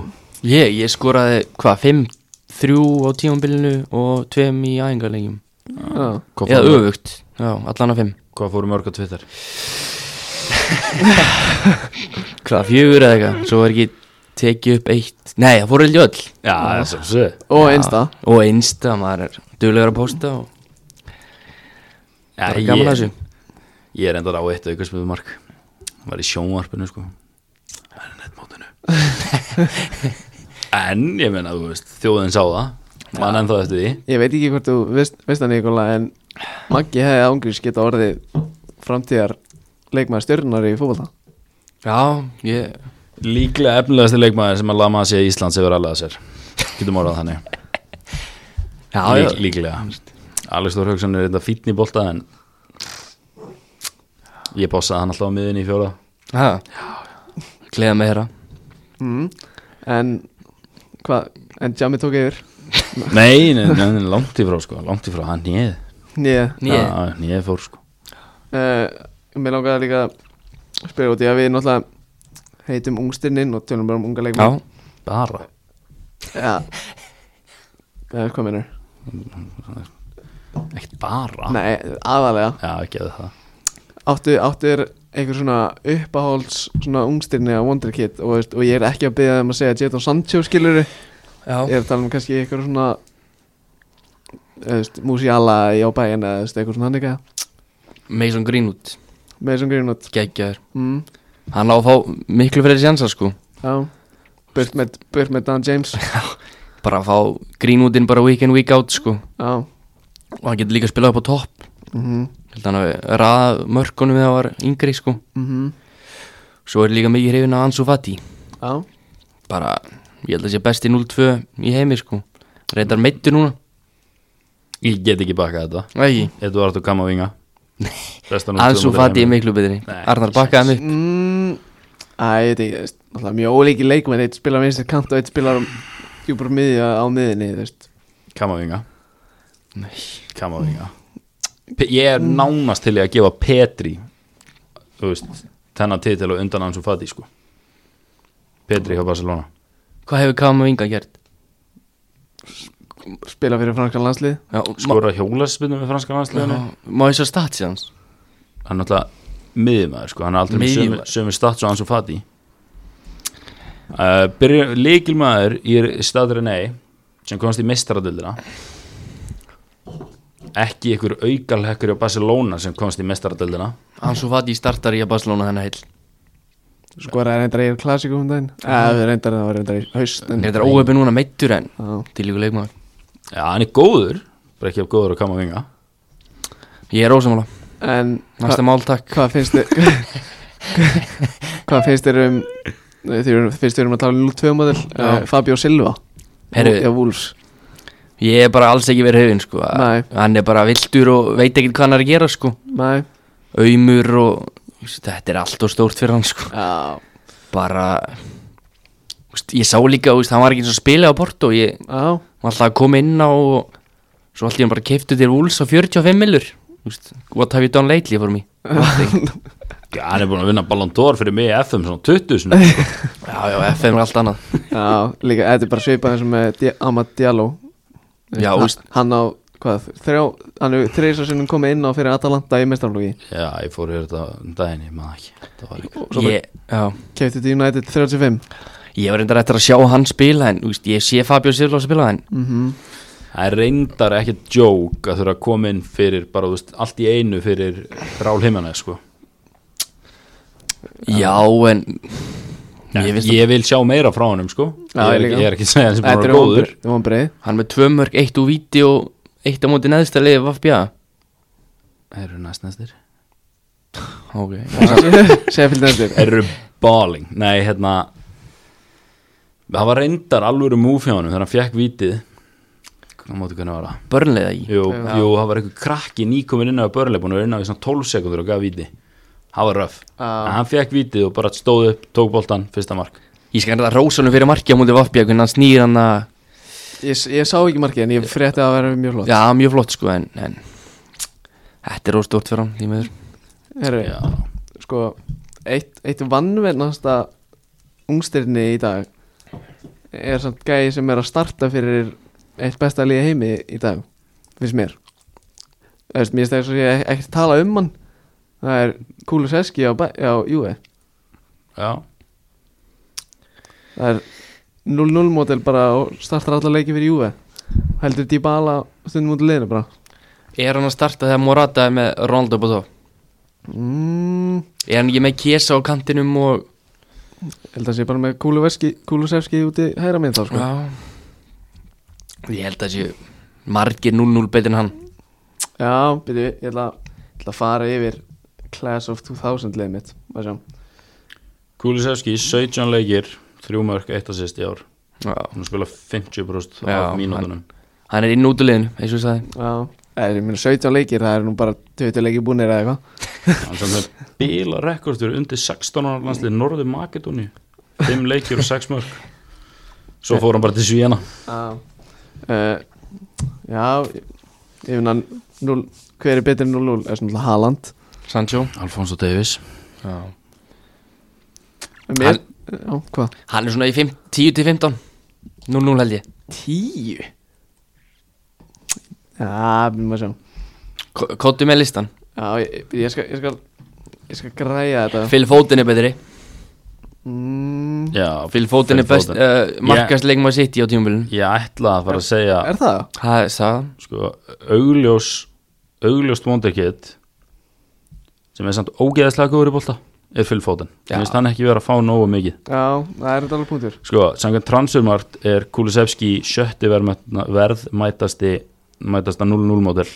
S3: ég, ég skoraði hvað, 5, 3 á tímambilinu og 2 í æfingarlegjum
S1: Já.
S2: Hvað
S3: Eða
S2: fóru,
S3: öfugt, já, allan að 5
S2: hvað fóru mörg á Twitter?
S3: Hvað, fjögur eða eitthvað, svo var ekki tekið upp eitt Nei, það fór heldur öll
S2: Já, það er sem sé
S1: og einsta
S3: Og einsta, maður er duglegur að posta og bara gaman að
S2: ég,
S3: þessu
S2: ég er enda á eitt aukaspundumörg Það var í sjónvarpinu, sko Það er nettmótinu En, ég meina, þú veist, þjóðin sá það Man ennþá eftir því
S1: Ég veit ekki hvort þú veist, veist það Nikola en Maggi hefði ángriðs geta orðið framtíðar leikmaður stjörnunar í fótbolta
S3: Já, ég,
S2: Líklega efnilegasti leikmaður sem að lama sér í Íslands hefur alveg að sér Getum orðað þannig
S3: Já, já.
S2: Lík, líklega Alex Þór Hauksson er þetta fítn í bolta en ég bossaði hann alltaf á miðinni í fjóra
S3: Já, gleða með þeirra
S1: mm. En hvað, en Jammi tók yfir
S2: nei, nei, nei, nei, langt í frá sko langt í frá, hann nýð
S1: Nýja
S3: Nýja,
S2: nýð fór sko
S1: uh, Mér langaði líka að spyrja út í að við náttúrulega heitum ungstirnin og tjónum bara um unga
S3: já,
S1: leikmenn
S2: bara,
S1: Já Eh, Hvað meinar?
S2: ekkert bara
S1: Nei, aðalega
S2: já, ekki að það
S1: Áttu, áttu er einhver svona uppahólds svona ungstirni á Wonderkid og, veist, og ég er ekki að byggja þeim að segja Jadon Sancho skilur
S3: já.
S1: Ég er að tala um kannski eitthvað svona þú veist, Musiala í ábæin eða þú veist, eitthvað svona hann eitthvað
S3: Mason Greenwood,
S1: með þessum grínut
S3: geggjaður
S1: mm,
S3: Hann á að fá miklu fyrir sjansar sko
S1: Já Burt með, burt með Dan James
S3: Bara að fá Greenwoodin bara week in, week out sko
S1: Já
S3: Og hann getur líka að spila upp á topp
S1: mhm,
S3: Held hann að raða mörkunum þegar hann var yngri sko
S1: mhm,
S3: Svo er líka mikið hrifin að Ansu Fati
S1: Já
S3: Bara, ég held að sé besti 0-2 í heimi sko Reyndar meittu núna
S2: ég get ekki bakað þetta
S3: Ægi,
S2: Eduardo Kamavinga
S3: Ansu Fati er miklu betri
S2: Nei,
S3: Arnar bakkaði mig
S1: mm, Æ, ég veit ekki, þú veist Alltaf mjög ólíki leikmenn Eitt spilar minnst kant og eitt spilar Júpar miðja á miðinni, þú veist
S2: Kamavinga Kamavinga Mm. Pe- ég er nánast til í að gefa Petri þú veist þennan titil og undan hans og fati sko Petri hjá Barcelona
S3: Hvað hefur Kamavinga gert?
S1: Spila fyrir franskan landslið
S3: Já, ma-
S2: skora hjólaspinnu með franska landsliðinu
S3: Sko, já, Má ég svo statsi hans?
S2: hann er náttúrulega miðjumæður sko, hann er aldrei með sömu,
S3: Miðjumaður.
S2: sömu stats og hans og fati uh, leikilmaður í staðurinn ei sem komst í mestaradöldina ekki ykkur aukalhekkur á Barcelona sem komst í mestaradöldina
S3: Ansu Fati startar í að Barcelona þennan heil
S1: Skoraði reyndar eigin klassíku um daginn Það var reyndar, það var reyndar í haust en-
S3: Þetta er óöfni núna meittur en
S1: Já.
S3: Til ykkur leikmaður
S2: já, hann er góður, bara ekki af góður að kama vinga
S3: Ég er ósamála
S1: En
S3: Næsta mál takk
S1: Hvað finnst þér Hvað finnst þér um Nei, Þið eru- finnst þér um að tala um 02 model uh, Fabio Silva
S3: Heyrðu.
S1: Já, Wolves
S3: Ég er bara alls ekki verið höfin sko
S1: Nei.
S3: Hann er bara vildur og veit ekkert hvað hann er að gera sko
S1: Nei
S3: Aumur og Þetta er allt og stórt fyrir hann sko
S1: Já
S3: Bara Vist, Ég sá líka, vist, hann var ekki eins og að spila á Porto Ég
S1: Já
S3: var alltaf að koma inn á og Svo alltaf hann bara keiftu til Wolves á 45 millur Vist, What have you done lately for me?
S2: já, hann er búin að vinna Ballon d'Or fyrir mig í FM svona 20 sinni, sko.
S3: Já, já, FM er allt annað
S1: Já, líka, þetta er bara svipað eins og með Di- Amad Diallo
S3: Já,
S1: Ha-
S3: veist.
S1: Hann á, hvað, þrjá Hann er þreis að sinnum komið inn á fyrir Atalanta í mestarflóki
S2: já, ég fór hér þetta um daginn, ég maður ekki það var ekki
S1: Svo bara-
S3: ég, já,
S1: Kefti til United 35
S3: ég var reyndar eftir að sjá hann spila en úst, ég sé Fabio Silva spila en
S1: mm
S2: Það er reyndar ekki joke að þurfa að koma inn fyrir bara, þú veist, allt í einu fyrir Rál Himmanæ, sko.
S3: já en ég
S2: Ég,
S3: finnst að
S2: vil sjá meira frá honum, sko.
S1: Já,
S2: ég,
S1: ég
S2: er
S1: líka.
S2: ekki, ég er ekki að segja hans bara
S1: Þetta er
S2: góður.
S1: vonbreið- vonbreið
S3: hann er með tvö mörg eitt úr víti og eitt á móti neðsta liði Vafbja
S2: Það eru næst næstir.
S3: ok,
S1: Segja fylgd eftir
S2: Það eru balling. Nei, hérna, það var reyndar alvöru múf hjá honum þegar hann fekk vítið. Hvað móti hvernig var það?
S3: börnlega í
S2: Jú, jú, það var einhver krakki nýkomin inn á börnleipun og inn á í svona 12 sekundur og gaf víti. Það var röf.
S1: Já.
S2: En hann fekk vítið og bara stóð upp, tók boltan, fyrsta mark.
S3: ég skal reyndar rósanum fyrir marki á móti Vafbja hvernig hann snýr hann að
S1: ég, s- ég sá ekki markið en ég frétti að vera mjög flott
S3: já, mjög flott sko en, en þetta er óstort fyrir hann í meður
S1: Herru,
S2: Já.
S1: sko Eitt, eitt vannvernasta Ungstirni í dag Er samt gæi sem er að starta fyrir Eitt besta liði í heimi í dag Finnst mér Þú veist, Mér finnst það eins og ég ek- ekkert tala um hann Það er Kúlu Seski á, bæ- á Júi
S2: Já.
S1: Það er 0-0 mótel bara og startar alla leiki fyrir Júi Heldur Dybala stundum út í liðinu bara
S3: er hann að starta þegar Morata er með Ronaldo búið þá
S1: mm,
S3: er hann ekki með Kiesa á kantinum og
S1: Held að sé bara með Kúlu, Veski, Kúlu Seski úti hæra minn þá sko
S3: Já Ég held að séu margir 0-0 betur en hann
S1: Já, byrju, ég ætla, ég ætla að fara yfir Class of 2000 leið mitt Má sjá.
S2: Kulisevski, 17 leikir 3 mörg, 1 assist í ár
S3: Já,
S2: hann spila 50%
S3: Já,
S2: af mínútunum
S3: hann er inn út úr liðinu eins og ég sagði
S1: Já, en Eh, ég meina 17 leikir, það er nú bara 20 leikir búnir eða eitthvað
S2: hann sem er bíla rekordur undir 16 ára landslið Norður Makedóni 5 leikir og 6 mörg svo fór hann bara til Svíjana
S1: Já Eh, Já, ég finna núl- hver er betri en 0-0 er svona Haaland
S3: Sancho
S2: Alfonso Davis
S3: já.
S1: En mér- Já, hvað?
S3: hann er svona í 5, 10-15 0-0 held ég
S1: 10 Já, við maður sjá
S3: Ko- Kottu með listan
S1: Já, ég, ég, skal, ég skal ég skal græja þetta
S3: Phil Foden er betri
S1: mm,
S2: já,
S3: Phil Foden er best
S2: Foden.
S3: uh, markast yeah. leikmaður sitt í á tímabilinu
S2: ég ætla að fara að segja
S1: Er það?
S3: það er það
S2: sko, augljós augljóst vondekitt sem er samt ógeðaslega góður í bolta er Phil Foden,
S3: Já.
S2: mér finnst hann ekki vera að fá nógu mikið
S1: Já, það er þetta alveg punktur
S2: sko, samkvæmt transfermart er Kulusevski sjötti verðmætna- verðmætasti mætasta 0-0 mótel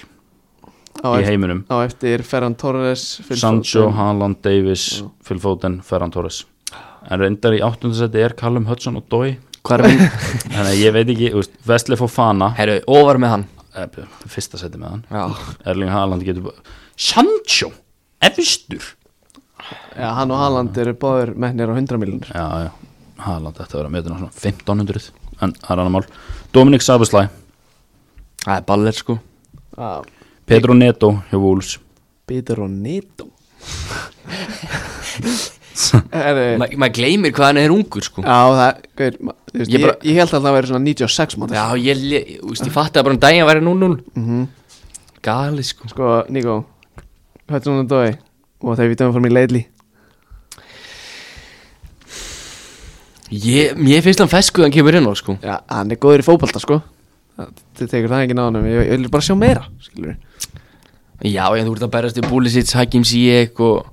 S1: Á,
S2: í
S1: eftir,
S2: heiminum
S1: á eftir Ferran Torres Phil
S2: Sancho,
S1: Foden.
S2: Haaland, Davis, Phil Foden, Ferran Torres en reyndar í áttundasæti er Callum Hudson og Dói
S3: hvað er minn
S2: þannig að ég veit ekki, þú veist, Vestlef og Fana
S3: herru ofar með hann
S2: eh, fyrsta sæti með hann
S3: já
S2: Erling Haaland getur bara- Sancho, efstur
S1: Já, hann og Haaland eru báður mennir á 100 miljonir
S2: já, já, Haaland þetta verður að metina svona 1500 en það er annar mál Dominic Sabuslæ,
S3: það er baller sko
S1: Já,
S2: Pedro Neto hjá Wolves
S1: Peter og Neto Er
S3: Ma- maður gleymir hvað hann er ungur sko
S1: eh, Já, það, gaur, ma- þú veist,
S3: Ég
S1: ég,
S3: bara-
S1: ég, held að það væri svona 96 mánu
S3: Já, ég, ég, ég, úst, ég fatti að bara um daginn væri 0-0 mm
S1: Mhm.
S3: Gali sko
S1: Sko, Níko, höllum hún að dói og þegar við dömum fór mér leiðli
S3: ég, Mér finnst hann feskuð hann kemur inn á sko
S1: Já, hann er góður í fótbalta, sko Þið tekur það ekki náðanum, ég, ég vil bara sjá meira, skilur við
S3: Já, ég þú ert að berast í Búlisits, Hakim Sijek og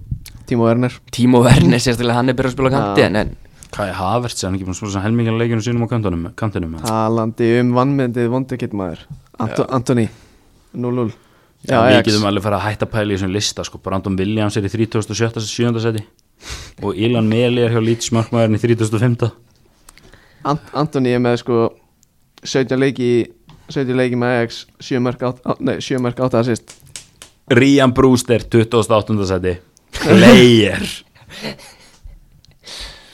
S1: Tímo Werner
S3: Tímo Werner sérstaklega hann er byrjað að spila á kanti en, en
S2: Kai Havertz, er hann ekki búin að spila helmingina leikinu sínum á kantinum, kantinum eða?
S1: Talandi um vannmyndið vondukitt maður Anto, Antoni, 0-0 Já,
S2: Já, við
S1: Ajax.
S2: getum alveg að fara að hætta að pæla í þessum lista sko. Brandon Williams er í 37. 7. seti og Ilan Meli er hjá Leeds markmaðurinn í 35.
S1: Ant, Antoni er með, sko, 17 leiki, í- 17 leiki með Ajax 7 mörg 8, nei, 7 mörg 8 assist
S2: Rian Brewster 28. seti Player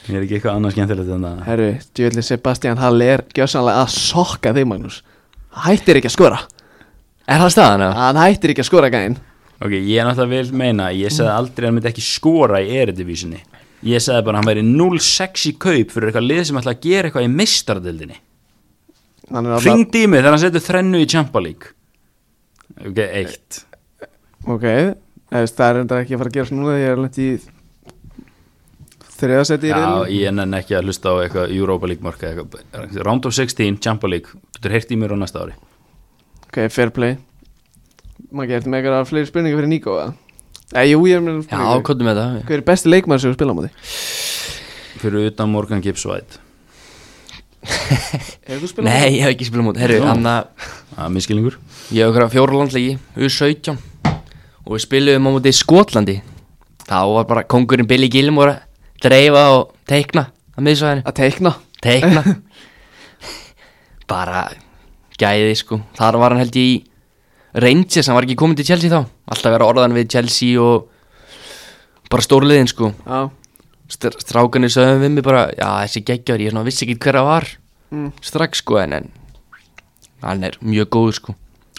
S2: Ég er ekki eitthvað annað skemmtilegt en það
S1: Herru, djöðli Sebastian Hall er gjössanlega að sokka þig Magnús Hættir ekki að skora
S3: er það staðan að?
S1: Hann hættir ekki að skora gæinn
S2: Ok, ég er náttúrulega vil meina ég sagði aldrei að hann myndi ekki skora í eredivísinni Ég sagði bara að hann væri 0-6 í kaup fyrir eitthvað lið sem ætla að gera eitthvað í mistardildinni
S1: Hann er alltaf
S2: Hringdi í mig þegar hann setur þrennu í Champa League Ok, eitt
S1: Ok, eða, það er enda ekki að fara að gera svona núna Ég er alveg í þriðasetti í
S2: Já,
S1: riðlinum.
S2: ég nenn ekki að hlusta á eitthvað Europa League marka, eitthvað, Round of 16, Champa League Getur heyrt í mér á næsta ári
S1: Ok, fair play Maggi, ertu með eitthvað fleiri spurningar fyrir Níko eða? Nei, jú, ég er með
S3: Já,
S1: spurningar.
S3: kottum með það
S1: Hver er besti leikmann sem þú spila á móti?
S2: Fyrir utan Morgan Gibbs White
S1: Hefur þú spilað á móti?
S3: Nei, ég hef ekki spilað múti Herru,
S2: Nú.
S3: hann að
S2: Það er miskilningur
S3: ég hef okkur að fjóra landlegi U17 og við spilum á móti í Skotlandi þá var bara kongurinn Billy Gilmore að dreifa og teikna að miðsvæðinu
S1: Að teikna
S3: teikna bara gæði sko þar var hann held ég í Rangers, hann var ekki komin til Chelsea þá alltaf vera orðan við Chelsea og bara stórliðin sko
S1: Já,
S3: Str strákanir sögum við mig bara já þessi geggjör, ég svona vissi ekki hver að var
S1: Mm.
S3: strax sko en, en hann er mjög góður sko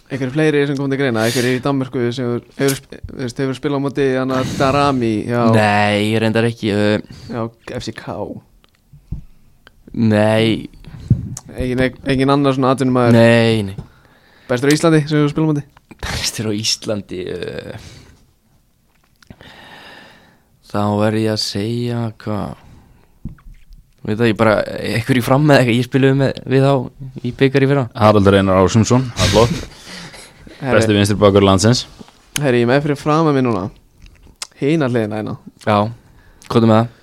S1: einhverju fleiri sem kom til greina Einhverju í Danmörku sem þú- hefur, sp- þú veist, hefur spilað á móti Þannig að Darami já,
S3: nei, ég reyndar ekki uh,
S1: já, FCK
S3: nei,
S1: Engin, engin annar svona atvinnum að
S3: nei, nei
S1: bestur á Íslandi sem við spilum á því
S3: bestur á Íslandi uh, þá verð ég að segja hvað veit það ég bara ekkur í fram með eitthvað ég spilaði með við þá í byggar í fyrra
S2: Haraldur Einar Ásumsson, halló Besti
S1: Herri,
S2: vinstri bakur landsins
S1: herri, ég er með fyrir fram að mér núna Hina hliðina hérna
S3: já hvað er með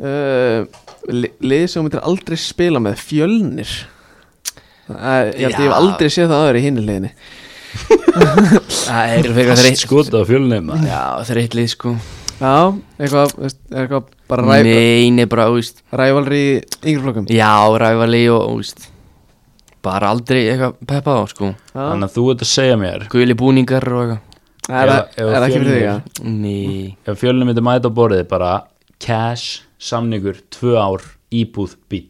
S3: það
S1: uh, li- Lið sem þú myndir aldrei spila með Fjölnir Það er- Ég held að ég hef
S3: Já.
S1: aldrei séð það aður í hina hliðinni
S3: það er sko. fyrir
S2: Fast
S3: þreitt
S2: skota á fjölnum
S3: já þreittlið sko
S1: Já, eitthvað, veist, er eitthvað bara ræf,
S3: neini bara úst
S1: rævalri í yngri flokkum
S3: já ræfali og úst bara aldrei eitthvað peppað á sko
S1: Já.
S2: Þannig að þú ert að segja mér
S3: Guli búningar og eitthvað
S1: Það er,
S2: Ef- ef
S1: er ekki fyrir
S2: fjölnir-
S1: þig að
S3: Ný
S2: Ef fjölunum myndi mæta á borðið bara cash, samningur, tvö ár íbúð, bíl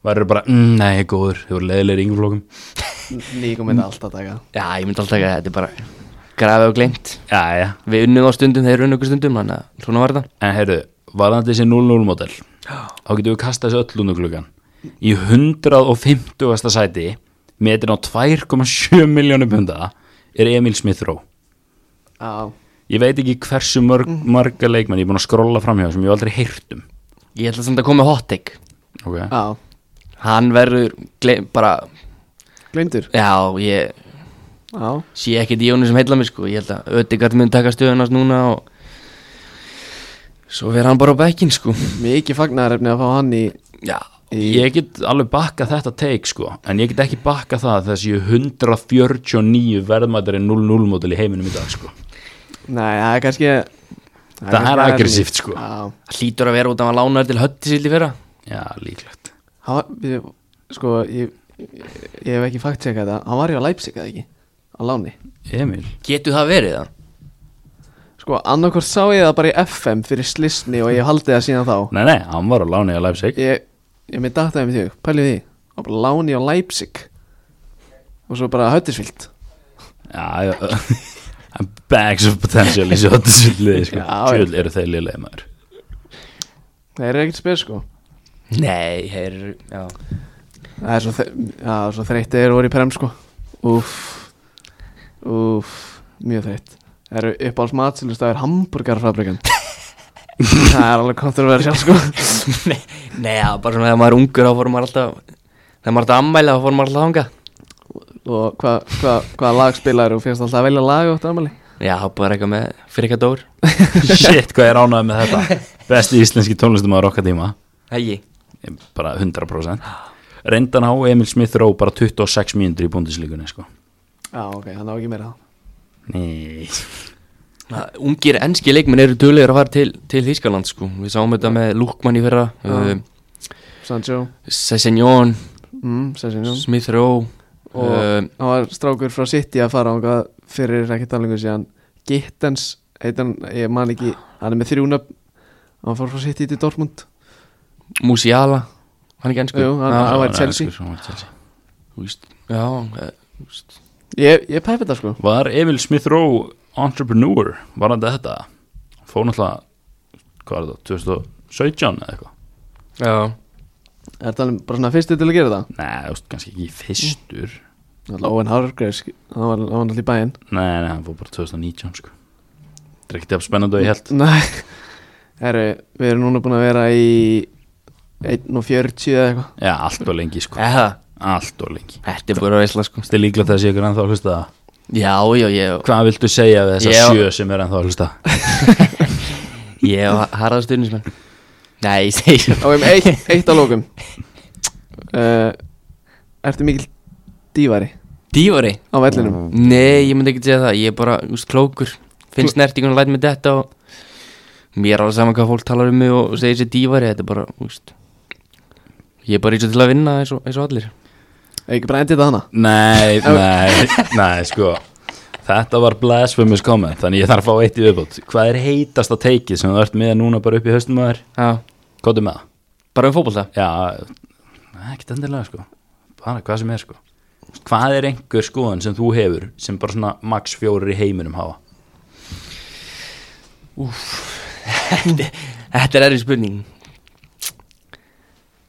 S2: Værið bara, mm, nei, góður, þau voru leiðilegir í yngri flokkum
S1: Líka myndi alltaf taka
S3: Já, ég myndi alltaf ekki að þetta er bara grafið og gleymt
S2: Já, já,
S3: Við unnum á stundum, þeir unnu okkur stundum Þannig að svona var þetta
S2: en heyrðu, varðandi þessi 0-0 model þá getum við kastað þessu öll lúnuglugan í 150. sæti metin á 2,7 miljónum punda er Emil Smithrow
S1: Já,
S2: ég veit ekki hversu mörg, marga leikmenn ég er búin að skrolla framhjá sem ég hef aldrei heyrt um
S3: Ég ætla samt að koma með hot take
S2: okay.
S1: já,
S3: Hann verður gleym, bara
S1: gleyndur
S3: Já, ég
S1: Já,
S3: sé ekkert í honum sem heilla mig sko Ég held að Ödegard mun taka stöðunast núna og Svo verður hann bara á bekkin sko
S1: mikið fagnaðarefni að fá hann í
S3: Já
S2: ég get alveg bakkað þetta teik sko en ég get ekki bakkað það þessi 149 verðmættari 0-0 model í heiminum í dag sko
S1: Nei, það er kannski
S2: Það er
S1: kannski
S2: aggressíft, sko.
S1: Já,
S3: Hlýtur að vera út af að hann lánaður til hötti sildi fyrra
S2: já, líklegt
S1: hann var, við, sko, ég, ég, ég hef ekki fakt þetta Hann var í að Leipzig, eða ekki? Á láni
S2: Emil,
S3: Getur það verið það?
S1: Sko, annarkvort sá ég það bara í FM fyrir slisni og ég haldi það síðan þá
S2: nei, nei, hann var á láni að Leipzig
S1: Ég, ég með dattaði með um þig, pælið því Hann var bara á láni á Leipzig Og svo bara höttisvilt
S2: Já, já Bags of potential í svo þessu liði sko.
S1: Já, já.
S2: Sjöld eru þeir liðlega maður
S1: Það er ekkert spes, sko
S3: Nei, heyr, já
S1: Það er svo, þe já, svo þreytt er voru í prem sko Úff Úff, mjög þreytt Það eru uppáhalds matsilust að er hamburgarfabrikan Það er alveg kontroversial sko
S3: Nei, nei, það var bara svona þegar maður er ungur þá fórum maður alltaf Þegar maður er alltaf ammæli þá fórum maður alltaf þangað
S1: Og hvað hva, hva lag spilaður og finnst alltaf að velja lag átt afmæli
S3: Já, þá bara eitthvað með fyrir eitthvað dór
S2: Shit, hvað ég ránaði með þetta Besti íslenski tónlistum á rokka tíma
S3: Ægi
S2: Bara 100% Reyndan á Emil Smith Rowe bara 26 mínútur í búndislíkunni sko.
S1: Já ok, hann á ekki meira það
S2: Nei
S3: Ungir enski leikmenn eru döglegur að fara til, til Þískaland sko Við sáum þetta með Lúkmann í fyrra
S1: Já.
S3: uh,
S1: Sancho,
S3: Sessenjón,
S1: mm, Sessinjón
S3: Smith Rowe
S1: Og
S3: uh,
S1: hann var strákur frá City að fara ánga fyrir ekki talingu síðan Gittens, heitan, ég man ekki Hann er með þrjúnöfn Hann fór frá City til Dortmund
S3: Musiala Hann er ekki ennsku
S1: Jú, hann-
S3: Já,
S1: var í
S2: nei,
S1: Chelsea.
S2: sko, hann var í Chelsea.
S3: þú veist, Já, eh, þú veist.
S1: Ég, ég pæpi þetta sko
S2: Var Emil Smith Rowe entrepreneur Var hann þetta? Fór náttúrulega Hvað er þetta? 2017 eða eitthvað
S3: já
S1: Er það bara svona fyrstu til að gera það?
S2: Nei, þú veist, kannski ekki í fyrstur
S1: Náttúrulega Owen Hargreaves, hann var, hann var náttúrulega í bæinn
S2: Nei, nei, hann fór bara 2019 sko Það er ekkert jafn spennandi og ég held
S1: Nei, herru, við erum núna búin að vera í 1.40 eða eitthvað
S2: Já, allt og lengi sko
S3: Eða,
S2: Allt og lengi
S3: þetta er bara veisla sko
S2: Það er líklega þessi ykkur ennþá að hlusta
S3: Já, já, ég
S2: Hvað viltu segja við þessa
S3: Já.
S2: sjö sem er ennþá að hlusta?
S3: Ég og harða stuðnismenn Nei, ég segi
S1: Og um eitt, eitt að lókum uh, Ertu mikill dívari
S3: Dívari
S1: á vellinum?
S2: Mm.
S3: Nei, ég myndi ekki segja það, ég er bara úst, klókur Finn snertingun og læt mig detta og Mér er alveg saman hvað fólk talar um mig og segir sér dívari Þetta er bara, úst Ég er bara eins og til að vinna eins og, eins og allir
S1: Eða ekki bara endið það hana?
S2: Nei, nei, nei sko Þetta var blasphemous comment Þannig ég þarf að fá eitt í viðbót Hvað er heitasta teikið sem þú ert með núna bara upp í haustum að þér?
S3: Já,
S2: Kóttu með það?
S3: bara um fótbolta
S2: Já, nei, ekkert endilega sko Bara hvað sem er sko Hvað er einhver skoðan sem þú hefur sem bara svona max fjórir í heiminum hafa?
S3: Þetta er erfið spurning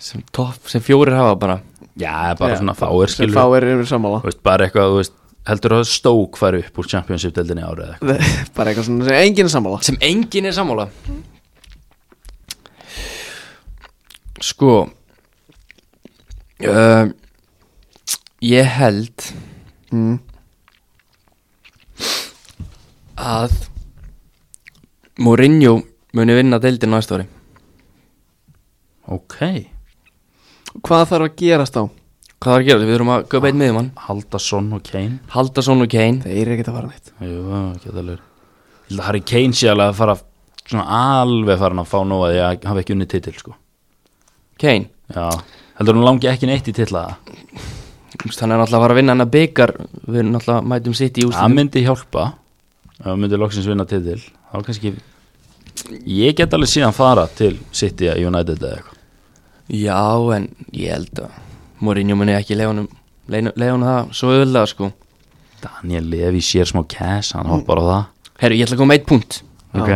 S3: Sem topp, sem fjórir hafa bara
S2: Já, bara
S1: Já,
S2: svona fáir
S1: Sem
S2: skilur
S1: fáir eru sammála
S2: Þú veist, bara eitthvað, þú veist, heldur að stók fari upp úr Championship-deldinni árið eða eitthvað?
S1: Bara eitthvað svona sem enginn er sammála
S3: Sem enginn er sammála Sko uh, Ég held
S1: mm.
S3: að Mourinho muni vinna deildin næsta ári
S2: Ok,
S1: Hvað þarf að gerast þá?
S3: Hvað þarf að gera? Við þurfum að köpa einn miðjum hann
S2: Haldason og Kane
S3: Halda og Kane
S1: Þeir eru ekkert að fara neitt
S2: Jú, ekki alveg Ég held að Harry Kane sé alveg að fara svona alveg farin að fá nóg að ég hafa ekki unni titil, sko
S3: Kane
S2: Já, heldur hann langi ekki neitt í titla
S3: veist, hann er náttúrulega að fara að vinna hann að byggar við erum náttúrulega mætum sitt í
S2: Það
S3: úrslitum
S2: myndi hjálpa ef hann myndi loksins vinna titil þá kannski ég get alveg síðan fara til City að United eða eitthvað
S3: já en ég held að Mourinho muni ekki leiða honum leiða honum það svo öðvöldlega sko
S2: Daniel Levy sér smá cash hann hoppar á það
S3: herru ég ætla að koma með eitt punkt
S2: ok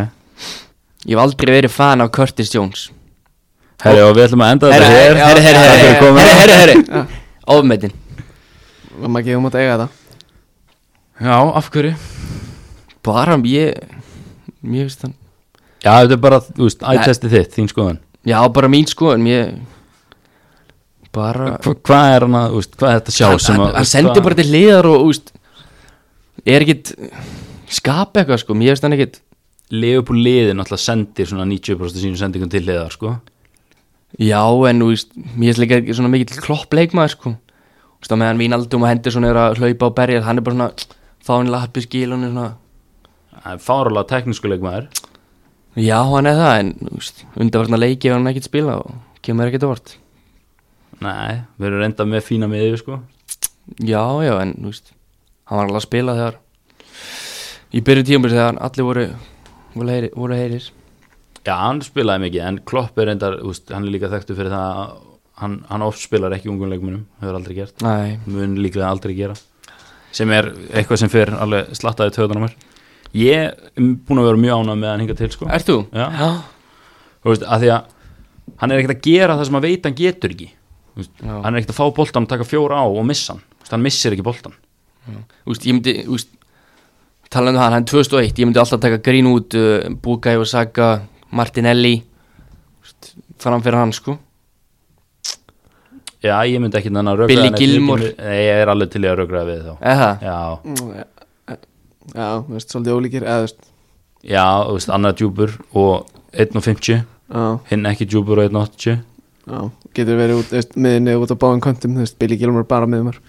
S3: ég hef aldrei verið fan af Curtis Jones
S2: Herri og við ætlum að enda þetta hér
S3: herru herru
S2: Takk fyrir
S3: herru
S2: komuna.
S3: herru herru ofmetin
S1: maður gefum að eiga þetta
S2: Já, af hverju?
S3: bara ég mér finnst hann
S2: Já, þetta er bara, þú veist, ættesti þitt, þín skoðun
S3: já bara mín sko en ég bara
S2: Hva- Hvað er hann að, þú veist, hvað er þetta að sjá
S3: hann,
S2: sem
S3: hann,
S2: að
S3: hann sendir bara til hliðar og úst, er ekkit skapa eitthvað sko, mér finnst hann ekkit
S2: Leopold liðin alltaf sendir svona 90% sínum sendingum til liðar, sko
S3: já en úst, mér finnst líka ekki svona mikill klopp leikmaður sko úst, á meðan Vínaldum og Henderson er að hlaupa og berja hann er bara svona fáin lappi skil hann er svona
S2: Það er fárulega teknísku leikmaður
S3: já hann er það en úst, undarvartna leiki ef hann ekkit spila og kemur ekkit orð
S2: Nei, við erum reynda með fína miðju, sko
S3: já já en úst, hann var alveg að spila þegar í byrju tíumur þegar allir voru voru heyrir, voru heyrir.
S2: Já, hann spilaði mikið, en Klopp er reyndar, þú veist, hann er líka þekktu fyrir það að hann, hann oft spilar ekki ungum leikmunum, hefur aldrei gert
S3: Nei,
S2: mun líklega aldrei gera sem er eitthvað sem fyrir alveg slattaði töðan á mér ég er búin að vera mjög ánað með hann hingað til sko.
S3: ert þú?
S2: Já. þú veist, að því að hann er ekkert að gera það sem að veit hann getur ekki Þú veist,
S3: Já.
S2: hann er ekkert að fá boltan og taka fjóra á og missa hann, Þú veist, hann missir ekki boltan
S3: Úst, ég myndi, úst, talandi um hann, hann er 2001, ég myndi alltaf taka grín út uh, Bukai og Saga, Martinelli, úst, framfyrir hann sko.
S2: já, ég myndi ekki þannig að rögra
S3: Billy Gilmore.
S2: ég er alveg til í að rögra við þá
S3: Eða, það?
S2: já,
S1: Mm, eh, já, þú veist, svolítið ólíkir eða, þú veist,
S2: já, þú veist, annar djúpur og 1.50
S1: já,
S2: hinn ekki djúpur og 1.80
S1: já getur verið út, þú veist, miðinni út á báðan kontum, þú veist, Billy Gilmore bara miðumar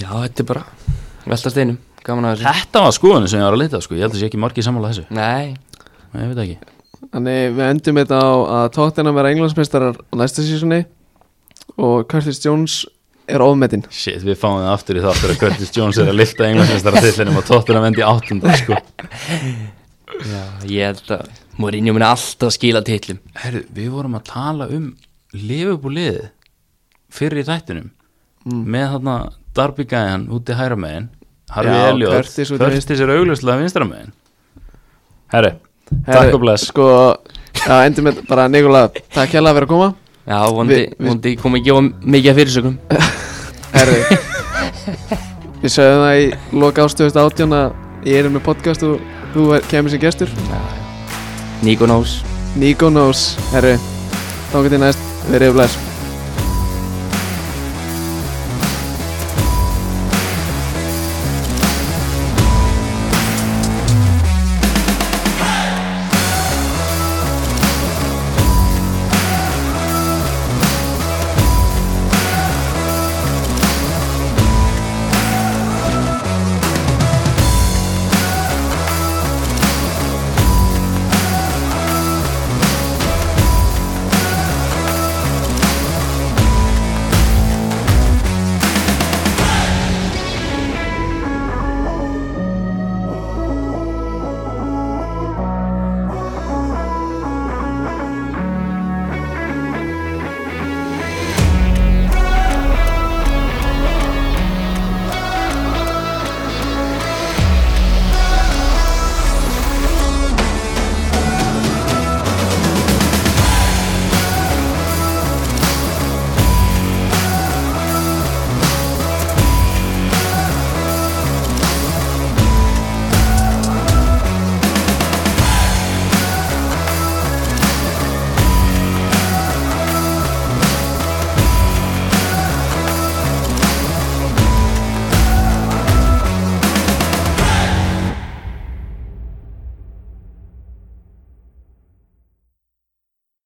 S3: já, þetta er bara velta steinum, gaman að þessu.
S2: þetta var skoðinu sem ég var að leita sko. ég held að sé ekki margir sammála þessu,
S3: Nei,
S2: Nei, ég veit ekki
S1: Þannig við endum þetta á að Tottenham vera englandsmeistarar á næsta sísunni og Curtis Jones er ofmetinn
S2: Shit, við fáum það aftur í þáttur að Curtis Jones er að lifta englansinstara tillinum og Tottenham endi áttunda sko.
S3: já, ég held að Mourinho myndi alltaf skila titlum.
S2: Herru, við vorum að tala um lifubúliðið fyrir í þættinum
S1: Mm.
S2: með þarna Darby Gæjan úti hæra megin Harfi
S1: Já,
S2: Elliot,
S1: Curtis úti
S2: Curtis er auglustlega vinstra megin Herru, takk og bless
S1: Sko, já, endum þetta bara Nikola, takk hérlega fyrir að koma
S3: Já, vondi,
S1: Vi- við-
S3: vondi kom ekki á mikið af fyrirsökum.
S1: Herri Við sögum það í loka ástöðust átján að ég er með podcast og þú er- kemur sem gestur
S3: Nikonós.
S1: Nikonós, herri Þá getið næst, verið bless